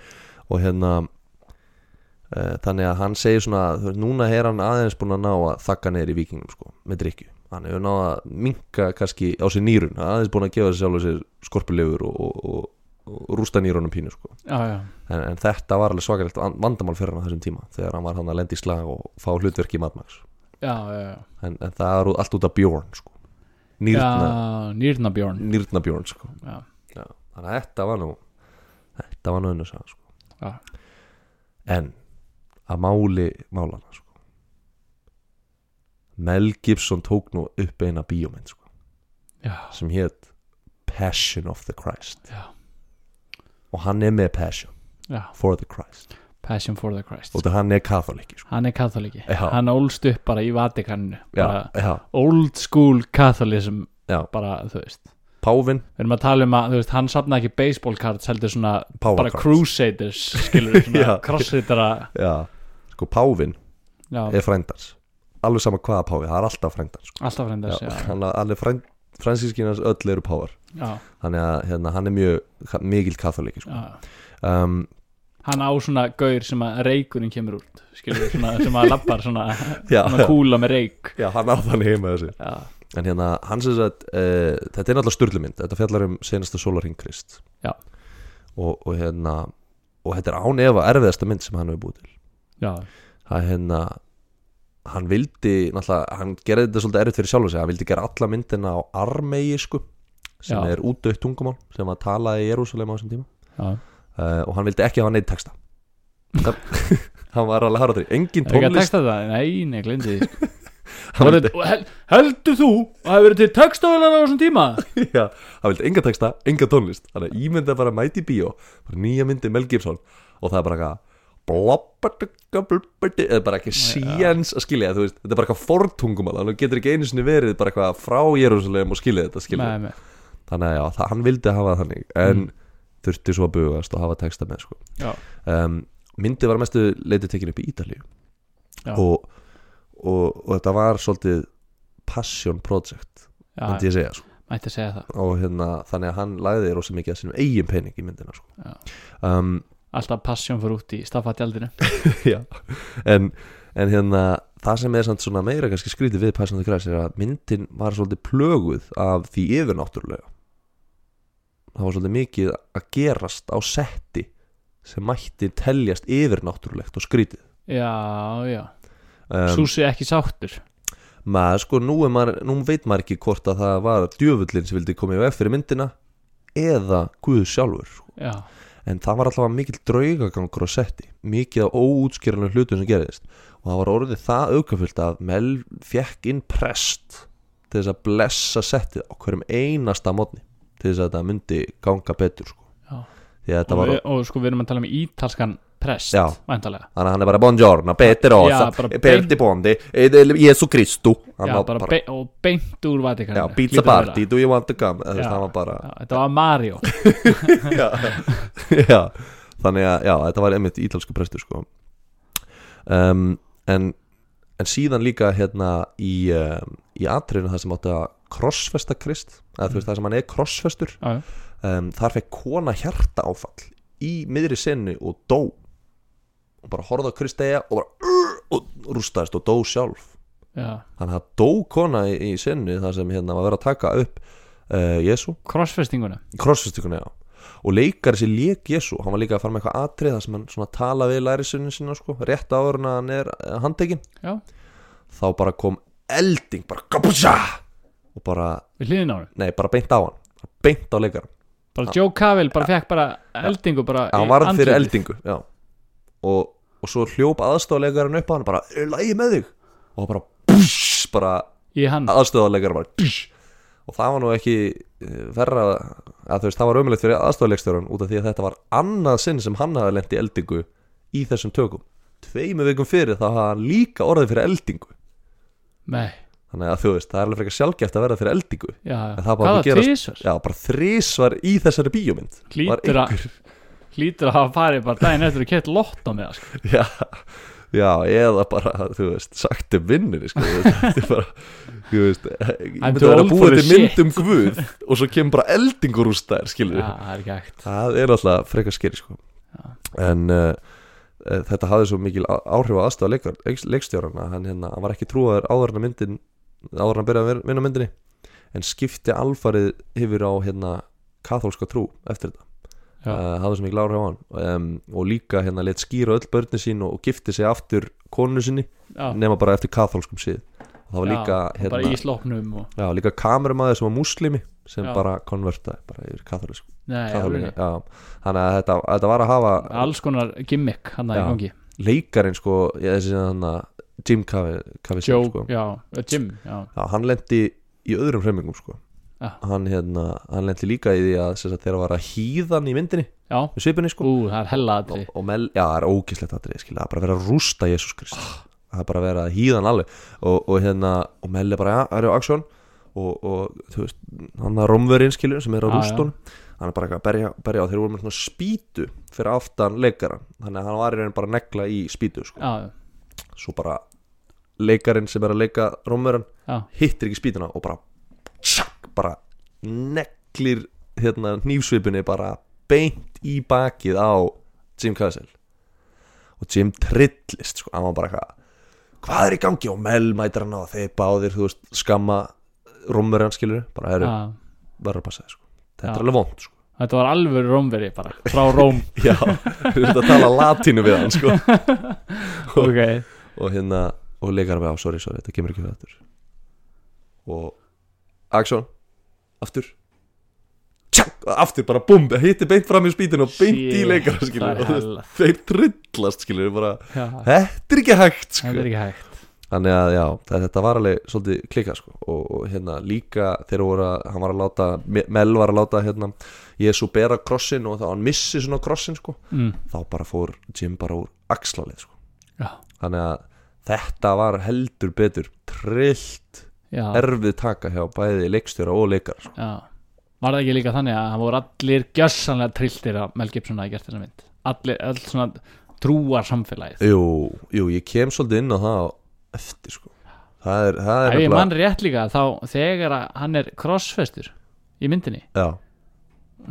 [SPEAKER 1] og hérna uh, þannig að hann segir svona þú veist, núna er hann aðeins búin að ná að þakka neyri vikingum sko, með drikju hann hefur náð að minka kannski á sér nýrun aðeins búin að gefa sér sjálfur sér skorpulegur og, og, og, og rústa nýrunum pínu sko.
[SPEAKER 2] já, já,
[SPEAKER 1] en, en þetta var alveg svakalegt van- vandamál fyrir hann á þessum tíma þegar hann var hann að lenda í slag og fá hlutverki í matmaks
[SPEAKER 2] já, já, já.
[SPEAKER 1] en, en það er allt út af Bjorn sko. nýrna,
[SPEAKER 2] já Nýrnabjörn
[SPEAKER 1] nýrna Bjorn sko.
[SPEAKER 2] Já,
[SPEAKER 1] Já, þannig að þetta var nú þetta var nú önnur saga sko.
[SPEAKER 2] já,
[SPEAKER 1] en að máli málana sko. Mel Gibson tók nú upp eina bíómynd sko,
[SPEAKER 2] já,
[SPEAKER 1] sem hétt Passion of the Christ
[SPEAKER 2] já,
[SPEAKER 1] og hann er með Passion
[SPEAKER 2] já
[SPEAKER 1] for the Christ
[SPEAKER 2] Passion for the Christ
[SPEAKER 1] og það hann er katholiki sko.
[SPEAKER 2] Hann er katholiki
[SPEAKER 1] Já.
[SPEAKER 2] Hann ólst upp bara í Vatikaninu bara
[SPEAKER 1] já, já,
[SPEAKER 2] Old school katholism
[SPEAKER 1] já,
[SPEAKER 2] bara, þú veist
[SPEAKER 1] Pávin
[SPEAKER 2] Við erum að tala um að, þú veist, hann safnaði ekki baseball cards heldur svona
[SPEAKER 1] Power
[SPEAKER 2] bara
[SPEAKER 1] cards.
[SPEAKER 2] crusaders skilur við, svona
[SPEAKER 1] Já.
[SPEAKER 2] crossfitara
[SPEAKER 1] já. sko Pávin
[SPEAKER 2] Já,
[SPEAKER 1] er frændans alveg sama hvaða Pávi, það er alltaf frændans sko.
[SPEAKER 2] alltaf reyndars, já,
[SPEAKER 1] hann er alveg frænd, fransískinans öll eru Pávar
[SPEAKER 2] já,
[SPEAKER 1] þannig að hérna, hann er mjög mikil katholiki sko.
[SPEAKER 2] já.
[SPEAKER 1] um,
[SPEAKER 2] Hann á svona gaur sem að reykurinn kemur út skilur við, svona, sem að lappar svona,
[SPEAKER 1] já,
[SPEAKER 2] svona kúla með reyk
[SPEAKER 1] já, hann á þannig heima þessi
[SPEAKER 2] Já,
[SPEAKER 1] En hérna, hann sem sagt, uh, þetta er náttúrulega styrlumynd, þetta fjallar um senasta sólarhing Krist
[SPEAKER 2] Já.
[SPEAKER 1] og, og hérna, og þetta er án efa erfiðasta mynd sem hann hefur búið til
[SPEAKER 2] já,
[SPEAKER 1] Það er hérna, hann vildi, náttúrulega, hann gerði þetta svolítið erfitt fyrir sjálf sig, hann vildi gera alla myndina á armeísku sem
[SPEAKER 2] Já.
[SPEAKER 1] er útdautt tungumál, sem var talað í Jerúsalem á þessum tíma
[SPEAKER 2] já
[SPEAKER 1] uh, og hann vildi ekki hafa neitt texta Það- Hann var alveg harður, engin
[SPEAKER 2] Er ekki að
[SPEAKER 1] tónlist
[SPEAKER 2] texta það? Nei, nei, glendi því sko.
[SPEAKER 1] Hann
[SPEAKER 2] Voru- og hel, Heldur þú að hefur verið til textaðalega á þessum tíma?
[SPEAKER 1] Já, það vildi enga texta, enga tónlist Þannig að ímynda bara mæti í bíó bara Nýja myndi Mel Gibson Og það er bara eitthvað blabbadugga, blabbadi, eða bara ekki síjans að skilja þú veist, þetta er bara eitthvað fortungumál hann getur ekki einu sinni verið bara eitthvað frá Jérúsalem og skilja þetta skilja
[SPEAKER 2] Nei, nei,
[SPEAKER 1] þannig að já, það, hann vildi hafa það þannig en þurfti svo að bugast og hafa texta með sko.
[SPEAKER 2] Mm. já,
[SPEAKER 1] um, myndi var að mestu leiti tekin upp í Ítalíu
[SPEAKER 2] Já.
[SPEAKER 1] og, og, og þetta var svolítið passion project
[SPEAKER 2] já,
[SPEAKER 1] myndi ég segja sko
[SPEAKER 2] mætti að segja það
[SPEAKER 1] og hérna, þannig að hann lagði rosa mikið að sinum eigin pening í myndina sko.
[SPEAKER 2] Já.
[SPEAKER 1] um,
[SPEAKER 2] Alltaf passjón fyrir út í staffatjaldinu
[SPEAKER 1] já. en, en hérna það sem er samt svona meira kannski skrítið við Passion of the Christ er að myndin var svolítið plöguð af því yfirnáttúrulega það var svolítið mikið að gerast á setti sem mætti teljast yfirnáttúrulegt og skrítið
[SPEAKER 2] Já, já
[SPEAKER 1] um,
[SPEAKER 2] Súsi ekki sáttur
[SPEAKER 1] maður sko, nú, er maður, nú veit maður ekki hvort að það var djöfullin sem vildi komið veg fyrir myndina eða Guð sjálfur sko.
[SPEAKER 2] Já,
[SPEAKER 1] en það var allavega mikill draugagangur á setti, mikið af óútskýranum hlutum sem gerðist og það var orðið það aukafullt að Mel fekk inn prest til þess að blessa settið á hverjum einasta mótni til þess að þetta myndi ganga betur sko.
[SPEAKER 2] Já.
[SPEAKER 1] því að
[SPEAKER 2] og,
[SPEAKER 1] þetta var
[SPEAKER 2] við, og sko við erum að tala um ítalskan prest
[SPEAKER 1] Já.
[SPEAKER 2] Væntalega
[SPEAKER 1] þannig að hann er bara buongiorno, betur
[SPEAKER 2] Já,
[SPEAKER 1] ósa
[SPEAKER 2] bara
[SPEAKER 1] betur bondi, Jésu Kristu hann
[SPEAKER 2] Já,
[SPEAKER 1] var
[SPEAKER 2] bara,
[SPEAKER 1] bara,
[SPEAKER 2] Be og beint úr Vatikaninu
[SPEAKER 1] já, pizza party, do you want to come Eða, þú veist,
[SPEAKER 2] Já.
[SPEAKER 1] hann var bara
[SPEAKER 2] já, Þetta var Mario
[SPEAKER 1] já, já, þannig að já, þetta var einmitt ítalsku prestur sko. um, en, en síðan líka hérna í, um, í atriðinu það sem átti að krossfesta krist eða þú veist það sem hann er krossfestur
[SPEAKER 2] Já, já.
[SPEAKER 1] um, þar fekk kona hjarta áfall í miðri senu og dó og bara horfði á kristega og bara "Ur!" og rústaðist og dó sjálf
[SPEAKER 2] já
[SPEAKER 1] þannig að það dó kona í, í senu þar sem hérna var verið að taka upp uh, Jésu
[SPEAKER 2] Crossfestinguna
[SPEAKER 1] crossfistinguna já og leikari sér leik Jésu, hann var líka að fara með eitthvað atrið þar sem hann svona tala við lærisunni sinna sko, rétt áður en hann er handekinn
[SPEAKER 2] Já,
[SPEAKER 1] þá bara kom elding, bara kapusha og bara,
[SPEAKER 2] við hliðin á hann
[SPEAKER 1] nei, bara beint á hann bara beint á leikaran,
[SPEAKER 2] Bara Joe Cavill bara fekk bara eldingu bara í
[SPEAKER 1] hann varð fyrir
[SPEAKER 2] andlitið.
[SPEAKER 1] eldingu já, og, og svo hljóp aðstofaleikaran upp á hann bara, er lægi með þig og bara, bush, bara
[SPEAKER 2] Í hann
[SPEAKER 1] aðstofaleikaran bara, bush og það var nú ekki eh, verra að þú veist, það var ömulegt fyrir aðstofaleikstjórun út af því að þetta var annað sinn sem hann hafði lent í eldingu í þessum tökum tveimu vikum fyrir þá hafði hann líka orðið fyrir eldingu
[SPEAKER 2] Nei,
[SPEAKER 1] þannig að þú veist, það er alveg frekar sjálfgeft að verða fyrir eldingu
[SPEAKER 2] já,
[SPEAKER 1] En
[SPEAKER 2] já.
[SPEAKER 1] það bara
[SPEAKER 2] Hvaða
[SPEAKER 1] gerast-
[SPEAKER 2] tvisvar?
[SPEAKER 1] já, bara þrísvar í þessari bíómynd var
[SPEAKER 2] Hlýtur að Hlýtur að hafa farið bara daginn eftir að kett lott á með það sko.
[SPEAKER 1] já, já, eða bara þú veist, sagt um vinnunni sko, þú veist, þetta er bara þú veist, ég
[SPEAKER 2] I'm
[SPEAKER 1] myndi
[SPEAKER 2] too
[SPEAKER 1] vera
[SPEAKER 2] old
[SPEAKER 1] að
[SPEAKER 2] for
[SPEAKER 1] búa til
[SPEAKER 2] this
[SPEAKER 1] mynd um Guð og svo kemur bara eldingur úr stær skilur
[SPEAKER 2] Já, það er ekki hægt
[SPEAKER 1] það er alltaf frekar skeri sko. en uh, uh, þetta hafði svo mikil á- áhrif á aðstofa leikar, leik, leikstjórana hann, hérna, hann var ekki trúaður áður en að myndin áður en að byrja að vin- vinna myndinni en skipti alfarið yfir á hérna katholska trú eftir þetta
[SPEAKER 2] Já.
[SPEAKER 1] uh, hafði svo mikil áhrif á hann um, og líka hérna let skýra öll börni sín og, og gifti sig aftur konu sinni
[SPEAKER 2] Já,
[SPEAKER 1] nema bara eftir katholskum síð og það var
[SPEAKER 2] Já,
[SPEAKER 1] líka,
[SPEAKER 2] og
[SPEAKER 1] hérna,
[SPEAKER 2] bara í slóknum og...
[SPEAKER 1] já, líka kameramaður sem var múslimi sem
[SPEAKER 2] Já.
[SPEAKER 1] bara konvertaði bara yfir katholsk
[SPEAKER 2] Nei,
[SPEAKER 1] Katalóníu,
[SPEAKER 2] alveg.
[SPEAKER 1] já. þannig að þetta, þetta var að hafa
[SPEAKER 2] Alls konar gimmick hann að í
[SPEAKER 1] Já.
[SPEAKER 2] gangi
[SPEAKER 1] leikarin sko, ég, þessi hann að Jim Cavill
[SPEAKER 2] Joe,
[SPEAKER 1] sko.
[SPEAKER 2] já, eh, Jim, já,
[SPEAKER 1] já, hann lendi í öðrum hremmingum sko.
[SPEAKER 2] Já.
[SPEAKER 1] hann, hérna, hann lendi líka í því að sem sagt, þegar var að hýðan í myndinni
[SPEAKER 2] já
[SPEAKER 1] með svipinni sko.
[SPEAKER 2] Ú, það er hella
[SPEAKER 1] og,
[SPEAKER 2] aðri
[SPEAKER 1] og mel, já, það er ógislegt aðrið skilja, það er bara að vera að rústa Jésús Krist
[SPEAKER 2] Ah.
[SPEAKER 1] það er bara að vera að hýðan alveg og, og hérna, og melli bara, já, það eru aksjón og, og, þú veist, hann að romverinn skilur sem er að
[SPEAKER 2] Já, já.
[SPEAKER 1] rústa honum hann er bara eitthvað að berja, berja og þeir voru með svona spýtu fyrir aftan leikaran, þannig að hann var í raun bara að negla í spýtu, sko,
[SPEAKER 2] Já,
[SPEAKER 1] svo bara leikarinn sem er að leika romverinn
[SPEAKER 2] já,
[SPEAKER 1] hittir ekki spýtuna og bara tsak, bara neglir hérna nýfsvipinni bara beint í bakið á Jim Cassel og Jim trillist sko, hann var bara eitthvað hvað er í gangi og Mel mætir hann á þeir báðir, þú veist, skamma rúmur hann skilur, bara
[SPEAKER 2] já
[SPEAKER 1] eru verður að passa þér, sko, þetta
[SPEAKER 2] Já.
[SPEAKER 1] er alveg vond sko.
[SPEAKER 2] Þetta var alveg rómveri bara Frá róm,
[SPEAKER 1] já, þú veist að tala latínu við hann sko,
[SPEAKER 2] ok
[SPEAKER 1] og hérna og leikar með á, sorry, sorry, þetta kemur ekki við aftur og Axon, aftur tjá, aftur bara búm hitti beint fram í spýtin og beint í
[SPEAKER 2] Shit,
[SPEAKER 1] leikar
[SPEAKER 2] það
[SPEAKER 1] skilur,
[SPEAKER 2] er
[SPEAKER 1] og
[SPEAKER 2] hella.
[SPEAKER 1] þeir- þeir trillast skilur, bara,
[SPEAKER 2] Já,
[SPEAKER 1] þetta er ekki hægt sko.
[SPEAKER 2] þetta er ekki hægt
[SPEAKER 1] þannig að já, það- þetta var alveg svolítið klika sko, og, og hérna líka þegar voru að, hann var að láta Me- Mel var að láta hérna, Jésu bera krossin og þá hann missi svona krossin sko,
[SPEAKER 2] mm.
[SPEAKER 1] þá bara fór Jim bara úr axlalið sko
[SPEAKER 2] Já,
[SPEAKER 1] þannig að þetta var heldur betur trillt
[SPEAKER 2] já,
[SPEAKER 1] erfið taka hjá bæði leikstjóra og leikar sko.
[SPEAKER 2] já Var það ekki líka þannig að hann voru allir gjössanlega trilltir að Mel Gibson hafi gert þessa mynd Allir, allir svona trúar samfélagið
[SPEAKER 1] jú, jú, ég kem svolítið inn á það á eftir sko það er, það er
[SPEAKER 2] Ef ég
[SPEAKER 1] nefnilega-
[SPEAKER 2] mann rétt líka þá þegar að hann er crossfestur í myndinni
[SPEAKER 1] já,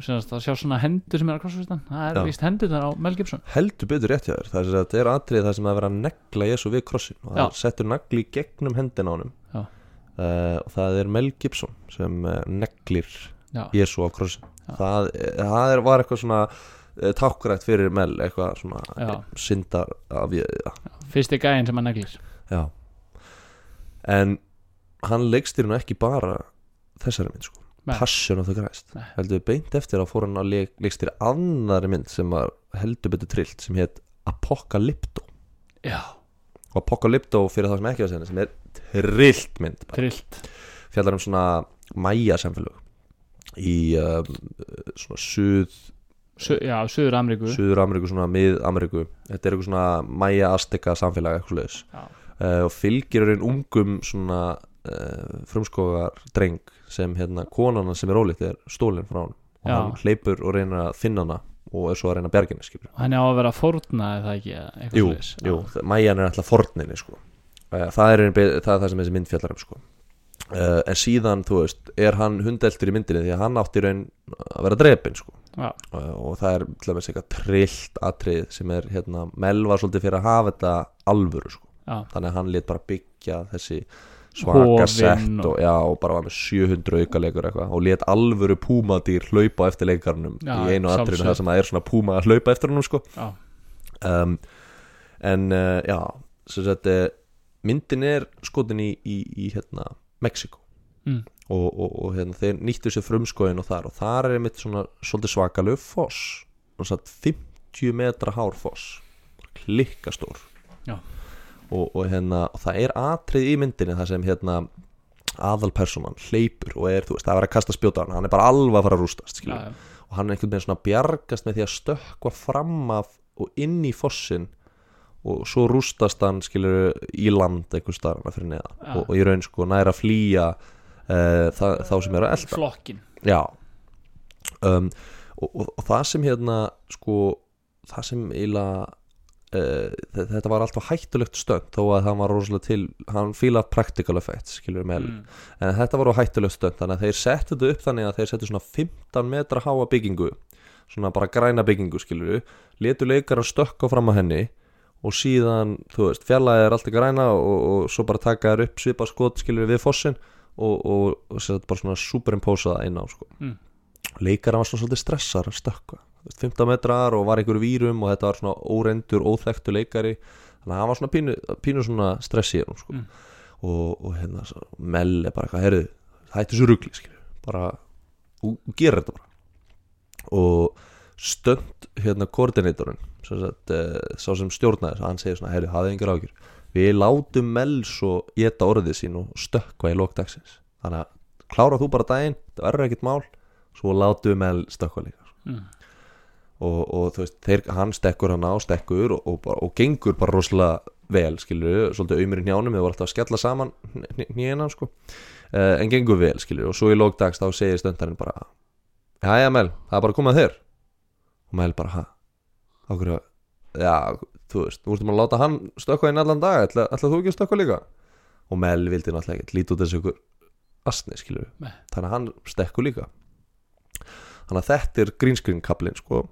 [SPEAKER 2] sem að það sjá svona hendur sem er að crossfestan það er
[SPEAKER 1] Já.
[SPEAKER 2] víst hendur þar á Mel Gibson
[SPEAKER 1] heldur betur rétt hjá þér það er, sem sagt- þetta er atrið það sem að vera að negla Jésu við krossin og það
[SPEAKER 2] Já.
[SPEAKER 1] settur nagli í gegnum hendina á honum
[SPEAKER 2] Já.
[SPEAKER 1] Eh, og það er Mel Gibson sem eh, neglir
[SPEAKER 2] Já,
[SPEAKER 1] Jésu á krossin það, það er, var eitthvað svona eh, tákrætt fyrir Mel eitthvað svona
[SPEAKER 2] Já.
[SPEAKER 1] syndar af, ja,
[SPEAKER 2] fyrsti gæinn sem hann neglir
[SPEAKER 1] Já En hann leikstir nú ekki bara þessari mynd sko
[SPEAKER 2] Nei.
[SPEAKER 1] Passion of the Christ
[SPEAKER 2] Nei.
[SPEAKER 1] heldur beint eftir að fór hann að leik, leikstir annari mynd sem var heldur betur trillt sem hétt Apocalypto
[SPEAKER 2] Já,
[SPEAKER 1] og Apocalypto fyrir það sem ekki var senni sem er trillt mynd bara.
[SPEAKER 2] trillt
[SPEAKER 1] fjallar um svona mæja samfélög í um, svona suð,
[SPEAKER 2] Su Já, Suður Ameríku
[SPEAKER 1] suður Ameríku svona mið Ameríku þetta er eitthvað svona mæja azteka samfélag eitthvað leis
[SPEAKER 2] Já,
[SPEAKER 1] uh, og fylgir raun ungum svona uh, frumskogar dreng sem hérna konana sem er ólíkt er stólinn frá hann og
[SPEAKER 2] Já.
[SPEAKER 1] hann hleypur og reynir að finna hana og er svo að reyna að bjarginni skilur
[SPEAKER 2] og henni á að vera fórna eða ekki eða eitthvað
[SPEAKER 1] jú,
[SPEAKER 2] svoleiðis.
[SPEAKER 1] jú, það- mæjan er alltaf forninni sko uh, það, er, í raun be- það er það sem þessi mynd fjallar um sko Uh, en síðan, þú veist, er hann hundeltur í myndinni því að hann átti í raun að vera drepin sko.
[SPEAKER 2] Já,
[SPEAKER 1] uh, og það er til dæmis eitthvað trillt atrið sem er hérna, melva svolítið fyrir að hafa þetta alvöru sko.
[SPEAKER 2] já,
[SPEAKER 1] þannig að hann lét bara byggja þessi svaka
[SPEAKER 2] Hofin
[SPEAKER 1] sett
[SPEAKER 2] og-
[SPEAKER 1] og, já, og bara var með 700 auka leikur eitthvað og lét alvöru púmadýr hlaupa eftir leikarnum
[SPEAKER 2] Já,
[SPEAKER 1] í einu atrinu
[SPEAKER 2] sjálfsögð.
[SPEAKER 1] það sem að er svona púma að hlaupa eftir hennum sko.
[SPEAKER 2] já,
[SPEAKER 1] um, en uh, já sem sagt, eh, myndin er skotin í, í, í hérna, Mexiko
[SPEAKER 2] Mm.
[SPEAKER 1] og, og, og hérna, þeir nýttu sér frumskóin og þar og þar er mitt svona svolítið svakalegu foss Sem sagt, 50 metra hár foss klikkastór
[SPEAKER 2] Já.
[SPEAKER 1] og, og, hérna, og það er atrið í myndinni það sem hérna aðalpersonan hleypur og er, þú veist, það er að vera að kasta spjóta á hann hann er bara alveg að fara að rústast
[SPEAKER 2] já,
[SPEAKER 1] skilur og hann einhvern veginn svona bjargast með því að stökkva fram af og inn í fossin og svo rústast hann skilur í land einhver starfana fyrir neðan
[SPEAKER 2] Já.
[SPEAKER 1] og, og í raun sko næra flýja uh, þa, þá sem eru að elda
[SPEAKER 2] flokkin
[SPEAKER 1] Já um, og, og, og það sem hérna sko, það sem eila uh, þetta var alltaf hættulegt stönd þó að hann var rosalega til hann fíla practical effects skilur við með
[SPEAKER 2] Mm.
[SPEAKER 1] en þetta var á hættulegt stönd þannig að þeir settu þetta upp þannig að þeir settu svona 15 metra háa byggingu svona bara græna byggingu skilur við letu leikar að stökka fram að henni og síðan, þú veist, fjallaði er alltaf græna og, og svo bara taka þær upp svipa skot skilur við fossin og, og, og setja bara svona superimposa það inn á sko.
[SPEAKER 2] Mm.
[SPEAKER 1] leikara var svona svolítið stressar að stökka Þú veist, 15 metrar og var einhver vírum og þetta var svona óreindur, óþekktu leikari þannig að hann var svona pínu, pínu svona stressi um, sko.
[SPEAKER 2] Mm.
[SPEAKER 1] og, og hérna svo, mell er bara eitthvað, herðu hættu þessu rugli, skilur bara, og, og gera þetta bara og stönd hérna koordinatorinn sem sagt, uh, sá sem stjórnaði þessu, hann segir svona, herðu, hafið engar ákjör við látum mell svo geta orðið sín og stökkva í lókdagsins þannig að klára þú bara daginn það verður ekkert mál, svo látum við mell stökkva líka
[SPEAKER 2] Mm.
[SPEAKER 1] og, og þú veist, þeir, hann stekkur hann á stekkur og, og, bara- og gengur bara rosalega vel, skilur við, svolítið auðmur í njánum við voru alltaf að skella saman nýjina sko, uh, en gengur vel, skilur við og svo í lókdags þá segir stöndarinn bara Jæja Mel, það er bara að koma að þér og Mel bara, ha okkur, já, þú veist þú ertum að láta hann stökkva inn allan dag ætla, ætla þú ekki að stökkva líka og Mel vildi náttúrulega ekki, lítið út þessu ykkur asni, skilur
[SPEAKER 2] Nei.
[SPEAKER 1] við, þannig að hann stekkur líka þannig að þetta er grínskrin kaplinn, sko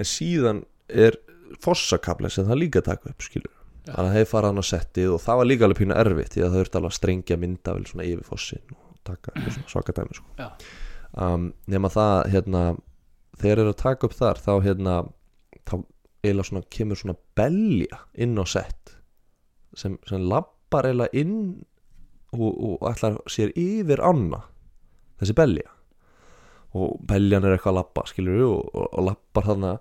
[SPEAKER 1] en síðan er fossakablin sem það líka taka upp skilur
[SPEAKER 2] Já.
[SPEAKER 1] þannig að þeir fara hann á settið og það var líka alveg pínu erfitt því að það þurfti alveg að strengja mynda vel svona yfir fossin og taka eitthvað svona svaka dæmi sko.
[SPEAKER 2] Já.
[SPEAKER 1] um, nema það hérna þegar þeir eru að taka upp þar þá hérna þá eiginlega svona kemur svona belja inn á sett sem, sem lappar eiginlega inn og, og ætlar sér yfir anna þessi belja og beljan er eitthvað að lappa skilur við og, og, og lappar þarna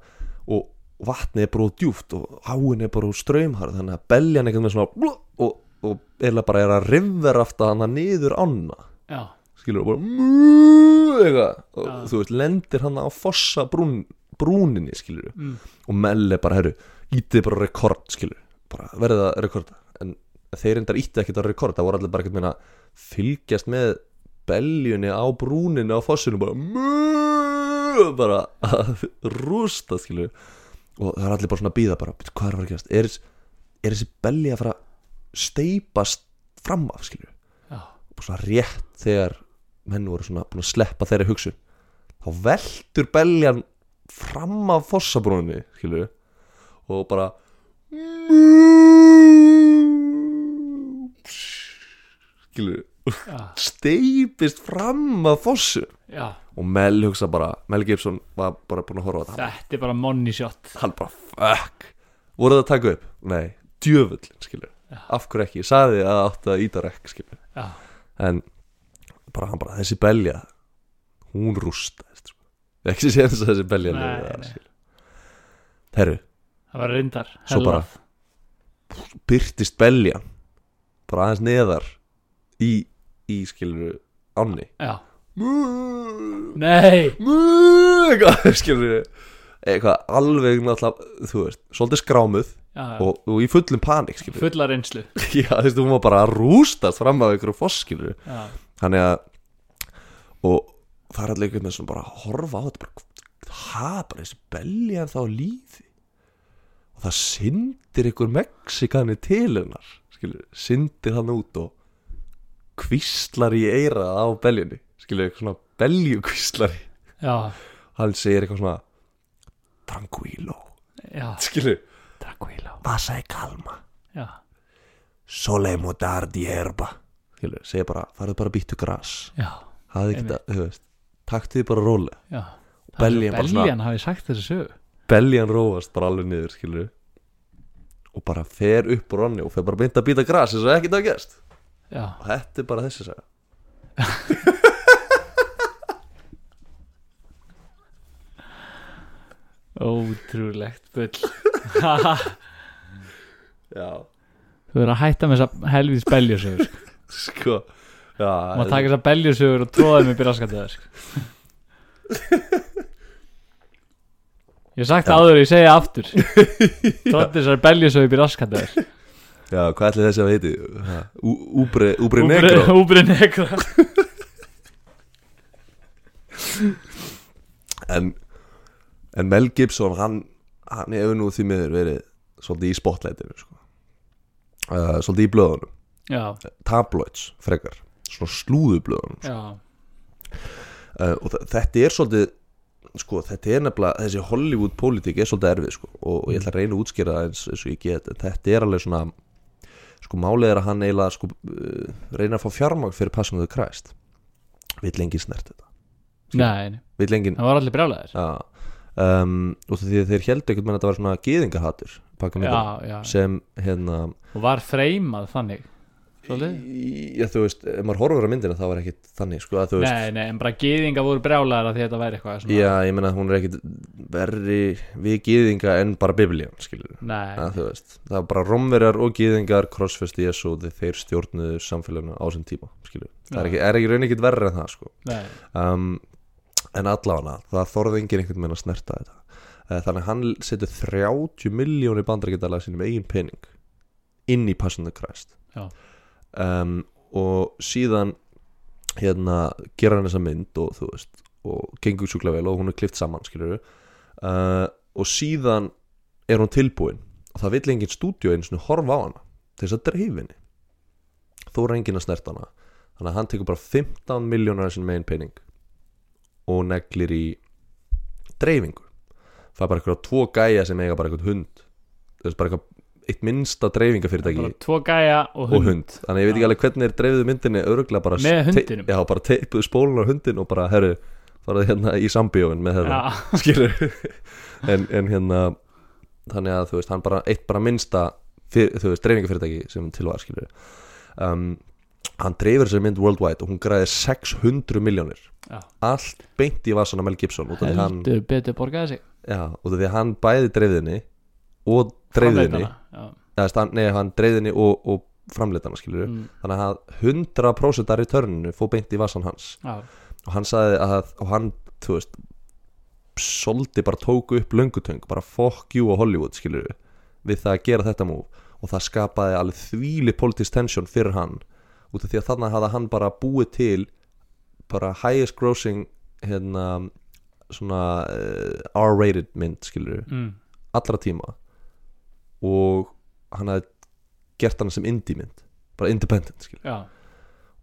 [SPEAKER 1] og vatnið er bara úr djúft og háin er bara úr ströymharð þannig að beljan eitthvað með svona blú, og, og eiginlega bara er að rivver aftur hana niður anna
[SPEAKER 2] já,
[SPEAKER 1] skilur og bara mú, eitthvað, og
[SPEAKER 2] Já.
[SPEAKER 1] þú veist, lendir hann á fossa brún, brúninni skilur
[SPEAKER 2] Mm.
[SPEAKER 1] og melli bara, herru, ítið bara rekord skilur, bara verðið að rekorda en þeir endar ítið ekkert að rekorda það voru allir bara ekkert meina að fylgjast með beljunni á brúninni á fossinu bara mú, bara að rústa skilur og það er allir bara svona að býða bara, "Bíddu, hvað er að fara að gerast er, er þessi belja að fara að steipast fram af skilur
[SPEAKER 2] já,
[SPEAKER 1] bara svona rétt þegar menn voru svona búin að sleppa þeirri hugsun þá veldur beljan fram af fossabrúninni skilur og bara skilur
[SPEAKER 2] já,
[SPEAKER 1] steipist fram af fossu
[SPEAKER 2] já
[SPEAKER 1] og Mel hugsa bara Mel Gibson var bara búin að horfa á þetta
[SPEAKER 2] þetta er bara money shot
[SPEAKER 1] hann bara fuck voru það að taka upp? Nei, djöfullin skilur af hverju ekki, ég saði að það átti að íta rekk skilur
[SPEAKER 2] já,
[SPEAKER 1] en bara hann bara þessi belja hún rústaðist sko. ekki séð þess að þessi belja
[SPEAKER 2] Nei,
[SPEAKER 1] liði það,
[SPEAKER 2] nei.
[SPEAKER 1] skilur. herru,
[SPEAKER 2] það var reyndar
[SPEAKER 1] Svo
[SPEAKER 2] hellað.
[SPEAKER 1] bara- byrtist belja bara aðeins neðar í, í skilur ánni
[SPEAKER 2] já,
[SPEAKER 1] mú,
[SPEAKER 2] nei,
[SPEAKER 1] mú, eitthvað skilur eitthvað alveg náttúrulega þú veist, svolítið skrámuð
[SPEAKER 2] já, já.
[SPEAKER 1] og, og í fullum panik skilur
[SPEAKER 2] fulla reynslu
[SPEAKER 1] já, þú veist, hún var bara að rústast fram af ykkur fosskilur
[SPEAKER 2] já,
[SPEAKER 1] þannig að og það er allir einhvern veginn svona bara að horfa á þetta bara, það er bara þessi belja en þá lífi og það syndir einhver Mexikani til hennar skilur, syndir hann út og kvistlar í eirað á beljunni, skilur, eitthvað svona beljukvistlari,
[SPEAKER 2] já,
[SPEAKER 1] hann segir eitthvað svona tranquilo,
[SPEAKER 2] já
[SPEAKER 1] skilur
[SPEAKER 2] tranquilo,
[SPEAKER 1] passa í kalma
[SPEAKER 2] já,
[SPEAKER 1] solemo dardi erba skilur, segir bara, farðu bara að býttu gras
[SPEAKER 2] já,
[SPEAKER 1] hafði ekki það, þú veist taktu því bara rólega,
[SPEAKER 2] já Það er
[SPEAKER 1] Beljan
[SPEAKER 2] svo
[SPEAKER 1] bara svona-
[SPEAKER 2] Beljan hafi sagt þessu sögu
[SPEAKER 1] beljan róast bara alveg niður, skilur og bara fer upp úr onni og fer bara beint að býta gras eins og ekkert að gerst
[SPEAKER 2] Já,
[SPEAKER 1] og þetta er bara þessi saga
[SPEAKER 2] ótrúlegt bull
[SPEAKER 1] já,
[SPEAKER 2] Þú verður að hætta með þessa helvíðs beljusögur sko.
[SPEAKER 1] sko
[SPEAKER 2] Má
[SPEAKER 1] já,
[SPEAKER 2] taka þessa beljusögur og tróða þeim upp í raskatið sko. Ég hef sagt það áður, ég segi það aftur Tottis er beljusaup í raskandar
[SPEAKER 1] Já, hvað ætli þessi að heiti? Ha, Ú- Úbre, úbre negro
[SPEAKER 2] Úbrin negra
[SPEAKER 1] en, en Mel Gibson hann, hann hefur nú því miður verið svolítið í spotlightinu sko. uh, svolítið í blöðunum
[SPEAKER 2] Já,
[SPEAKER 1] tabloids frekar svona slúðublöðunum
[SPEAKER 2] já,
[SPEAKER 1] uh, og þe- þetta er svolítið sko, þetta er nefnilega, þessi Hollywood pólitík er svolítið erfið sko, og, og ég ætla að reyna að útskýra það eins, eins og ég get en þetta er alveg svona sko málið er að hann eiginlega sko, uh, reyna að fá fjármagn fyrir Passion of the Christ vill engin snert þetta
[SPEAKER 2] nei, nei.
[SPEAKER 1] vill engin
[SPEAKER 2] það var allir brjálæðir
[SPEAKER 1] Já um, Og því að þeir heldur ekkert með að þetta var svona gýðingahatur
[SPEAKER 2] Já, já,
[SPEAKER 1] sem hérna
[SPEAKER 2] og var freymað þannig Svolítið?
[SPEAKER 1] í- Já þú veist, ef maður horfur á myndina þá var ekkit þannig sko að þú veist
[SPEAKER 2] Nei, nei, en bara gýðinga voru brjálæðir að því þetta væri eitthvað svona
[SPEAKER 1] Já, ég meina að hún er ekkit verri við gýðinga en bara biblíum skilur
[SPEAKER 2] Nei,
[SPEAKER 1] að þú veist, það var bara romverjar og gýðingar crossfest Jésu og þeir stjórnuðu samfélaginu á þessum tíma skilur það er
[SPEAKER 2] Já.
[SPEAKER 1] ekki, er ekki raun ekkit verri en það sko
[SPEAKER 2] nei,
[SPEAKER 1] um, en allavega það þorði enginn einhvern veginn að snerta þetta Eh, þannig að hann setur 30 miljónir bandarækjadala sínum eigin pening inn í Passion of the Christ
[SPEAKER 2] Já.
[SPEAKER 1] um, og síðan hérna gera hann þessa mynd og þú veist og gengur sjúkla vel og hún er klift saman skilur uh, og síðan er hún tilbúin og það vill enginn stúdíu einu svona horfa á hana til þess að dreif henni þó er enginn að snerta hana þannig að hann tekur bara 15 miljónar af sínum eigin pening og neglir í dreifingu það er bara eitthvað tvo gæja sem eiga bara eitthvað hund það er bara eitthvað eitt minnsta dreifingafyrirtæki
[SPEAKER 2] bara tvo gæja og
[SPEAKER 1] og
[SPEAKER 2] hund
[SPEAKER 1] hund þannig að ég veit ekki alveg hvernig þeir dreifuðu myndinni örgulega bara
[SPEAKER 2] Með
[SPEAKER 1] te-
[SPEAKER 2] hundinum?
[SPEAKER 1] já, bara teipuðu spólun á hundin og bara herru faraði hérna í sambíóin með þetta
[SPEAKER 2] Já,
[SPEAKER 1] skilur en, en hérna þannig að þú veist, hann bara, eitt bara minnsta fyr, þú veist, dreifingafyrirtæki sem til var skilur um, hann dreifir sér mynd worldwide og hún græði 600 miljónir
[SPEAKER 2] Já.
[SPEAKER 1] allt beint í vasana Mel Gibson út af því að hann,
[SPEAKER 2] heldur betur borgaði sig
[SPEAKER 1] já, út af því að hann bæði dreifðinni og dreifðinni
[SPEAKER 2] Framleiddana, já.
[SPEAKER 1] eða, st- hann- nei, hann dreifðinni og, og framleitana skilur
[SPEAKER 2] Mm,
[SPEAKER 1] þannig að 100% af returninu fór beint í vasan hans
[SPEAKER 2] já,
[SPEAKER 1] og hann sagði að og hann, þú veist soldi bara tóku upp löngutöng bara fuck you á Hollywood, skilur við við það að gera þetta múf og það skapaði alveg þvíli politist tension fyrir hann út af því að þannig hafði hann bara búið til bara highest grossing hérna svona uh, R-rated mynd, skilur við
[SPEAKER 2] mm,
[SPEAKER 1] allra tíma og hann hafði gert hann sem indie mynd bara independent, skilur
[SPEAKER 2] já,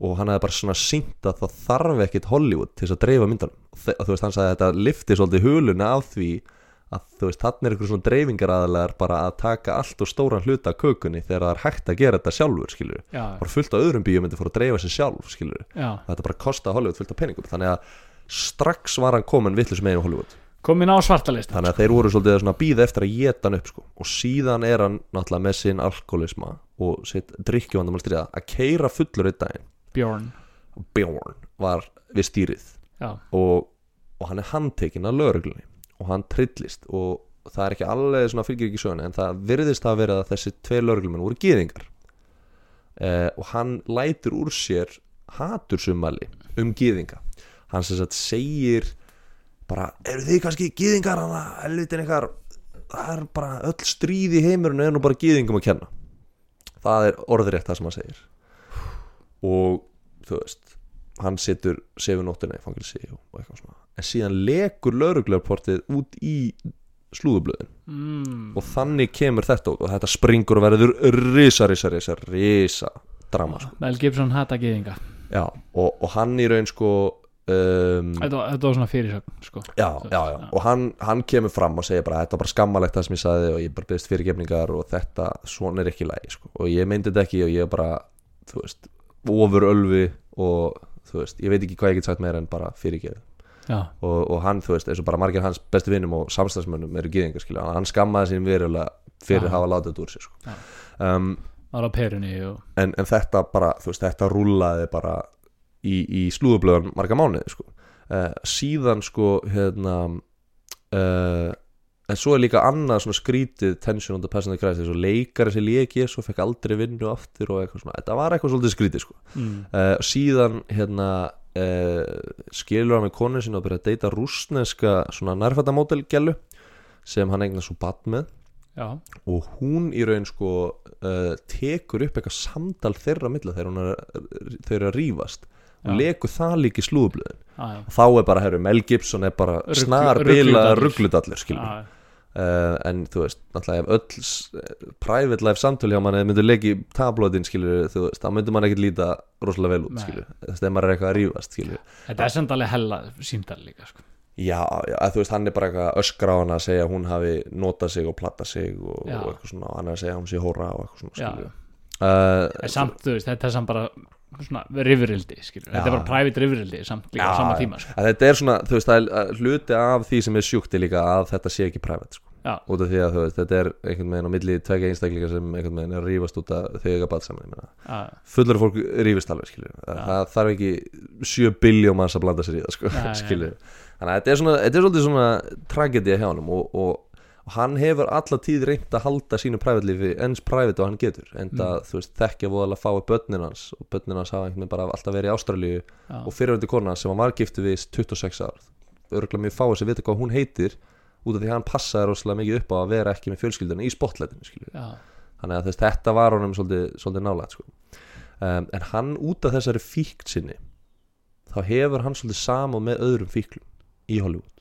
[SPEAKER 1] og hann hefði bara svona sínt að það þarf ekkit Hollywood til þess að dreifa myndanum og þe- og þú veist, hann sagði að þetta lifti svolítið huluna af því að þú veist, hann er eitthvað svona dreifingaraðlegar bara að taka allt og stóran hluta af kökunni þegar það er hægt að gera þetta sjálfur, skilur
[SPEAKER 2] já,
[SPEAKER 1] bara fullt af öðrum bíómyndi fór að dreifa sér sjálf, skilur
[SPEAKER 2] já
[SPEAKER 1] þetta bara kostaði Hollywood fullt af peningum þannig að strax var hann komin vittlust meginn á Hollywood
[SPEAKER 2] Komin á svartalista
[SPEAKER 1] þannig að þeir voru svolítið svona að býða eftir að geta hann upp sko. og síðan er hann náttúrulega með sinn alkoholisma og sitt drikkjuvandamál stríða að keira fullur í daginn
[SPEAKER 2] Bjorn
[SPEAKER 1] Bjorn var við stýrið
[SPEAKER 2] Já,
[SPEAKER 1] og, og hann er handtekinn af lögreglunni og hann trillist og það er ekki alveg svona fylgir ekki söguna en það virðist að vera að þessi tvei lögreglumenn voru gýðingar eh, og hann lætur úr sér hatursumali um gýðinga hann sem sagt segir bara, eru þið kannski gýðingar hann að helvitin ykkar það er bara öll stríð í heimurinn er nú bara gýðingum að kenna það er orðrétt það sem hann segir og þú veist hann setur sefunóttina í fangilsi og og eitthvað svona en síðan lekur lauruglarportið út í slúðublöðin
[SPEAKER 2] mm,
[SPEAKER 1] og þannig kemur þetta út og þetta springur og verður risa, risa, risa, risa drama sko.
[SPEAKER 2] Mel Gibson hata gýðinga
[SPEAKER 1] Já, og, og hann í raun sko um,
[SPEAKER 2] þetta, var- þetta var svona fyrirsögn sko.
[SPEAKER 1] já, já, já, og hann, hann kemur fram og segir bara þetta var bara skammalegt það sem ég saði og ég bara byrðist fyrirgefningar og þetta, svona er ekki lægi sko. og ég myndi þetta ekki og ég er bara þú veist, ofur ölvi og þú veist, ég veit ekki hvað ég get sagt meira en bara fyrirgefið
[SPEAKER 2] Já,
[SPEAKER 1] og, og hann, þú veist, eins og bara margir hans bestu vinnum og samstagsmönnum eru gýðingar skilja hann skammaði sín verulega fyrir
[SPEAKER 2] Já.
[SPEAKER 1] að hafa látið þetta úr sér
[SPEAKER 2] Já.
[SPEAKER 1] sko. um,
[SPEAKER 2] það var á perunni og,
[SPEAKER 1] en, en þetta bara, þú veist, þetta rúlaði bara í, í slúðublöðan marga mánuði sko. uh, síðan sko hérna uh, en svo er líka annað svona skrítið tension on the passion of the Christ, þessu leikari sem leiki svo fekk aldrei vinnu aftur og eitthvað svona þetta var eitthvað svolítið skrítið sko
[SPEAKER 2] mm,
[SPEAKER 1] uh, síðan hérna uh, skilur hann með konu sinna og byrja að deyta rúsneska svona nærfættamótelgælu sem hann eignar svo badn með
[SPEAKER 2] já,
[SPEAKER 1] og hún í raun sko uh, tekur upp eitthvað samtal þeirra á milli þegar hún er, þau eru að rífast
[SPEAKER 2] Já.
[SPEAKER 1] og lekur það líka í slúðblöðin
[SPEAKER 2] já, já,
[SPEAKER 1] þá er bara, herru, Mel Gibson er bara
[SPEAKER 2] Ruglu-
[SPEAKER 1] snar bila
[SPEAKER 2] rugludallur.
[SPEAKER 1] ruggludallur
[SPEAKER 2] já,
[SPEAKER 1] skilur uh, en þú veist, náttúrulega ef öll s- eh, private life samtöl hjá manni myndur leiki tabloidin skilur, þú veist, þá myndur mann ekkert líta rosalega vel út
[SPEAKER 2] Nei.
[SPEAKER 1] skilur, þess að maður er eitthvað að rífast skilur,
[SPEAKER 2] þetta er samt alveg hella síndal líka sko.
[SPEAKER 1] já, já, að þú veist, hann er bara eitthvað að öskra á hana að segja að hún hafi notað sig og platta sig og, og
[SPEAKER 2] Já.
[SPEAKER 1] eitthvað svona, og hann er að segja að hún sé hóra og eitthvað svona
[SPEAKER 2] Já.
[SPEAKER 1] skilur Uh,
[SPEAKER 2] en samt, þú veist, þetta er samt bara svona rifurildi, skilur, þetta er bara private rifurildi samt líka á
[SPEAKER 1] Já,
[SPEAKER 2] sama
[SPEAKER 1] já.
[SPEAKER 2] tíma, sko
[SPEAKER 1] að þetta er svona, þú veist, það er að hluti af því sem er sjúkti líka að þetta sé ekki private sko.
[SPEAKER 2] Já.
[SPEAKER 1] út af því að þú veist, þetta er einhvern veginn á milli tvekja einstaklingar sem einhvern veginn er að rífast út af þau eitthvað saman, ég meina
[SPEAKER 2] já,
[SPEAKER 1] fullur fólk rífist alveg, skilju það þarf ekki 7 biljón manns að blanda sér í það, sko,
[SPEAKER 2] Nei, nei,
[SPEAKER 1] skilju þannig að þetta er svona, þetta er svolítið svona tragedía hjá honum og, og, og hann hefur alla tíð reynt að halda sínu private lífi eins private og hann getur, en það,
[SPEAKER 2] Mm.
[SPEAKER 1] þú veist, þekkja voðalega fái börnin hans og börnin hans hafa einhvern veginn bara alltaf verið í Ástralíu
[SPEAKER 2] já,
[SPEAKER 1] og fyrirvændi kona sem hann var giftu við 26 ár örgulega mjög fáið sem vita hvað hún heitir út af því að hann passaði rosalega mikið upp á að vera ekki með fjölskyldunum í spotlightinu skilju
[SPEAKER 2] já,
[SPEAKER 1] þannig að þess, þetta var honum svolítið, svolítið nálægt sko. um, en hann út af þessari fíkt sinni þá hefur hann svolítið sama með öðrum fíklum í Hollywood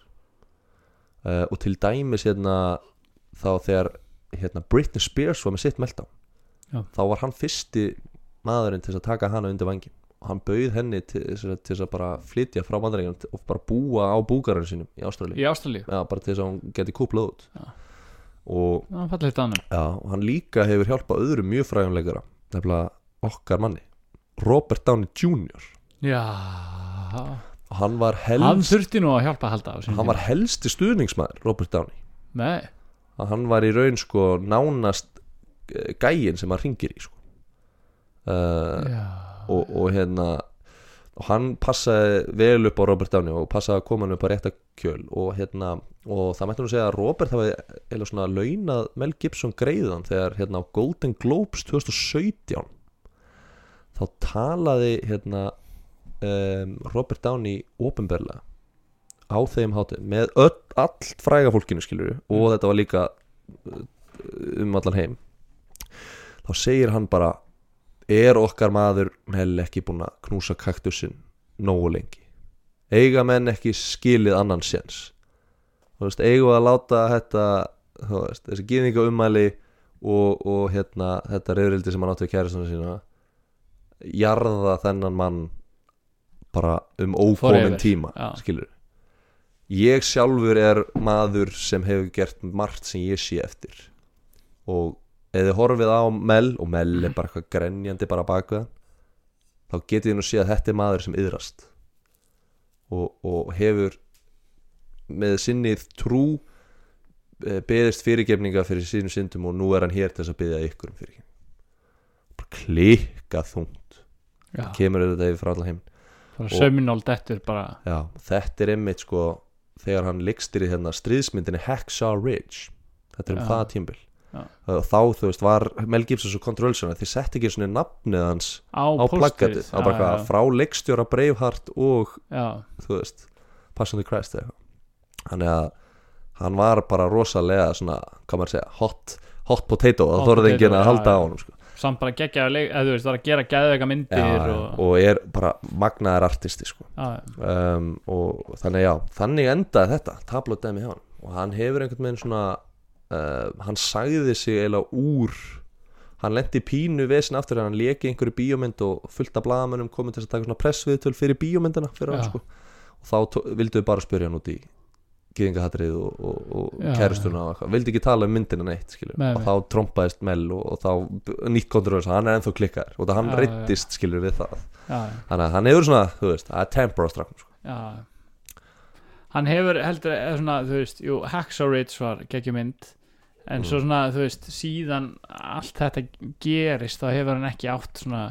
[SPEAKER 1] uh, og til dæmis hérna, þá þegar hérna, Britney Spears var með sitt melda
[SPEAKER 2] Já.
[SPEAKER 1] þá var hann fyrsti maðurinn til þess að taka hana undir vangi og hann bauð henni til, til þess að bara flytja frá mandaríkjum og bara búa á búgarinn sínum í Ástralíu
[SPEAKER 2] í ástralíu
[SPEAKER 1] Já, bara til þess að hún geti kúplað út
[SPEAKER 2] Já.
[SPEAKER 1] og
[SPEAKER 2] já, fallið þetta annum,
[SPEAKER 1] Já, og hann líka hefur hjálpað öðrum mjög fræðumleikara nefnilega okkar manni Robert Downey Jr.
[SPEAKER 2] já
[SPEAKER 1] og hann var,
[SPEAKER 2] hann
[SPEAKER 1] helst,
[SPEAKER 2] þurfti nú að hjálpa að halda á
[SPEAKER 1] hann,
[SPEAKER 2] sínum
[SPEAKER 1] var helsti stuðningsmaður Robert Downey
[SPEAKER 2] tíma. nei,
[SPEAKER 1] að hann var í raun sko nánast eh, gæinn sem hann ringir í sko. uh,
[SPEAKER 2] já,
[SPEAKER 1] og, og hérna og hann passaði vel upp á Robert Downey og passaði að koma hann upp á rétta kjöl og hérna, og það mætti nú segja að Robert hafi eða svona launað Mel Gibson greiðan þegar hérna á Golden Globes 2017 þá talaði hérna um, Robert Downey ofinberlega á þeim hátu með öll, allt fræga fólkinu skilur og þetta var líka uh, um allan heim þá segir hann bara er okkar maður hell ekki búin að knúsa kaktusinn nógu lengi eiga menn ekki skilið annan séns þú veist, eigum við að láta þetta, þú veist, þessi gýðinga ummæli og, og hérna þetta reyðrildi sem hann átti við kæristuna sína jarða þennan mann bara um ókomin
[SPEAKER 2] Forever,
[SPEAKER 1] tíma
[SPEAKER 2] já.
[SPEAKER 1] skilur ég sjálfur er maður sem hefur gert margt sem ég sé eftir og eða horfið á Mel og Mel er bara eitthvað grenjandi bara baka þá getið þið nú séð að þetta er maður sem yðrast og, og hefur með sinnið trú eh, beðist fyrirgefninga fyrir sínum syndum og nú er hann hér til þess að beðja ykkur um fyrirgefninga bara klikka þungt
[SPEAKER 2] já,
[SPEAKER 1] kemur þetta yfir frá allan heim
[SPEAKER 2] bara söminál dettur bara,
[SPEAKER 1] Já, þetta er einmitt sko þegar hann likstir í hérna stríðsmyndinni Hacksaw Ridge þetta er um
[SPEAKER 2] Já.
[SPEAKER 1] það tímbil
[SPEAKER 2] Já.
[SPEAKER 1] og þá þú veist var Mel Gibson svo kontrolsjónar því setti ekki svona nafnið hans
[SPEAKER 2] á,
[SPEAKER 1] á plakatið,
[SPEAKER 2] pósterið.
[SPEAKER 1] á bara
[SPEAKER 2] Já,
[SPEAKER 1] hvað frá leikstjóra Braveheart og
[SPEAKER 2] já,
[SPEAKER 1] þú veist Passion of the Christ eða eitthvað þannig að hann var bara rosalega svona, hvað maður segja, hot hot potato,
[SPEAKER 2] Hot
[SPEAKER 1] það þorði enginn
[SPEAKER 2] potato,
[SPEAKER 1] að
[SPEAKER 2] já,
[SPEAKER 1] halda
[SPEAKER 2] já.
[SPEAKER 1] á honum sko.
[SPEAKER 2] já. samt bara geggja eða þú veist, var að gera geðveika myndir
[SPEAKER 1] Já, já,
[SPEAKER 2] og,
[SPEAKER 1] og er bara magnaðar artisti sko.
[SPEAKER 2] já,
[SPEAKER 1] um, og þannig já, þannig endaði þetta tablótaði með hann og hann hefur einhvern veginn svona uh, hann sagði sig eiginlega úr hann lendi pínu vesin aftur hann leki einhverju bíómynd og fullt af blagamönnum komið til þess að taka svona pressviðtöl fyrir bíómyndina fyrir hann
[SPEAKER 2] Já.
[SPEAKER 1] sko og þá tó- vildu við bara spyrja hann út í gýðingahatrið og, og, og
[SPEAKER 2] Já,
[SPEAKER 1] kærustuna og eitthvað, vildi ekki tala um myndina neitt skilur,
[SPEAKER 2] Nei,
[SPEAKER 1] og
[SPEAKER 2] nei.
[SPEAKER 1] þá trompaðist Mel og, og þá b- nýtt kontrolösa, hann er ennþá klikkaður og það hann já,
[SPEAKER 2] Já, já.
[SPEAKER 1] reyttist skilur við það
[SPEAKER 2] já, já.
[SPEAKER 1] þannig að hann hefur svona, þú veist, að tempera strafnum sko.
[SPEAKER 2] Já Hann hefur heldur eða svona, þú veist, jú, Hacksaw Ridge var geggjumynd en
[SPEAKER 1] Mm.
[SPEAKER 2] svo svona, þú veist, síðan allt þetta gerist, þá hefur hann ekki átt svona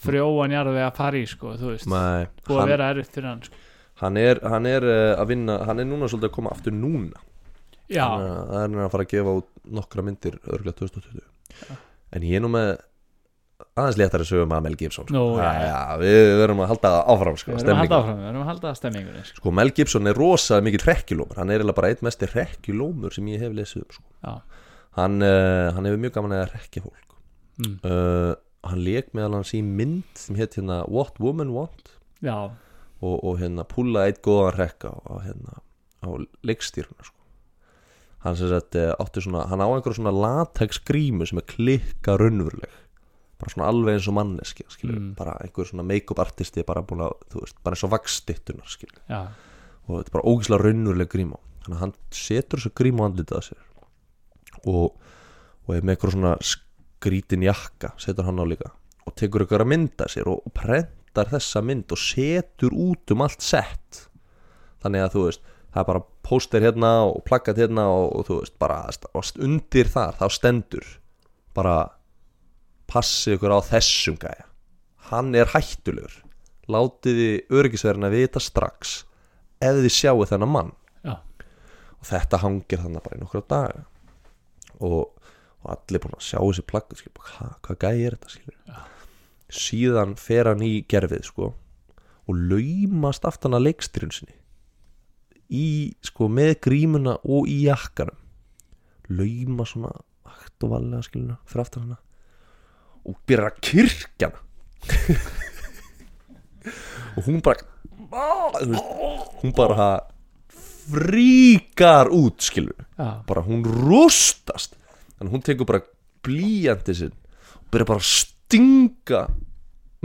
[SPEAKER 2] frjóan jarðveg að fara í, sko, þú veist
[SPEAKER 1] Nei,
[SPEAKER 2] búið að
[SPEAKER 1] hann,
[SPEAKER 2] vera erfitt fyrir hann, sko
[SPEAKER 1] hann er, hann er eh, að vinna hann er núna svolítið að koma aftur núna
[SPEAKER 2] Já,
[SPEAKER 1] Hann er- hann er að fara að gefa út nokkra myndir örgulega 2020 en ég er nú með aðeins léttari sögum að Mel Gibson sko.
[SPEAKER 2] Nú, já,
[SPEAKER 1] já, við verðum að halda áfram sko,
[SPEAKER 2] Við erum að halda
[SPEAKER 1] stemningu.
[SPEAKER 2] áfram, við erum að halda stemmingunni sko.
[SPEAKER 1] sko, Mel Gibson er rosa mikill rekkjulómur hann er eiginlega bara eitt mesti rekkjulómur sem ég hef lesið um sko.
[SPEAKER 2] Já,
[SPEAKER 1] hann, uh, hann hefur mjög gaman að rekki fólk
[SPEAKER 2] Mm.
[SPEAKER 1] uh, hann leik meðal hans í mynd sem hétt hérna What Women Want
[SPEAKER 2] já,
[SPEAKER 1] og, og hérna púla eitt góðan rekka á, á, hérna, á leikstýruna sko. hann sem sagt eh, átti svona, hann á einhverjum svona latex grímu sem er klikka raunveruleg bara svona alveg eins og manneski skilur,
[SPEAKER 2] Mm.
[SPEAKER 1] bara einhver svona make-up artisti bara búin að, þú veist, bara eins og vakstittunar skilur,
[SPEAKER 2] já
[SPEAKER 1] og þetta er bara ógislega raunveruleg gríma, þannig að hann setur þessu grímu andlitað að sér og, og er með einhver svona skrítin jakka, setur hann á líka og tekur ykkur að mynda sér og, og prentar þessa mynd og setur út um allt sett þannig að þú veist það er bara póster hérna og plakkat hérna og, og þú veist bara og undir þar þá stendur bara passið ykkur á þessum gæja hann er hættulegur látiði öryggisverðina vita strax ef þið sjáu þennan mann
[SPEAKER 2] Já,
[SPEAKER 1] og þetta hangir þannig bara í nokkra daga og, og allir búin að sjá þessi plakku skilur, bara, "Ha, hvað gæði er þetta skilur síðan fer hann í gerfið sko, og laumast aftan að leikstyrun sinni í, sko, með grímuna og í jakkanum lauma svona hægt og valega skilur fyrir aftan hana og byrja að kyrkja hana og hún bara Þú veist, hún bara fríkar út skilur
[SPEAKER 2] já,
[SPEAKER 1] bara hún rústast en hún tekur bara blíjandi sinn og byrjar bara að stinga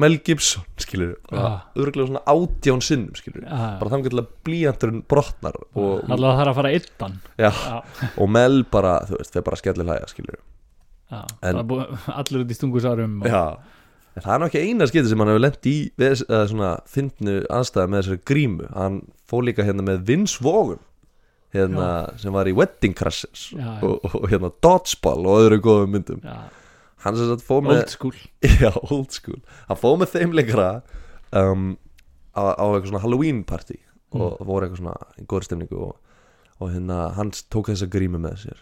[SPEAKER 1] Mel Gibson skilur bara örglega svona átján sinnum skilur
[SPEAKER 2] Já.
[SPEAKER 1] bara þannig að blíjandurinn brotnar og,
[SPEAKER 2] alltaf það þarf að fara yttan
[SPEAKER 1] já,
[SPEAKER 2] Já,
[SPEAKER 1] og Mel bara þú veist, þeir bara skellir hlæja skilur
[SPEAKER 2] já,
[SPEAKER 1] En-
[SPEAKER 2] bara búið, allir út í stungusárum og,
[SPEAKER 1] já En það er nú ekki eina skiti sem hann hefur lent í við, eða svona fyndnu anstæða með þessari grímu hann fór líka hérna með Vince Vaughn hérna, sem var í Wedding Crashers
[SPEAKER 2] Já, já.
[SPEAKER 1] og, og, og hérna Dodgeball og öðru góðum myndum
[SPEAKER 2] já,
[SPEAKER 1] hann sem sagt fóð með
[SPEAKER 2] old school
[SPEAKER 1] já, old school hann fóð með þeim leikra um, á, á eitthvað svona Halloween party
[SPEAKER 2] Mm.
[SPEAKER 1] og voru eitthvað svona í góður stemningu og, og hérna hann tók þessa grímu með sér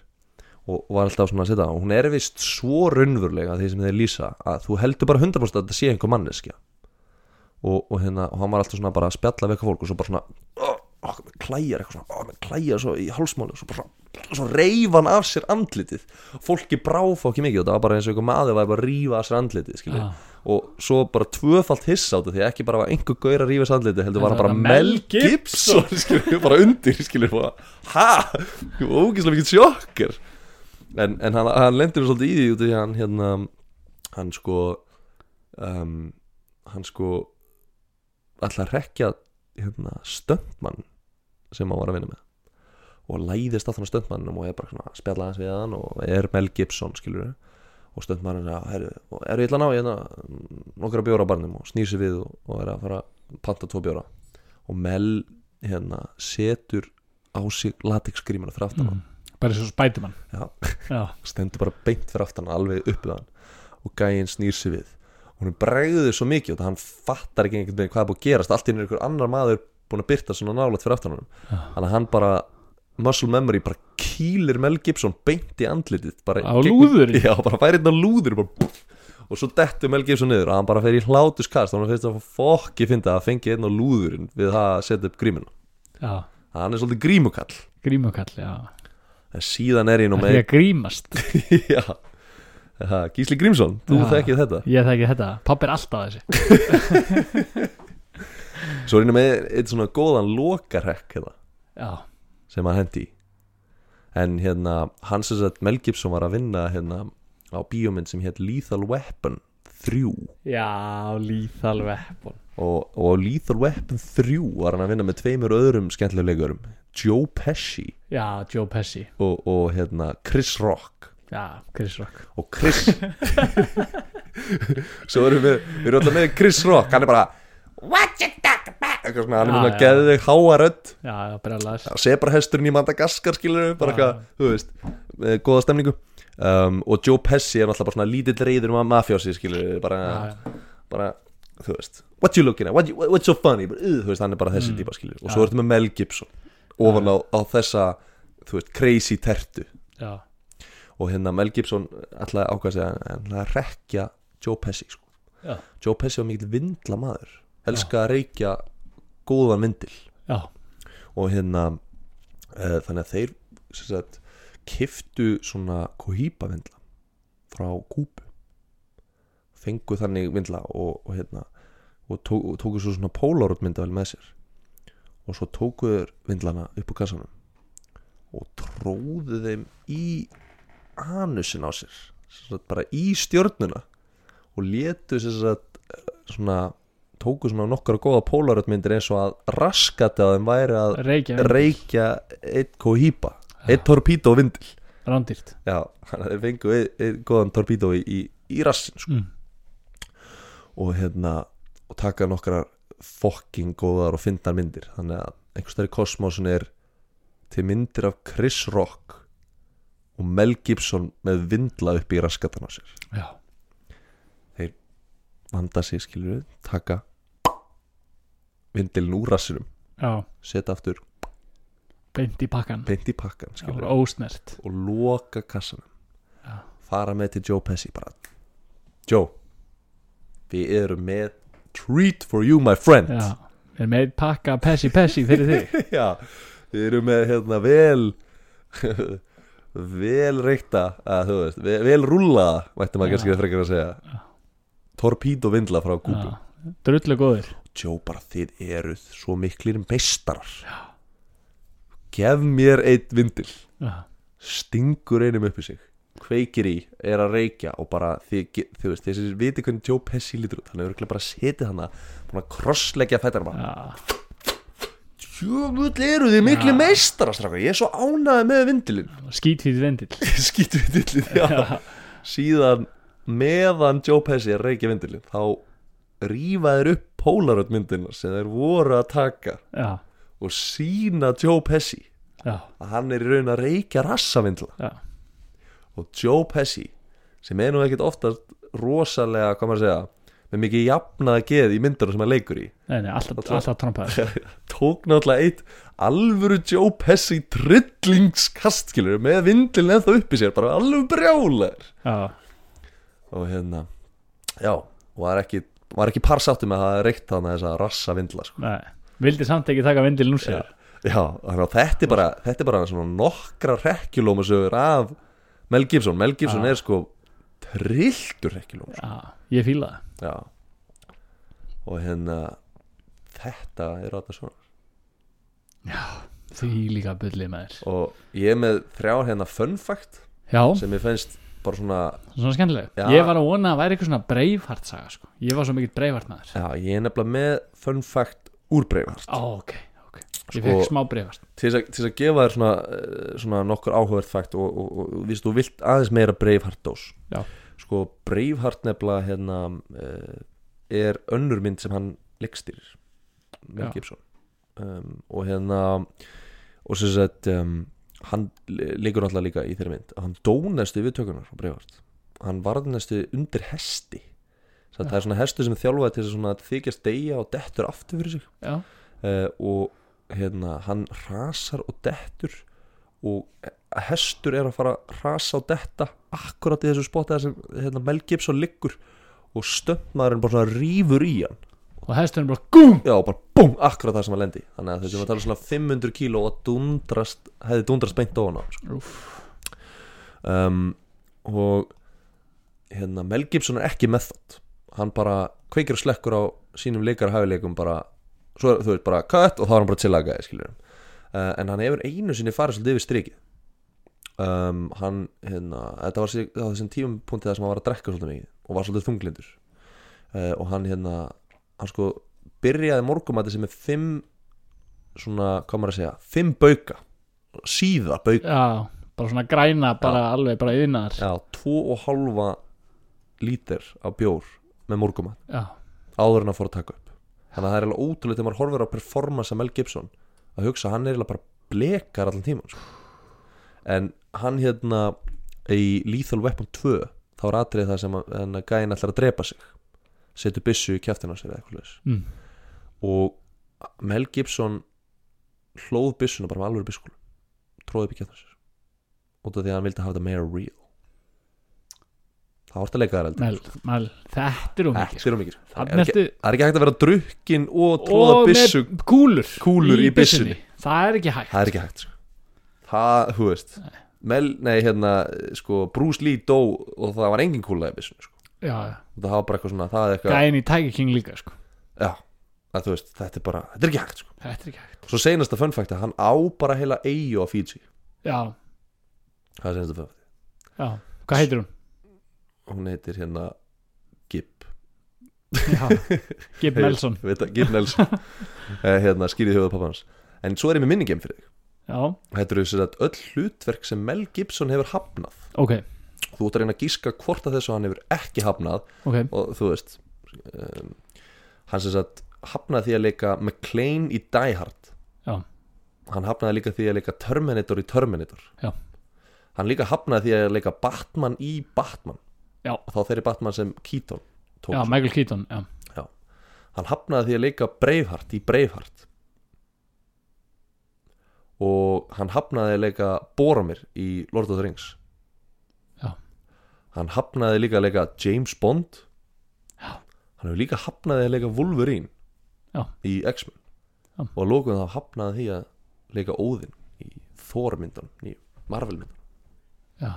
[SPEAKER 1] og var alltaf svona að setja á. hún er vist svo raunvurlega því sem þeir lýsa að þú heldur bara 100% að þetta sé einhver manneskja og, og hérna og hann var alltaf svona bara að spjalla við eitthvað fólk og svo bara svona "Ó, ó, mér klæjar eitthvað svona, ó, mér klæjar svo í hálsmáli og svo bara svona, svo reif hann af sér andlitið fólki bráf ekki mikið og það var bara eins og einhver maður var bara að rífa af sér andlitið skilja
[SPEAKER 2] Já.
[SPEAKER 1] og svo bara tvöfalt hiss á þetta því að ekki bara var einhver gaur að rífa sér andlitið heldur var hann bara
[SPEAKER 2] Þetta var
[SPEAKER 1] Mel
[SPEAKER 2] Mel
[SPEAKER 1] Gibson skilja, bara undir skilja bara, ha, ógislega mikið sjokkar en, en hann, hann lendir nú svolítið í því út af því að hann hérna hann sko um, hann sko ætla að rekja hérna, stöndmann sem hann var að vinna með og læðist að þannig stöndmannum og er bara svona að spjalla aðeins við hann og er Mel Gibson skilur og stöndmannin er að "Heyrðu, og er ég ætla að ná hérna, nokkra bjóra á barnum og snýr sig við og, og er að fara að panta tvo bjóra og Mel hérna, setur á sig latexgrímuna fyrir
[SPEAKER 2] Mm.
[SPEAKER 1] aftan hann
[SPEAKER 2] bara eins og spætumann
[SPEAKER 1] Já.
[SPEAKER 2] já,
[SPEAKER 1] stendur bara beint fyrir aftan alveg uppið hann og gæinn snýr sig við og hún bregður svo mikið og hann fattar ekki einhvern veginn hvað er búið að gerast allt í einu er einhver annar maður búin að byrta svona nálægt fyrir aftan hann þannig að hann bara muscle memory bara kýlir Mel Gibson beint í andlitið bara
[SPEAKER 2] Á lúðurinn?
[SPEAKER 1] já, bara færir hérna á lúður bara, búff. og svo dettur Mel Gibson niður og hann bara fer í hlátuskast og hann finnst að fokki finna að fengi einn á lúðurinn við það að setja upp grímuna
[SPEAKER 2] já,
[SPEAKER 1] hann er svolítið grímukall
[SPEAKER 2] grímukall já,
[SPEAKER 1] en síðan er ég nú
[SPEAKER 2] það er
[SPEAKER 1] með
[SPEAKER 2] því að grímast
[SPEAKER 1] Já Aha, Gísli Grímsson, þú
[SPEAKER 2] Já.
[SPEAKER 1] þekkið þetta
[SPEAKER 2] ég þekki þetta, papp er alltaf þessi
[SPEAKER 1] Svo er einu með eitt svona góðan lokarekk hérna,
[SPEAKER 2] já,
[SPEAKER 1] sem hann hendi í En hérna, hann sem sagt Mel Gibson var að vinna hérna á bíómynd sem hétt Lethal Weapon 3
[SPEAKER 2] já, lethal weapon
[SPEAKER 1] og, og Lethal Weapon 3 var hann að vinna með tveimur öðrum skemmtilegurum Joe Pesci
[SPEAKER 2] já, Joe Pesci,
[SPEAKER 1] og, og hérna Chris Rock
[SPEAKER 2] já, Chris Rock
[SPEAKER 1] og Chris svo erum við við erum alltaf með Chris Rock hann er bara what you talk about eitthvað svona, hann er
[SPEAKER 2] Já,
[SPEAKER 1] svona
[SPEAKER 2] já.
[SPEAKER 1] að geða þig háarödd
[SPEAKER 2] já, já, brjálæðis
[SPEAKER 1] sebrahesturinn í Madagaskar skilur bara
[SPEAKER 2] Já.
[SPEAKER 1] eitthvað, þú veist, með góða stemningu um, og Joe Pesci er alltaf bara svona lítill reyður um að mafjósi skilur bara,
[SPEAKER 2] Já,
[SPEAKER 1] bara, þú veist what you looking at, what you, what's so funny bara, uh, þú veist, hann er bara
[SPEAKER 2] Mm.
[SPEAKER 1] þessi típa skilur og svo ertu með Mel Gibson ofan á, á þessa, þú veist, crazy tertu
[SPEAKER 2] já,
[SPEAKER 1] og hérna Mel Gibson ætlaði ákvæða sig að hann ætlaði að rekja Joe Pesci sko.
[SPEAKER 2] Já.
[SPEAKER 1] Joe Pesci var mikill vindla maður elska að reykja góðan vindil
[SPEAKER 2] já,
[SPEAKER 1] og hérna uh, þannig að þeir sem sagt, kiftu svona kohýpa vindla frá kúpu fengu þannig vindla og, og hérna og, tó, og tóku svo svona polaroid myndavel með sér og svo tóku þeir vindlana upp úr kassanum og tróðu þeim í anusin á sér sem sagt, bara í stjörnuna og létu sem sagt, eh, svona tóku svona nokkara góða polaroid myndir eins og að raskata þeim væri að
[SPEAKER 2] reykja
[SPEAKER 1] reykja eitt kohýpa eitt torpídó vindil
[SPEAKER 2] rándýrt
[SPEAKER 1] já, þannig að þeir fengu eitt, eitt góðan torpídó í, í, í rassin sko.
[SPEAKER 2] Mm.
[SPEAKER 1] og hérna og taka nokkrar fokking góðar og fyndar myndir þannig að einhvers þær í kosmosin er til myndir af Chris Rock og Mel Gibson með vindla upp í raskatan á sér
[SPEAKER 2] já,
[SPEAKER 1] vanda sig skilur við, taka vindilin úr rassinum
[SPEAKER 2] já,
[SPEAKER 1] setja aftur
[SPEAKER 2] beint í pakkan
[SPEAKER 1] beint í pakkan
[SPEAKER 2] já,
[SPEAKER 1] skilur við
[SPEAKER 2] ósnert
[SPEAKER 1] og loka kassanum
[SPEAKER 2] Já.
[SPEAKER 1] fara með til Joe Pesci bara Joe við erum með treat for you my friend
[SPEAKER 2] já, við erum með pakka pessi pessi fyrir þig
[SPEAKER 1] Já, við erum með hérna vel vel reykta að, þú veist, vel, vel rúlla mætti maður
[SPEAKER 2] Já.
[SPEAKER 1] kannski að frekar að segja torpíd og vindla frá kúpu
[SPEAKER 2] Já, drullu góður
[SPEAKER 1] Joe bara þið eruð svo miklir meistarar Já. gef mér eitt vindil
[SPEAKER 2] já,
[SPEAKER 1] stingur einum upp í sig kveikir í, er að reykja og bara þið, ge- þið veist, þessi viti hvernig Joe Pesci lítur út, hann er örugglega bara setið hana búin að krossleggja fættar bara
[SPEAKER 2] já,
[SPEAKER 1] jöfull eru þið miklu
[SPEAKER 2] Já.
[SPEAKER 1] meistara strákar, ég er svo ánæði með vindilinn
[SPEAKER 2] skítfýtt vendil
[SPEAKER 1] skýtu vindilinn, já síðan meðan Joe Pesci er að reykja vindilinn, þá rífa þeir upp Polaroid myndina sem þeir voru að taka
[SPEAKER 2] já,
[SPEAKER 1] og sína Joe Pesci
[SPEAKER 2] já,
[SPEAKER 1] að hann er í raun að reykja rassavindla
[SPEAKER 2] já,
[SPEAKER 1] og Joe Pesci sem er nú ekkert oftast rosalega, hvað maður að segja með mikið jafnaða geð í myndunum sem hann leikur í
[SPEAKER 2] nei, nei, alltaf, alltaf trompaður
[SPEAKER 1] tók náttúrulega eitt alvöru Joe Pesci trillingskast skilur, með vindilin ennþá upp í sér bara alveg brjálar
[SPEAKER 2] já,
[SPEAKER 1] og hérna, já og var ekki, var ekki parsáttu með að reykta hann þessa rassa vindla sko.
[SPEAKER 2] nei vildi samt ekki taka vendilin úr sér
[SPEAKER 1] já, þannig að þetta er bara þetta er bara svona nokkra rekkjulómasögur af Mel Gibson Mel Gibson
[SPEAKER 2] Já.
[SPEAKER 1] er sko trilltur rekkjulómasögur
[SPEAKER 2] já, ég fíla það
[SPEAKER 1] Já Og hérna Þetta er ráta svona
[SPEAKER 2] því líka byllið með þér
[SPEAKER 1] Og ég er með þrjá hérna fun fact
[SPEAKER 2] já,
[SPEAKER 1] Sem ég finnst bara svona
[SPEAKER 2] svona skemmtileg
[SPEAKER 1] Já.
[SPEAKER 2] ég var að vona að væri eitthvað svona breifhart saga sko. ég var svo mikill breifhart maður
[SPEAKER 1] Já, ég er nefnilega með fun fact úr breyfart
[SPEAKER 2] Á, ok, ok, ég
[SPEAKER 1] Sko-
[SPEAKER 2] fekk smá breifhart
[SPEAKER 1] Til þess að- til þess að gefa þér svona, eh, svona nokkur áhugavert fakt Og, og, og, og víst, þú vilt aðeins meira breyfart dós
[SPEAKER 2] Já.
[SPEAKER 1] Sko breyfart nefnilega hérna eh, Er önnur mynd sem hann leikstýrir Mel
[SPEAKER 2] Já.
[SPEAKER 1] Gibson um, Og hérna Og sem sagt um, hann le- leikur náttúrulega líka í þeirri mynd hann dónestu við tökunar á breyfart hann varðnestu undir hesti Satt, það er svona hestu sem er þjálfaði til þess að svona þykjast deyja og dettur aftur fyrir sig
[SPEAKER 2] já,
[SPEAKER 1] uh, og hérna hann rasar og dettur og hestur er að fara að rasa og detta akkurat í þessu spotta sem hérna, Mel Gibson liggur og stöndmaðurinn bara svona rýfur í hann
[SPEAKER 2] og hesturinn bara gúm
[SPEAKER 1] já og bara búm, akkurat það sem hann lendi í. þannig að þessum að tala svona 500 kíló og dundrast, hefði dundrast beint ofan á hann sko. um, og hérna Mel Gibson er ekki með þátt hann bara kveikir og slekkur á sínum leikar hæfileikum bara, svo, er- þú veist bara cut og þá er hann bara tillagaði skilur uh, en hann hefur einu sinni farið svolítið yfir strikið um, hann hérna, þetta var sig- á þessum tímapunkti þar sem hann var að drekka svolítið mikið og var svolítið þunglindur uh, og hann hérna hann sko byrjaði morgumæti sem er fimm svona, hvað maður að segja fimm bauka, síða bauka
[SPEAKER 2] já, bara svona græna bara alveg, bara yðnar já.
[SPEAKER 1] já, tvo og halva lítir af bjór með morgumæti
[SPEAKER 2] já,
[SPEAKER 1] áður en að fór að taka upp þannig að það er alveg ótrúlega þegar maður horfir á performance af Mel Gibson að hugsa að hann er eiginlega bara blekar allan tíman sko. en hann hérna í Lethal Weapon 2 þá er atrið það sem að- hann að gæin ætlar að drepa sig setur byssu í kjæftina sér eða eitthvað leis
[SPEAKER 2] Mm.
[SPEAKER 1] og Mel Gibson hlóð byssuna bara með alveg bysskólu tróði upp í kjæftina sér út af því að hann vildi hafa þetta meira real þá ertu að leika þær heldur
[SPEAKER 2] mæl, mæl, þetta er um ekki
[SPEAKER 1] Þetta er of mikið sko. það
[SPEAKER 2] Þarna
[SPEAKER 1] er, ekki,
[SPEAKER 2] ertu
[SPEAKER 1] það er ekki hægt að vera drukkin og tróða
[SPEAKER 2] og
[SPEAKER 1] byssu
[SPEAKER 2] með kúlur
[SPEAKER 1] kúlur í byssunni.
[SPEAKER 2] það er ekki hægt
[SPEAKER 1] það er ekki hægt sko. það, þú veist Mel, nei, hérna, sko, Bruce Lee dó og það var engin kúla í byssunni sko.
[SPEAKER 2] já, já.
[SPEAKER 1] Og það var bara eitthvað svona, það er eitthvað
[SPEAKER 2] gæin í Tiger King líka sko.
[SPEAKER 1] já, að þú veist, þetta er bara, þetta er ekki hægt sko.
[SPEAKER 2] þetta er ekki hægt
[SPEAKER 1] svo seinasta fun fact að hann á bara heila eigu á Fiji
[SPEAKER 2] já,
[SPEAKER 1] það er seinasta fun fact
[SPEAKER 2] já, hvað heitir hún?
[SPEAKER 1] hún heitir hérna Gib
[SPEAKER 2] Já, Gib Nelson
[SPEAKER 1] Ég veit að- Gib Nelson Eh, hérna, skýrið höfuð pappa hans en svo er ég með minningem fyrir þig
[SPEAKER 2] já,
[SPEAKER 1] þetta eru sér að öll hlutverk sem Mel Gibson hefur hafnað
[SPEAKER 2] ok,
[SPEAKER 1] þú út að reyna að gíska hvort að þessu hann hefur ekki hafnað
[SPEAKER 2] ok
[SPEAKER 1] og þú veist um, hann sem sagt hafnaði því að leika McLean í Die Hard
[SPEAKER 2] já,
[SPEAKER 1] hann hafnaði líka því að leika Terminator í Terminator
[SPEAKER 2] Já.
[SPEAKER 1] hann líka hafnaði því að leika Batman í Batman
[SPEAKER 2] Já.
[SPEAKER 1] og þá þeirri Batman sem Keaton tók
[SPEAKER 2] já, Michael Keaton já.
[SPEAKER 1] hann hafnaði því að leika Braveheart í Braveheart og hann hafnaði að leika Boromir í Lord of the Rings
[SPEAKER 2] Já.
[SPEAKER 1] hann hafnaði líka að leika James Bond
[SPEAKER 2] Já.
[SPEAKER 1] hann hefur líka hafnaði að leika Wolverine
[SPEAKER 2] Já.
[SPEAKER 1] í X-Men
[SPEAKER 2] Já.
[SPEAKER 1] og að lókum þá hafnaði því að leika Óðinn í Thor-myndan í Marvel-myndan
[SPEAKER 2] já,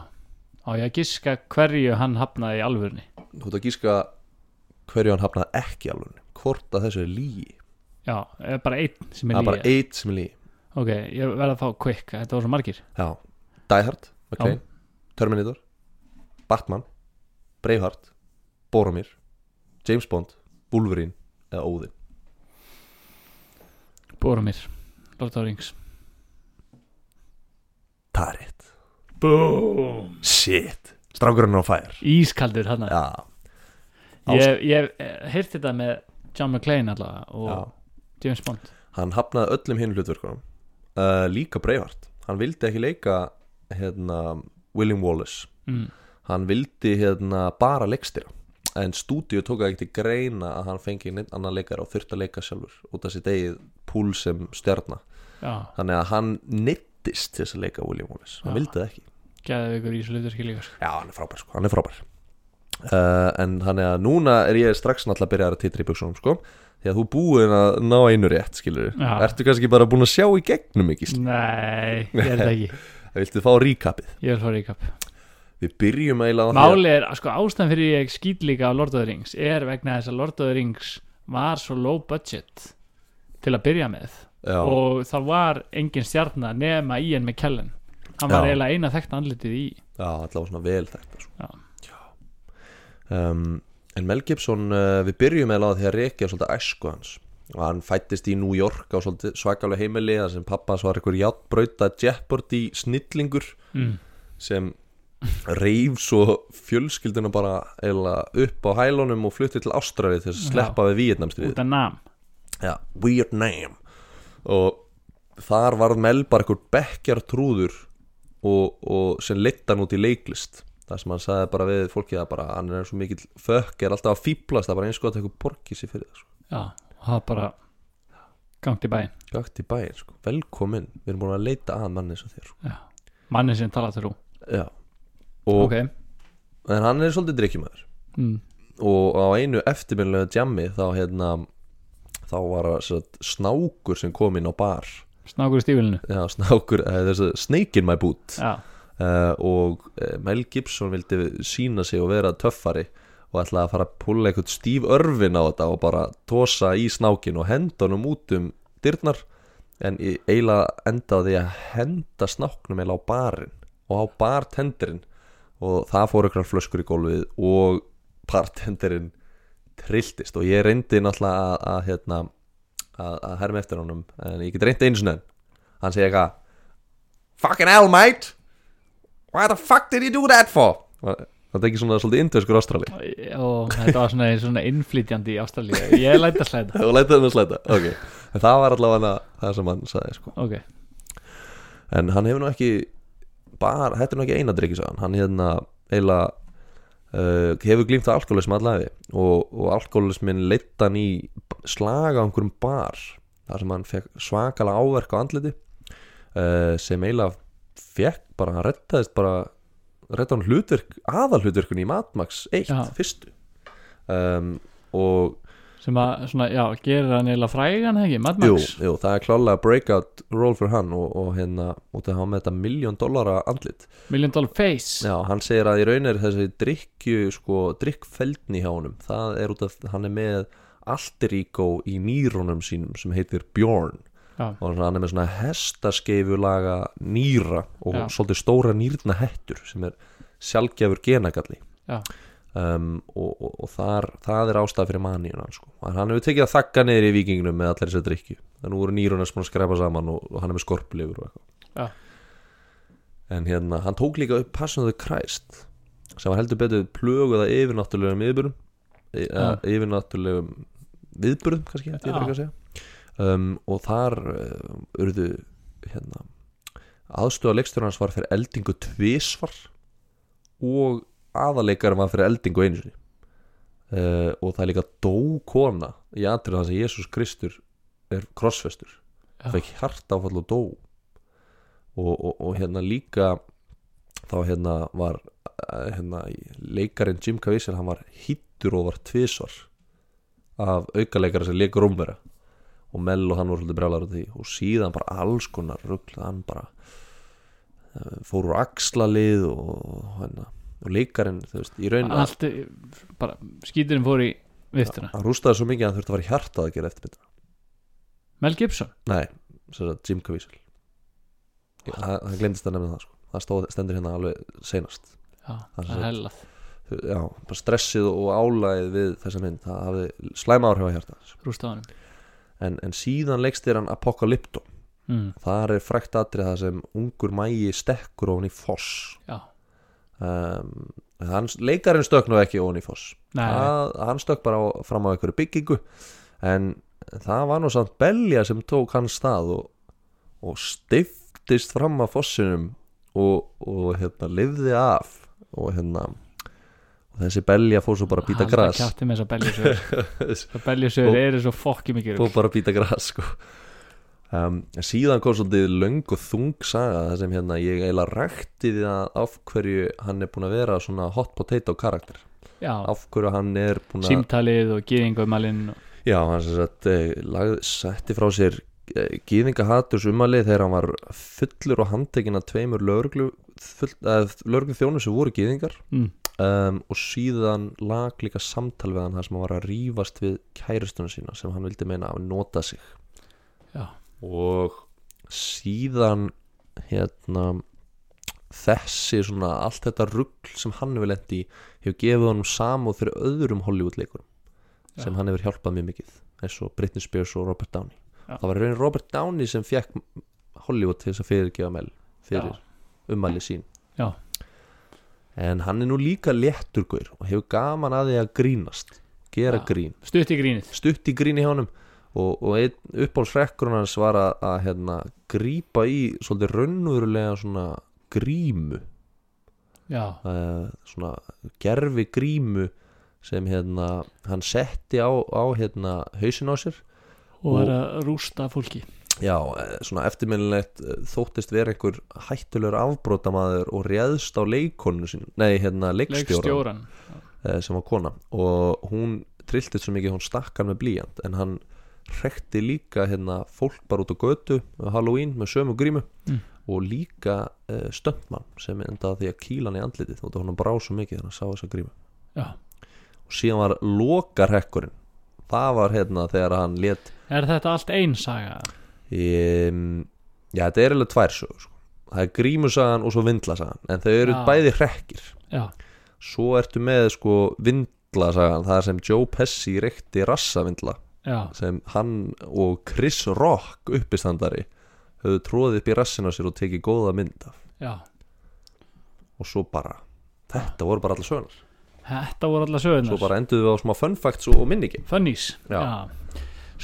[SPEAKER 2] á ég að giska hverju hann hafnaði í alvörni
[SPEAKER 1] þú ert að gíska hverju hann hafnaði ekki alveg hvort að þessu er lígi
[SPEAKER 2] já, eh, bara einn sem
[SPEAKER 1] það
[SPEAKER 2] er
[SPEAKER 1] er bara
[SPEAKER 2] líka
[SPEAKER 1] eitt sem er lígi
[SPEAKER 2] ok, ég verð að fá quick, þetta var svo margir
[SPEAKER 1] Já, Die Hard, McLean,
[SPEAKER 2] Já.
[SPEAKER 1] Terminator, Batman, Braveheart, Boromir, James Bond, Wolverine eða Óðinn
[SPEAKER 2] Boromir, Lord of the Rings
[SPEAKER 1] Það er rétt
[SPEAKER 2] Boom
[SPEAKER 1] Shit, strákurinn á fær
[SPEAKER 2] Ískaldur hann
[SPEAKER 1] Já,
[SPEAKER 2] Ég ég hef heyrt þetta með John McClane allavega og
[SPEAKER 1] já
[SPEAKER 2] James Bond
[SPEAKER 1] Hann hafnaði öllum hinn hlutverkunum uh, Líka Braveheart Hann vildi ekki leika hérna, William Wallace
[SPEAKER 2] mm.
[SPEAKER 1] Hann vildi hérna, bara leikstýra En stúdíu tók að ekki til greina að hann fengi neinn annan leikar og þurft að leika sjálfur út af sitt eigið púl sem stjarnar
[SPEAKER 2] Já,
[SPEAKER 1] þannig að hann neittist til þess að leika William Wallace, hann
[SPEAKER 2] Já.
[SPEAKER 1] vildi það ekki
[SPEAKER 2] gæðið ykkur í þessu hlutverki líka sko.
[SPEAKER 1] já, hann er frábær, sko, hann er frábær uh, en þannig að núna er ég strax náttúrulega að byrja að titra í buksunum, sko því að þú búin að ná einu rétt, skilur
[SPEAKER 2] Já.
[SPEAKER 1] ertu kannski bara búin að sjá í gegnum ekki,
[SPEAKER 2] Nei, ég er þetta ekki
[SPEAKER 1] viltu fá ríkapið
[SPEAKER 2] Ég vil fá recap
[SPEAKER 1] við byrjum eiginlega á því að-
[SPEAKER 2] Máli er, sko, ástæðan fyrir ég skýt líka á Lord of the Rings er vegna þess að Lord of the Rings var svo low budget til að byrja með
[SPEAKER 1] já,
[SPEAKER 2] og það var engin stjarnar nema Ian McKellen hann var
[SPEAKER 1] Já.
[SPEAKER 2] eiginlega eina þekkt andlitið í
[SPEAKER 1] já, allavega svona vel þetta sko.
[SPEAKER 2] Já.
[SPEAKER 1] Um, en Mel Gibson, uh, við byrjum eiginlega á því að reykja svolítið æsku hans og hann fættist í New York á svolítið svakalega heimili þar sem pappas var einhver játbrauta Jeopardy snillingur
[SPEAKER 2] mm.
[SPEAKER 1] sem reif svo fjölskylduna bara eila upp á hælunum og flutti til Ástrali til að sleppa við Vietnamstrið
[SPEAKER 2] út af nam
[SPEAKER 1] ja, Vietnam og þar var Mel bara einhver bekkjar trúður og, og sem leitt hann út í leiklist það sem hann sagði bara við fólkið að bara hann er svo mikill fökk er alltaf að fýblast það er bara eins gott að eitthvað borgið sér fyrir það sko.
[SPEAKER 2] Já, og það bara gangt í bæinn
[SPEAKER 1] gagt í bæinn, sko. velkomin við erum búin að leita að manni eins og þér sko.
[SPEAKER 2] manni sem talar þrú
[SPEAKER 1] Já. og
[SPEAKER 2] Ok
[SPEAKER 1] en hann er svolítið drikkjumæður
[SPEAKER 2] mm.
[SPEAKER 1] og á einu eftirminlega djammi þá hérna þá var satt, snákur sem kom inn á bar
[SPEAKER 2] Snákur í stífilinu
[SPEAKER 1] já, snákur, eh, þessi snake in my boot
[SPEAKER 2] Já,
[SPEAKER 1] uh, og eh, Mel Gibson vildi sína sig og vera töffari og ætlaði að fara að púla eitthvað stíf örfin á þetta og bara tosa í snákin og henda honum út um dyrnar en í- eiginlega endaði því að henda snáknum eiginlega á barinn og á bartenderinn og það fór ykkur flöskur í gólfið og bartenderinn trilltist og ég reyndi náttúrulega að, að, hérna, að, að herma eftir honum en ég get reyndi einu sinni en hann segi eitthvað Fucking hell mate Why the fuck did you do that for? Það er ekki svona svolítið indverskur ástrali
[SPEAKER 2] og þetta var svona, svona innflytjandi í Ástralíu Ég læt að slæta
[SPEAKER 1] Þú lætið hann að slæta Ok En það var allavega það sem hann sagði sko
[SPEAKER 2] Ok,
[SPEAKER 1] En hann hefur nú ekki bara, Þetta er nú ekki eina drikkisagan Hann hérna eila uh, Hefur glýmt að alkoholism allavegi Og, og alkoholismin leitt hann í Slaga á einhverjum bar Þar sem hann fekk svakalega áverk á andliti uh, Sem eila Fekk bara, hann rettaðist bara redda hann hlutverk aðalhlutverkun í Mad Max 1
[SPEAKER 2] Já.
[SPEAKER 1] fyrstu um, og
[SPEAKER 2] sem að svona, já, gerir hann eiginlega frægan ekki, Mad
[SPEAKER 1] jú,
[SPEAKER 2] Max
[SPEAKER 1] jú, það er klálega breakout role fyrir hann og, og hérna út að hafa með þetta miljón dollara andlit
[SPEAKER 2] Million Dollar Face
[SPEAKER 1] Já, hann segir að í raun er þessi drikkju sko, drikkfeldni hjá honum það er út að hann er með alter ego í nýrónum sínum sem heitir Bjorn
[SPEAKER 2] Já.
[SPEAKER 1] og svona, hann er með svona hestaskeiðulaga nýra og
[SPEAKER 2] Já.
[SPEAKER 1] svolítið stóra nýrna hettur sem er sjálfgjafur genagalli
[SPEAKER 2] Já.
[SPEAKER 1] um, og, og, og þar, það er ástæð fyrir maníuna sko. En hann hefur tekið að þakka neyri í vikingnum með allir þessar drikkju þannig voru nýruna sem hann skrepa saman og, og hann er með skorplifur og
[SPEAKER 2] Já.
[SPEAKER 1] eitthvað en hérna, hann tók líka upp Passion of the Christ sem var heldur betur plöguð að yfirnáttúrulegum yfirbyrðum
[SPEAKER 2] Já.
[SPEAKER 1] yfirnáttúrulegum viðbyrðum kannski, þetta ég
[SPEAKER 2] Já.
[SPEAKER 1] fyrir að segja um, og þar uh, urðu hérna, aðstöða leikstjóra hans var fyrir eldingu tvisvar og aðaleikar var fyrir eldingu einu sinni uh, og það er líka dó kona í atrið það sem Jésús Kristur er krossfestur
[SPEAKER 2] Já.
[SPEAKER 1] það ekki hart áfall og dó og, og, og hérna líka þá hérna var eh, hérna, leikarinn Jim Caviezel hann var hittur og var tvisvar af aukaleikara sem leikur umvera og Mel og hann voru svolítið brjálar á því og síðan bara alls konar rugl hann bara eh, fór úr axlalið og hérna og leikarinn, þú veist, í raun að
[SPEAKER 2] allt, í- bara skíturinn fór í viftuna,
[SPEAKER 1] hann rústaði svo mikið að hann þurfti að fara í hjartað að gera eftir mynda
[SPEAKER 2] Mel Gibson
[SPEAKER 1] nei, sem sagt Jim Caviezel Ég- hann hann glemdist að nefna það sko. það stóð, stendur hérna alveg seinast
[SPEAKER 2] já,
[SPEAKER 1] Það er
[SPEAKER 2] það er
[SPEAKER 1] satt.
[SPEAKER 2] hellað
[SPEAKER 1] já, bara stressið og álæðið við þessa mynd, það hafði slæma áhrif á hjarta hans.
[SPEAKER 2] rústafanum
[SPEAKER 1] en, en síðan leikstir hann Apocalypto
[SPEAKER 2] mm,
[SPEAKER 1] þar er frækt atrið það sem ungur mægi stekkur ofan í foss
[SPEAKER 2] já,
[SPEAKER 1] um, hann, leikarinn stökk nú ekki ofan í foss
[SPEAKER 2] Nei.
[SPEAKER 1] það, hann stökk bara á, fram á einhverju byggingu en það var nú samt belja sem tók hans stað og, og stiftist fram að fossinum og, og hérna lifði af og hérna og þessi belja fór svo bara að býta gras
[SPEAKER 2] kjátti með þess að beljusöður það beljusöður eru svo fokki mikið
[SPEAKER 1] fór bara að býta gras sko. um, síðan kom svolítið löng og þung saga það sem hérna ég eiginlega rækti því að af hverju hann er búin að vera svona hot potato karakter
[SPEAKER 2] já,
[SPEAKER 1] af hverju hann er búin að
[SPEAKER 2] símtalið og gýðingumælinn og-
[SPEAKER 1] já, hann sem sagt eh, lagði, setti frá sér eh, gýðingahaturs umali þegar hann var fullur og handtekinn af tveimur lögreglu full, eh, lögreglu þjónu sem voru gýðingar
[SPEAKER 2] mm,
[SPEAKER 1] um, og síðan lag líka samtal við hann þar sem hann var að rífast við kærustunum sína sem hann vildi meina að nota sig
[SPEAKER 2] Já.
[SPEAKER 1] og síðan hérna þessi svona allt þetta rugl sem hann hefur lendi í hefur gefið honum samúð fyrir öðrum Hollywood-leikurum
[SPEAKER 2] Já.
[SPEAKER 1] sem hann hefur hjálpað mjög mikið eins og Britney Spears og Robert Downey
[SPEAKER 2] Já.
[SPEAKER 1] það var raunin Robert Downey sem fekk Hollywood til þess að fyrirgefa mell fyrir
[SPEAKER 2] Já.
[SPEAKER 1] ummæli sín
[SPEAKER 2] Já.
[SPEAKER 1] en hann er nú líka léttur gaur og hefur gaman að því að grínast gera
[SPEAKER 2] Já.
[SPEAKER 1] grín,
[SPEAKER 2] stutt í grínið
[SPEAKER 1] stutt í grín í honum og, og einn uppáhaldsrekkurinn hans var að, að hérna, grípa í svolítið raunverulega svona grímu
[SPEAKER 2] já,
[SPEAKER 1] uh, svona gerfi grímu sem hérna, hann setti á, á hérna, hausin á sér
[SPEAKER 2] og er að rústa fólki
[SPEAKER 1] Já, eh, svona eftirminnilegt eh, þóttist vera einhver hættulegur afbrótamaður og réðst á leikonu sín nei, hérna, leikstjóran
[SPEAKER 2] leikstjóran
[SPEAKER 1] eh, sem var kona og hún trilltist svo mikið, hún stakkan með blíjant en hann hrekti líka hérna, fólk bara út á götu á Halloween með sömu grímu
[SPEAKER 2] Mm.
[SPEAKER 1] og líka uh, stöndmann sem endaði því að kýla hann í andlitið þótt að hann brá svo mikið þegar hann sá þessa grímu
[SPEAKER 2] já.
[SPEAKER 1] og síðan var lokarhekkurinn það var hérna þegar hann let
[SPEAKER 2] er þetta allt ein saga?
[SPEAKER 1] um, já þetta er alveg tvær sögur sko. það er grímusagan og svo vindlasagan en þau eru
[SPEAKER 2] Já.
[SPEAKER 1] bæði hrekkir
[SPEAKER 2] já,
[SPEAKER 1] svo ertu með sko vindlasagan það sem Joe Pesci reykti rassavindla
[SPEAKER 2] já,
[SPEAKER 1] sem hann og Chris Rock uppistandari höfðu tróðið upp í rassin á sér og tekið góða mynd af
[SPEAKER 2] já
[SPEAKER 1] og svo bara, þetta voru bara allar sögurnar
[SPEAKER 2] þetta voru alla
[SPEAKER 1] svo
[SPEAKER 2] sögurnar
[SPEAKER 1] bara enduðu við á smá fun facts og, og minningi
[SPEAKER 2] funnies
[SPEAKER 1] Já.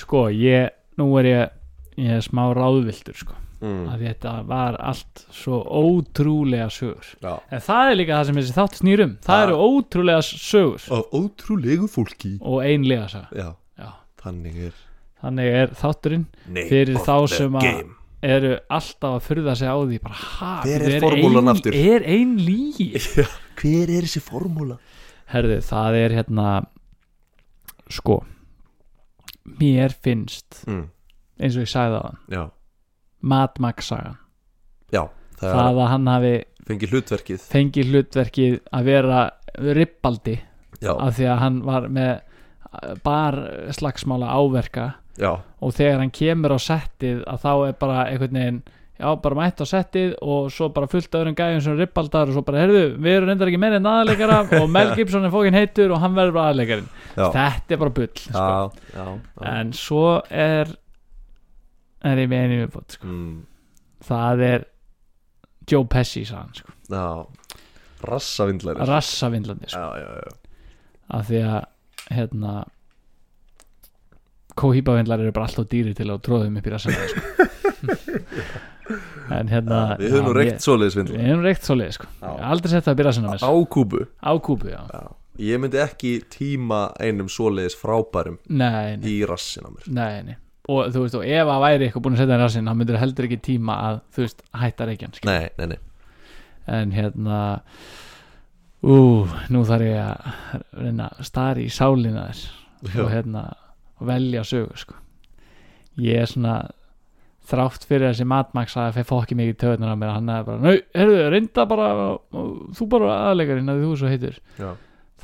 [SPEAKER 2] sko, ég, nú er ég ég er smá ráðvildur sko
[SPEAKER 1] mm.
[SPEAKER 2] að þetta var allt svo ótrúlega sögur
[SPEAKER 1] já.
[SPEAKER 2] en það er líka það sem þessi þátt snýrum það
[SPEAKER 1] Það-
[SPEAKER 2] eru ótrúlega sögur
[SPEAKER 1] af ótrúlegu fólki
[SPEAKER 2] og einlega sag
[SPEAKER 1] já,
[SPEAKER 2] Já.
[SPEAKER 1] þannig er
[SPEAKER 2] þannig er þátturinn
[SPEAKER 1] Name
[SPEAKER 2] Fyrir
[SPEAKER 1] of
[SPEAKER 2] þá
[SPEAKER 1] the
[SPEAKER 2] sem að-
[SPEAKER 1] game.
[SPEAKER 2] eru alltaf að furða sig á því bara, ha,
[SPEAKER 1] Hver
[SPEAKER 2] bíddu,
[SPEAKER 1] er formúlan
[SPEAKER 2] ein,
[SPEAKER 1] aftur?
[SPEAKER 2] er ein lígi
[SPEAKER 1] Hver er þessi formúla?
[SPEAKER 2] herðu, það er hérna sko mér finnst
[SPEAKER 1] Mm,
[SPEAKER 2] eins og ég sagði á hann,
[SPEAKER 1] já,
[SPEAKER 2] Mad Max sagan
[SPEAKER 1] já Það, það...
[SPEAKER 2] það að hann hafi
[SPEAKER 1] fengi hlutverkið
[SPEAKER 2] fengið hlutverkið að vera rippaldi
[SPEAKER 1] Já,
[SPEAKER 2] af því að hann var með uh, bar slagsmála áverka
[SPEAKER 1] já,
[SPEAKER 2] og þegar hann kemur á settið að þá er bara einhvern veginn já, bara mætt á settið og svo bara fullt öðrum gæjum sem rippaldar og svo bara, heyrðu, við erum reyndar ekki meira en aðalegara og Mel Gibson er fókin heitur og hann verður bara aðalegarin
[SPEAKER 1] já
[SPEAKER 2] þetta er bara bull sko.
[SPEAKER 1] Já, já, já.
[SPEAKER 2] en svo er er ég með einu viðbót sko.
[SPEAKER 1] Mm,
[SPEAKER 2] það er Joe Pesci sann, sko.
[SPEAKER 1] já Rassavindlæri
[SPEAKER 2] rassavindlandi sko.
[SPEAKER 1] Já, já, já
[SPEAKER 2] af því að hérna kóhýpavindlar eru bara alltaf dýri til að tróðum upp í rassamæði sko. en hérna
[SPEAKER 1] Við höfum nú
[SPEAKER 2] já,
[SPEAKER 1] reykt svoleiðis
[SPEAKER 2] ég-
[SPEAKER 1] vindla
[SPEAKER 2] við höfum reykt svoleið sko.
[SPEAKER 1] Já.
[SPEAKER 2] Ég hef aldrei sett það upp í rassamæði
[SPEAKER 1] Á kúbu
[SPEAKER 2] á kúpu, já,
[SPEAKER 1] Já. Ég myndi ekki tíma einum svoleiðis frábærum
[SPEAKER 2] nei, nei,
[SPEAKER 1] í rassin á mér
[SPEAKER 2] nei, nei og þú veist, og ef að væri eitthvað búin að setja það í rassin þá myndir heldur ekki tíma að, þú veist, hætta reykjan skilur.
[SPEAKER 1] Nei, nei, nei
[SPEAKER 2] en hérna ú, nú þarf ég að reyna að stari í sálina þess
[SPEAKER 1] Já.
[SPEAKER 2] og hérna og velja sögu sko. ég er svona þrátt fyrir þessi matmaks að fyrir fokki mikið töðunar á mér hann er bara, nau, heyrðu, reynda bara og þú bara aðleikarinn að þú svo heitur
[SPEAKER 1] Já,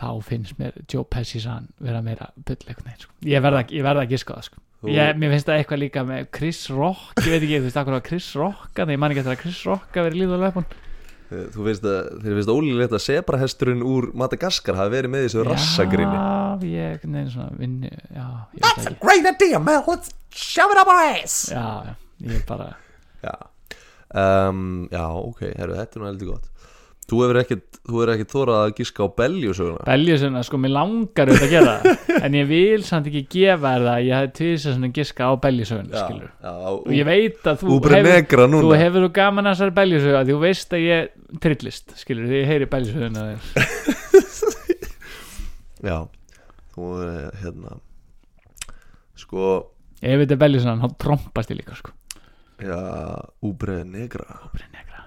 [SPEAKER 2] þá finnst mér Joe Pesci sann vera meira byllleikun einn sko. ég verða verð að giska á það sko.
[SPEAKER 1] Þú-
[SPEAKER 2] ég, mér finnst það eitthvað líka með Chris Rock ég veit ekki, þú veist, akkur var Chris Rock en ég man ekki eftir að Chris Rock að vera líða löpun
[SPEAKER 1] Eh, Þú veist að, þeir veist ólíklegt að sebrahesturinn úr Madagaskar hafi verið með í þessu rassagrinni
[SPEAKER 2] Já, ég, neina svona vinnu Já, ég veit það ekki
[SPEAKER 1] great idea, man, let's shove it up our ass
[SPEAKER 2] Já, já, ég bara
[SPEAKER 1] Já, um, já ok, herru, þetta er nú heldur gott Þú hefur ekkert, þú hefur ekkert þórað að gíska á beljusöguna
[SPEAKER 2] Belja svona, sko, mér langar auðvitað að gera það En ég vil samt ekki gefa þér það Ég hafði tvisað svona giska á beljusögun skilur
[SPEAKER 1] já,
[SPEAKER 2] Og ég veit að þú
[SPEAKER 1] Úbre negra
[SPEAKER 2] Þú
[SPEAKER 1] núna
[SPEAKER 2] hefur þú gaman að þessar beljusögu Þú veist að ég trillist, skilur Því ég heyri beljusögun að þér
[SPEAKER 1] Já, þú, eh, hérna Sko,
[SPEAKER 2] Ef þetta er beljusögun, þá trompast ég líka, sko
[SPEAKER 1] já, úbre negra
[SPEAKER 2] Úbre negra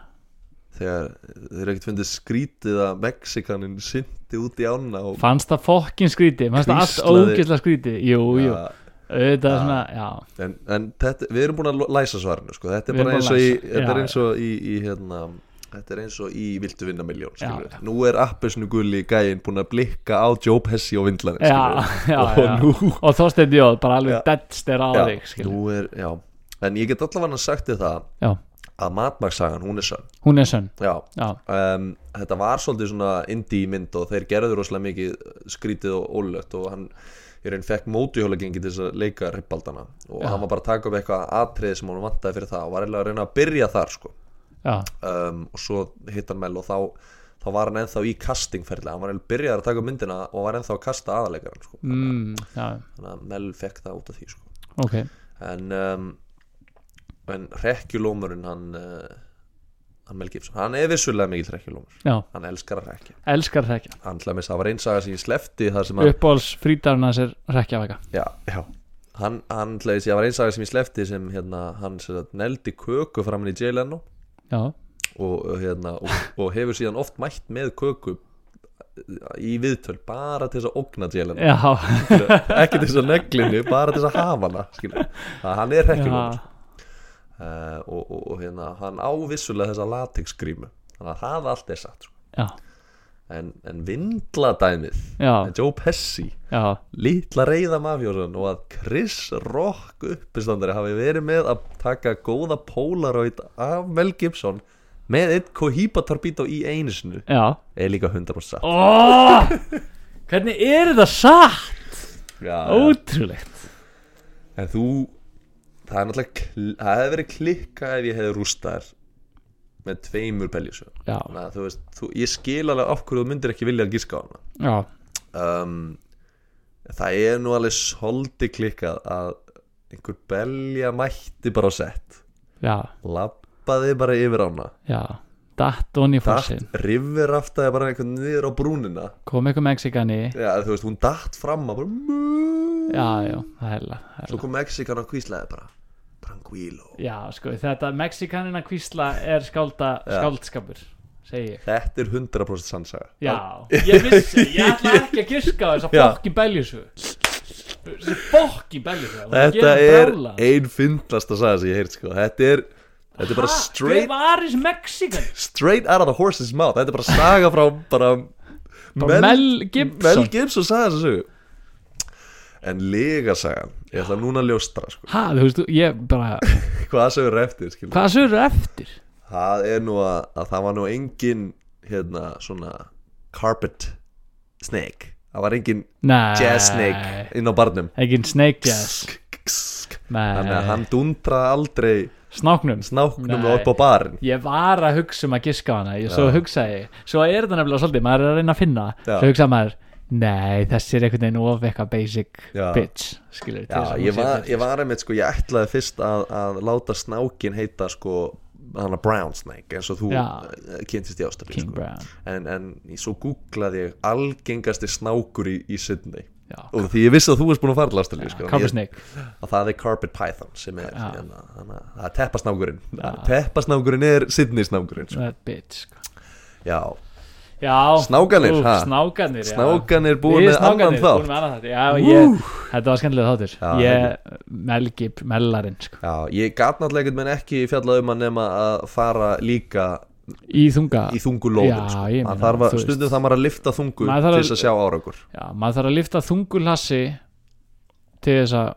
[SPEAKER 1] Þegar þeir ekkert fundið skrítið að Mexikanin syndi út í ána og
[SPEAKER 2] Fannst það fokkin skrítið, fannst það allt
[SPEAKER 1] Hvíslaði-
[SPEAKER 2] ógislega skrítið Jú, jú,
[SPEAKER 1] Já,
[SPEAKER 2] auðvitað svona, já
[SPEAKER 1] En, en þetta, við erum búin að lo- læsa svarinu sko. Þetta er
[SPEAKER 2] Við
[SPEAKER 1] bara
[SPEAKER 2] erum
[SPEAKER 1] eins
[SPEAKER 2] búin
[SPEAKER 1] og í,
[SPEAKER 2] að læsa.
[SPEAKER 1] þetta er
[SPEAKER 2] Já,
[SPEAKER 1] eins og í, í hérna, Þetta er eins og í Viltu vinna miljón
[SPEAKER 2] Já, já.
[SPEAKER 1] Nú er appesnu gulli gæinn búin að blikka á Joe Pesci og vindlanin
[SPEAKER 2] já, já,
[SPEAKER 1] Og
[SPEAKER 2] já.
[SPEAKER 1] nú-
[SPEAKER 2] og Þorsteinn Jóð bara
[SPEAKER 1] Já.
[SPEAKER 2] alveg deadster á
[SPEAKER 1] Já,
[SPEAKER 2] þig skilur.
[SPEAKER 1] nú er, já. En ég get allavega sagt þið það
[SPEAKER 2] já,
[SPEAKER 1] að matmaksagan, hún er sann
[SPEAKER 2] hún er sönn
[SPEAKER 1] Já,
[SPEAKER 2] já,
[SPEAKER 1] um, þetta var svolítið svona indie mynd og þeir gerðu rosalega mikið skrítið og ólögt og hann í raun fekk mótuhjólagengi til þess að leika rippaldana og hann var bara að taka upp eitthvað atriði sem hann vantaði fyrir það og var eiginlega að reyna að byrja þar sko
[SPEAKER 2] já,
[SPEAKER 1] um, og svo hitt hann mell og þá, þá var hann ennþá í castingferðlega hann var eiginlega byrjaður að taka upp myndina og var ennþá að kasta aðalegaran sko
[SPEAKER 2] mm, já
[SPEAKER 1] þannig að mell fekk það út af því sko
[SPEAKER 2] ok,
[SPEAKER 1] en, um, en rekkjulómurinn hann, uh, hann Mel Gibson hann er vissulega mikill rekkjulómur
[SPEAKER 2] já,
[SPEAKER 1] hann elskar að rekja
[SPEAKER 2] elskar rekja
[SPEAKER 1] hann til að missa, það var einsaga sem ég slefti það sem að,
[SPEAKER 2] uppbóls frítarinn hans er rekjavega
[SPEAKER 1] já, já hann, hann til að það var einsaga sem ég slefti sem hérna, hann sem sagt, neldi köku framan í Jay Leno
[SPEAKER 2] já,
[SPEAKER 1] og, hérna, og, og hefur síðan oft mætt með köku uh, í viðtöl bara til þess að ógna Jay Leno
[SPEAKER 2] já,
[SPEAKER 1] ekki til þess að neglinu, bara til þess að hafa hana skilur. Þannig að hann er
[SPEAKER 2] já,
[SPEAKER 1] rekkjulómur uh, og, og, og hérna, hann ávissulega þessa latexgrímu þannig að það allt er satt sko.
[SPEAKER 2] já,
[SPEAKER 1] en, en vindladæmið
[SPEAKER 2] já,
[SPEAKER 1] en Joe Pesci
[SPEAKER 2] já
[SPEAKER 1] litla reyða mafjósan og að Chris Rock uppistandari hafi verið með að taka góða Polaroid af Mel Gibson með eitt kohýpa tarbító í einu sinu
[SPEAKER 2] já,
[SPEAKER 1] er líka 100% satt
[SPEAKER 2] ó hvernig er þetta satt
[SPEAKER 1] já, já.
[SPEAKER 2] ótrúlegt,
[SPEAKER 1] en þú það er náttúrulega kl- það hefði verið klikka ef ég hefði rústaðar með tveimur beljusum
[SPEAKER 2] já,
[SPEAKER 1] Þannig að þú veist, þú, ég skil alveg af hverju þú myndir ekki vilja að gíska á hana
[SPEAKER 2] já
[SPEAKER 1] um, það er nú alveg svolítið klikkað að einhver belja mætti bara á sett
[SPEAKER 2] já,
[SPEAKER 1] lappaði bara yfir ána
[SPEAKER 2] já datt onni fórsin,
[SPEAKER 1] datt, rifir aftaði bara einhvern niður á brúnina
[SPEAKER 2] kom eitthvað Mexikani
[SPEAKER 1] já, þú veist, hún datt fram að bara "Mmm."
[SPEAKER 2] já, já, það er heila
[SPEAKER 1] svo kom Mexikan og kvíslaði bara Tranquilo
[SPEAKER 2] já, sko, þetta mexikanina kvísla er skálda,
[SPEAKER 1] Já.
[SPEAKER 2] skáldskapur segi ég
[SPEAKER 1] Þetta er 100% sannsaga
[SPEAKER 2] já, ég vissi, ég ætla ekki að giska á þessa
[SPEAKER 1] Já.
[SPEAKER 2] fokkin beljusu þessi fokkin beljusu
[SPEAKER 1] Þetta er ein fyndlasta saga sem ég heirt sko Þetta er, þetta er bara
[SPEAKER 2] hver
[SPEAKER 1] straight, Sko,
[SPEAKER 2] var þessi mexikan
[SPEAKER 1] straight out of the horse's mouth Þetta er bara saga frá bara
[SPEAKER 2] Bara Sko, Mel Gibson.
[SPEAKER 1] Mel Gibson saga þessu En lega sagan Ég ætla núna að ljóstra sko
[SPEAKER 2] ha, þú veist, ég bara
[SPEAKER 1] Hvað sem er eftir skilur
[SPEAKER 2] hvað þessu eru eftir
[SPEAKER 1] Það er nú að, að það var nú engin hérna svona carpet snake Það var engin
[SPEAKER 2] Nei,
[SPEAKER 1] jazz snake inn á barnum
[SPEAKER 2] ekki snake jazz
[SPEAKER 1] Þannig að
[SPEAKER 2] Nei,
[SPEAKER 1] hann dundra aldrei
[SPEAKER 2] snáknum
[SPEAKER 1] snáknum
[SPEAKER 2] Nei.
[SPEAKER 1] upp á barinn
[SPEAKER 2] Ég var að hugsa um að giska á hana ég, Svo hugsaði ég Svo er þetta nefnilega svolítið, maður er að reyna að finna
[SPEAKER 1] Já.
[SPEAKER 2] Svo hugsaði maður, nei, þessi er einhvern veginn of eitthvað basic
[SPEAKER 1] Já.
[SPEAKER 2] bitch Skilur til þess
[SPEAKER 1] Já,
[SPEAKER 2] að hún
[SPEAKER 1] ég
[SPEAKER 2] sé
[SPEAKER 1] var,
[SPEAKER 2] basic.
[SPEAKER 1] ég var einmitt sko, ég ætlaði fyrst að, að láta snákin heita sko hana brown snake eins og þú
[SPEAKER 2] Já.
[SPEAKER 1] eh, kynntist í ástafík
[SPEAKER 2] King
[SPEAKER 1] sko.
[SPEAKER 2] Brown
[SPEAKER 1] en, en svo googlaði ég algengasti snákur í, í Sydney
[SPEAKER 2] Já,
[SPEAKER 1] og því ég vissi að þú veist búin að fara til ástafík sko.
[SPEAKER 2] Carpet
[SPEAKER 1] Ég-
[SPEAKER 2] Snake
[SPEAKER 1] að það er carpet python sem er
[SPEAKER 2] Já.
[SPEAKER 1] hérna, hana, það er teppasnákurinn
[SPEAKER 2] Já.
[SPEAKER 1] teppasnákurinn er Sydney snákurinn sko.
[SPEAKER 2] That bitch sko.
[SPEAKER 1] já,
[SPEAKER 2] Já,
[SPEAKER 1] Snákarnir,
[SPEAKER 2] úf,
[SPEAKER 1] ha?
[SPEAKER 2] snákanir já.
[SPEAKER 1] Snákan er búin
[SPEAKER 2] Við
[SPEAKER 1] með annan
[SPEAKER 2] snákarnir,
[SPEAKER 1] þátt
[SPEAKER 2] búin með annan þátt Já, ég, þetta var skemmtilega þáttur
[SPEAKER 1] Já,
[SPEAKER 2] Ég, Melgip, Mellarinn sko.
[SPEAKER 1] já, ég gat náttúrulega einhvern veginn ekki fjallað um að nema að fara líka
[SPEAKER 2] Í þunga
[SPEAKER 1] í þungulóðin
[SPEAKER 2] Já,
[SPEAKER 1] sko.
[SPEAKER 2] ég
[SPEAKER 1] Að
[SPEAKER 2] meina,
[SPEAKER 1] þarf að-
[SPEAKER 2] þú veist.
[SPEAKER 1] stundum það maður að lifta þungu
[SPEAKER 2] Maður þarf
[SPEAKER 1] til
[SPEAKER 2] að-
[SPEAKER 1] þess að sjá árangur
[SPEAKER 2] Já, maður þarf að lifta þungulhassi til þess að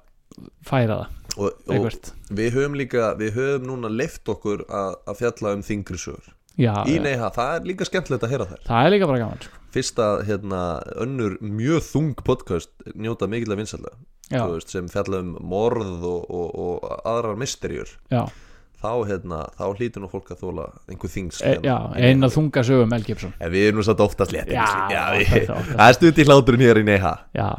[SPEAKER 2] færa það
[SPEAKER 1] og, og
[SPEAKER 2] eitthvert
[SPEAKER 1] við höfum líka við höfum núna lift okkur að, að fjalla um þingri sögur
[SPEAKER 2] Já,
[SPEAKER 1] í
[SPEAKER 2] já.
[SPEAKER 1] neyha, það er líka skemmtilegt að heyra þær
[SPEAKER 2] það er líka bara gaman sko.
[SPEAKER 1] fyrsta hérna, önnur mjög þung podcast njóta mikill að vinsælla
[SPEAKER 2] Já,
[SPEAKER 1] Þú veist, sem fjalla um morð og, og, og aðrar misterjur
[SPEAKER 2] já,
[SPEAKER 1] þá, hérna, þá hlýtur nú fólk að þóla einhver þings
[SPEAKER 2] e, já eina þunga sögum Mel Gibson
[SPEAKER 1] En við erum nú satt oftast létt
[SPEAKER 2] Já,
[SPEAKER 1] við,
[SPEAKER 2] oftast, oftast.
[SPEAKER 1] Það er stutt í hláturinn hér í neha
[SPEAKER 2] Já,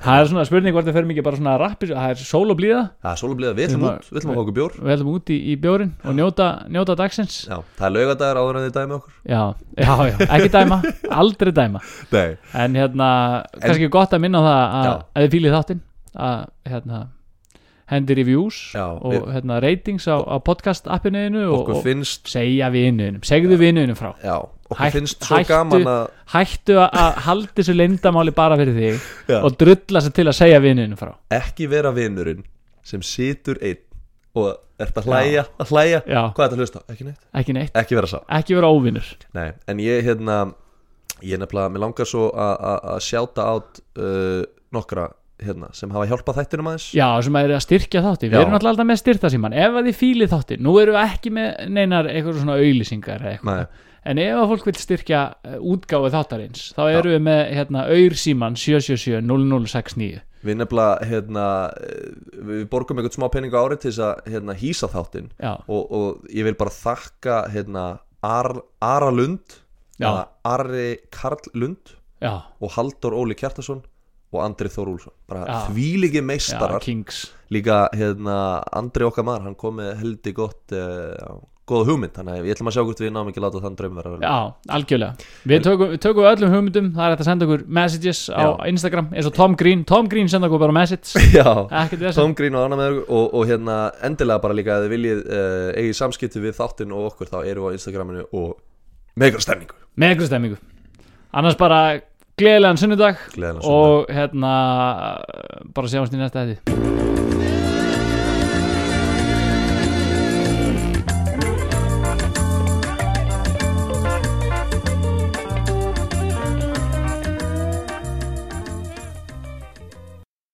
[SPEAKER 2] það er svona spurning hvort það fer mikið bara svona rappi, það er sól og blíða
[SPEAKER 1] Það er svolítið að við ætlum
[SPEAKER 2] Við
[SPEAKER 1] út, við ætlum að fá okkur bjór
[SPEAKER 2] við heldum út í, í bjórin og njóta, njóta dagsins
[SPEAKER 1] Já, það er laugadagur áður en þið dæmi okkur
[SPEAKER 2] Já, já, já, ekki dæma, aldrei dæma
[SPEAKER 1] Nei,
[SPEAKER 2] En hérna, kannski gott að minna á það að
[SPEAKER 1] Já.
[SPEAKER 2] að þið fílið þáttinn að hérna, hendi reviews
[SPEAKER 1] Já,
[SPEAKER 2] og
[SPEAKER 1] við-
[SPEAKER 2] hérna ratings á, á podcast appinuðinu og,
[SPEAKER 1] okkur
[SPEAKER 2] og
[SPEAKER 1] finnst
[SPEAKER 2] segja vinuðinum, segðu vinuðinum frá
[SPEAKER 1] Já, okkur
[SPEAKER 2] Hætt-
[SPEAKER 1] finnst svo
[SPEAKER 2] hættu-
[SPEAKER 1] gaman að
[SPEAKER 2] Hættu að- að halda þessu leyndamáli bara fyrir þig
[SPEAKER 1] Já.
[SPEAKER 2] og drulla sér til að segja vinuðinum frá
[SPEAKER 1] ekki vera vinurinn sem situr einn og ert að hlæja, að hlæja
[SPEAKER 2] Já,
[SPEAKER 1] Hvað er þetta að hlusta? á? Ekki neitt
[SPEAKER 2] ekki neitt,
[SPEAKER 1] Ekki vera sá
[SPEAKER 2] ekki vera óvinnur
[SPEAKER 1] Nei, en ég hérna ég nefnilega, mér langar svo a- a- að sjáta át uh, nokkra hérna, sem hafa hjálpað þættinum aðeins
[SPEAKER 2] Já, sem að eru að styrkja þátti, við
[SPEAKER 1] Já.
[SPEAKER 2] erum alltaf alltaf með styrta síman ef að þið fílið þátti, nú erum við ekki með neinar eitthvað svona auglýsingar eða eitthvað
[SPEAKER 1] Nei,
[SPEAKER 2] En ef að fólk vil styrkja eh, útgáfu þáttarins þá eru við með hérna, auðsíman 777-0069
[SPEAKER 1] við nefnilega hérna, eh, við borgum einhvern smá pening á ári til þess að hérna, hýsa þáttinn
[SPEAKER 2] Já,
[SPEAKER 1] og, og ég vil bara þakka hérna, Ar, Ara Lund
[SPEAKER 2] Já.
[SPEAKER 1] eða Ari Karl Lund
[SPEAKER 2] já,
[SPEAKER 1] og Halldór Óli Kjartason og Andri Þór Úlfsson bara
[SPEAKER 2] Já.
[SPEAKER 1] þvíligi
[SPEAKER 2] já,
[SPEAKER 1] meistarar
[SPEAKER 2] Kings
[SPEAKER 1] líka hérna Andri okkar maður, hann kom með heldig gott uh, góða hugmynd, þannig að ég ætlum að sjá hvort við náum ekki að láta þann draum vera að veruleika.
[SPEAKER 2] Já, algjörlega, við tökum, við tökum öllum hugmyndum það er hægt að senda okkur messages á
[SPEAKER 1] Já.
[SPEAKER 2] Instagram eins og Tom Green, Tom Green senda okkur bara message
[SPEAKER 1] Já,
[SPEAKER 2] ekkert þess
[SPEAKER 1] Tom Green og annað með okkur og, og hérna endilega bara líka að þið viljið uh, eigið samskipti við þáttinn og okkur þá eru á Instagraminu og með ykkur stemningu
[SPEAKER 2] með ykkur stemmingu annars bara gleðilegan sunnudag
[SPEAKER 1] Gleðilegan sunnudag.
[SPEAKER 2] og hérna bara sjáumst í næsta hætti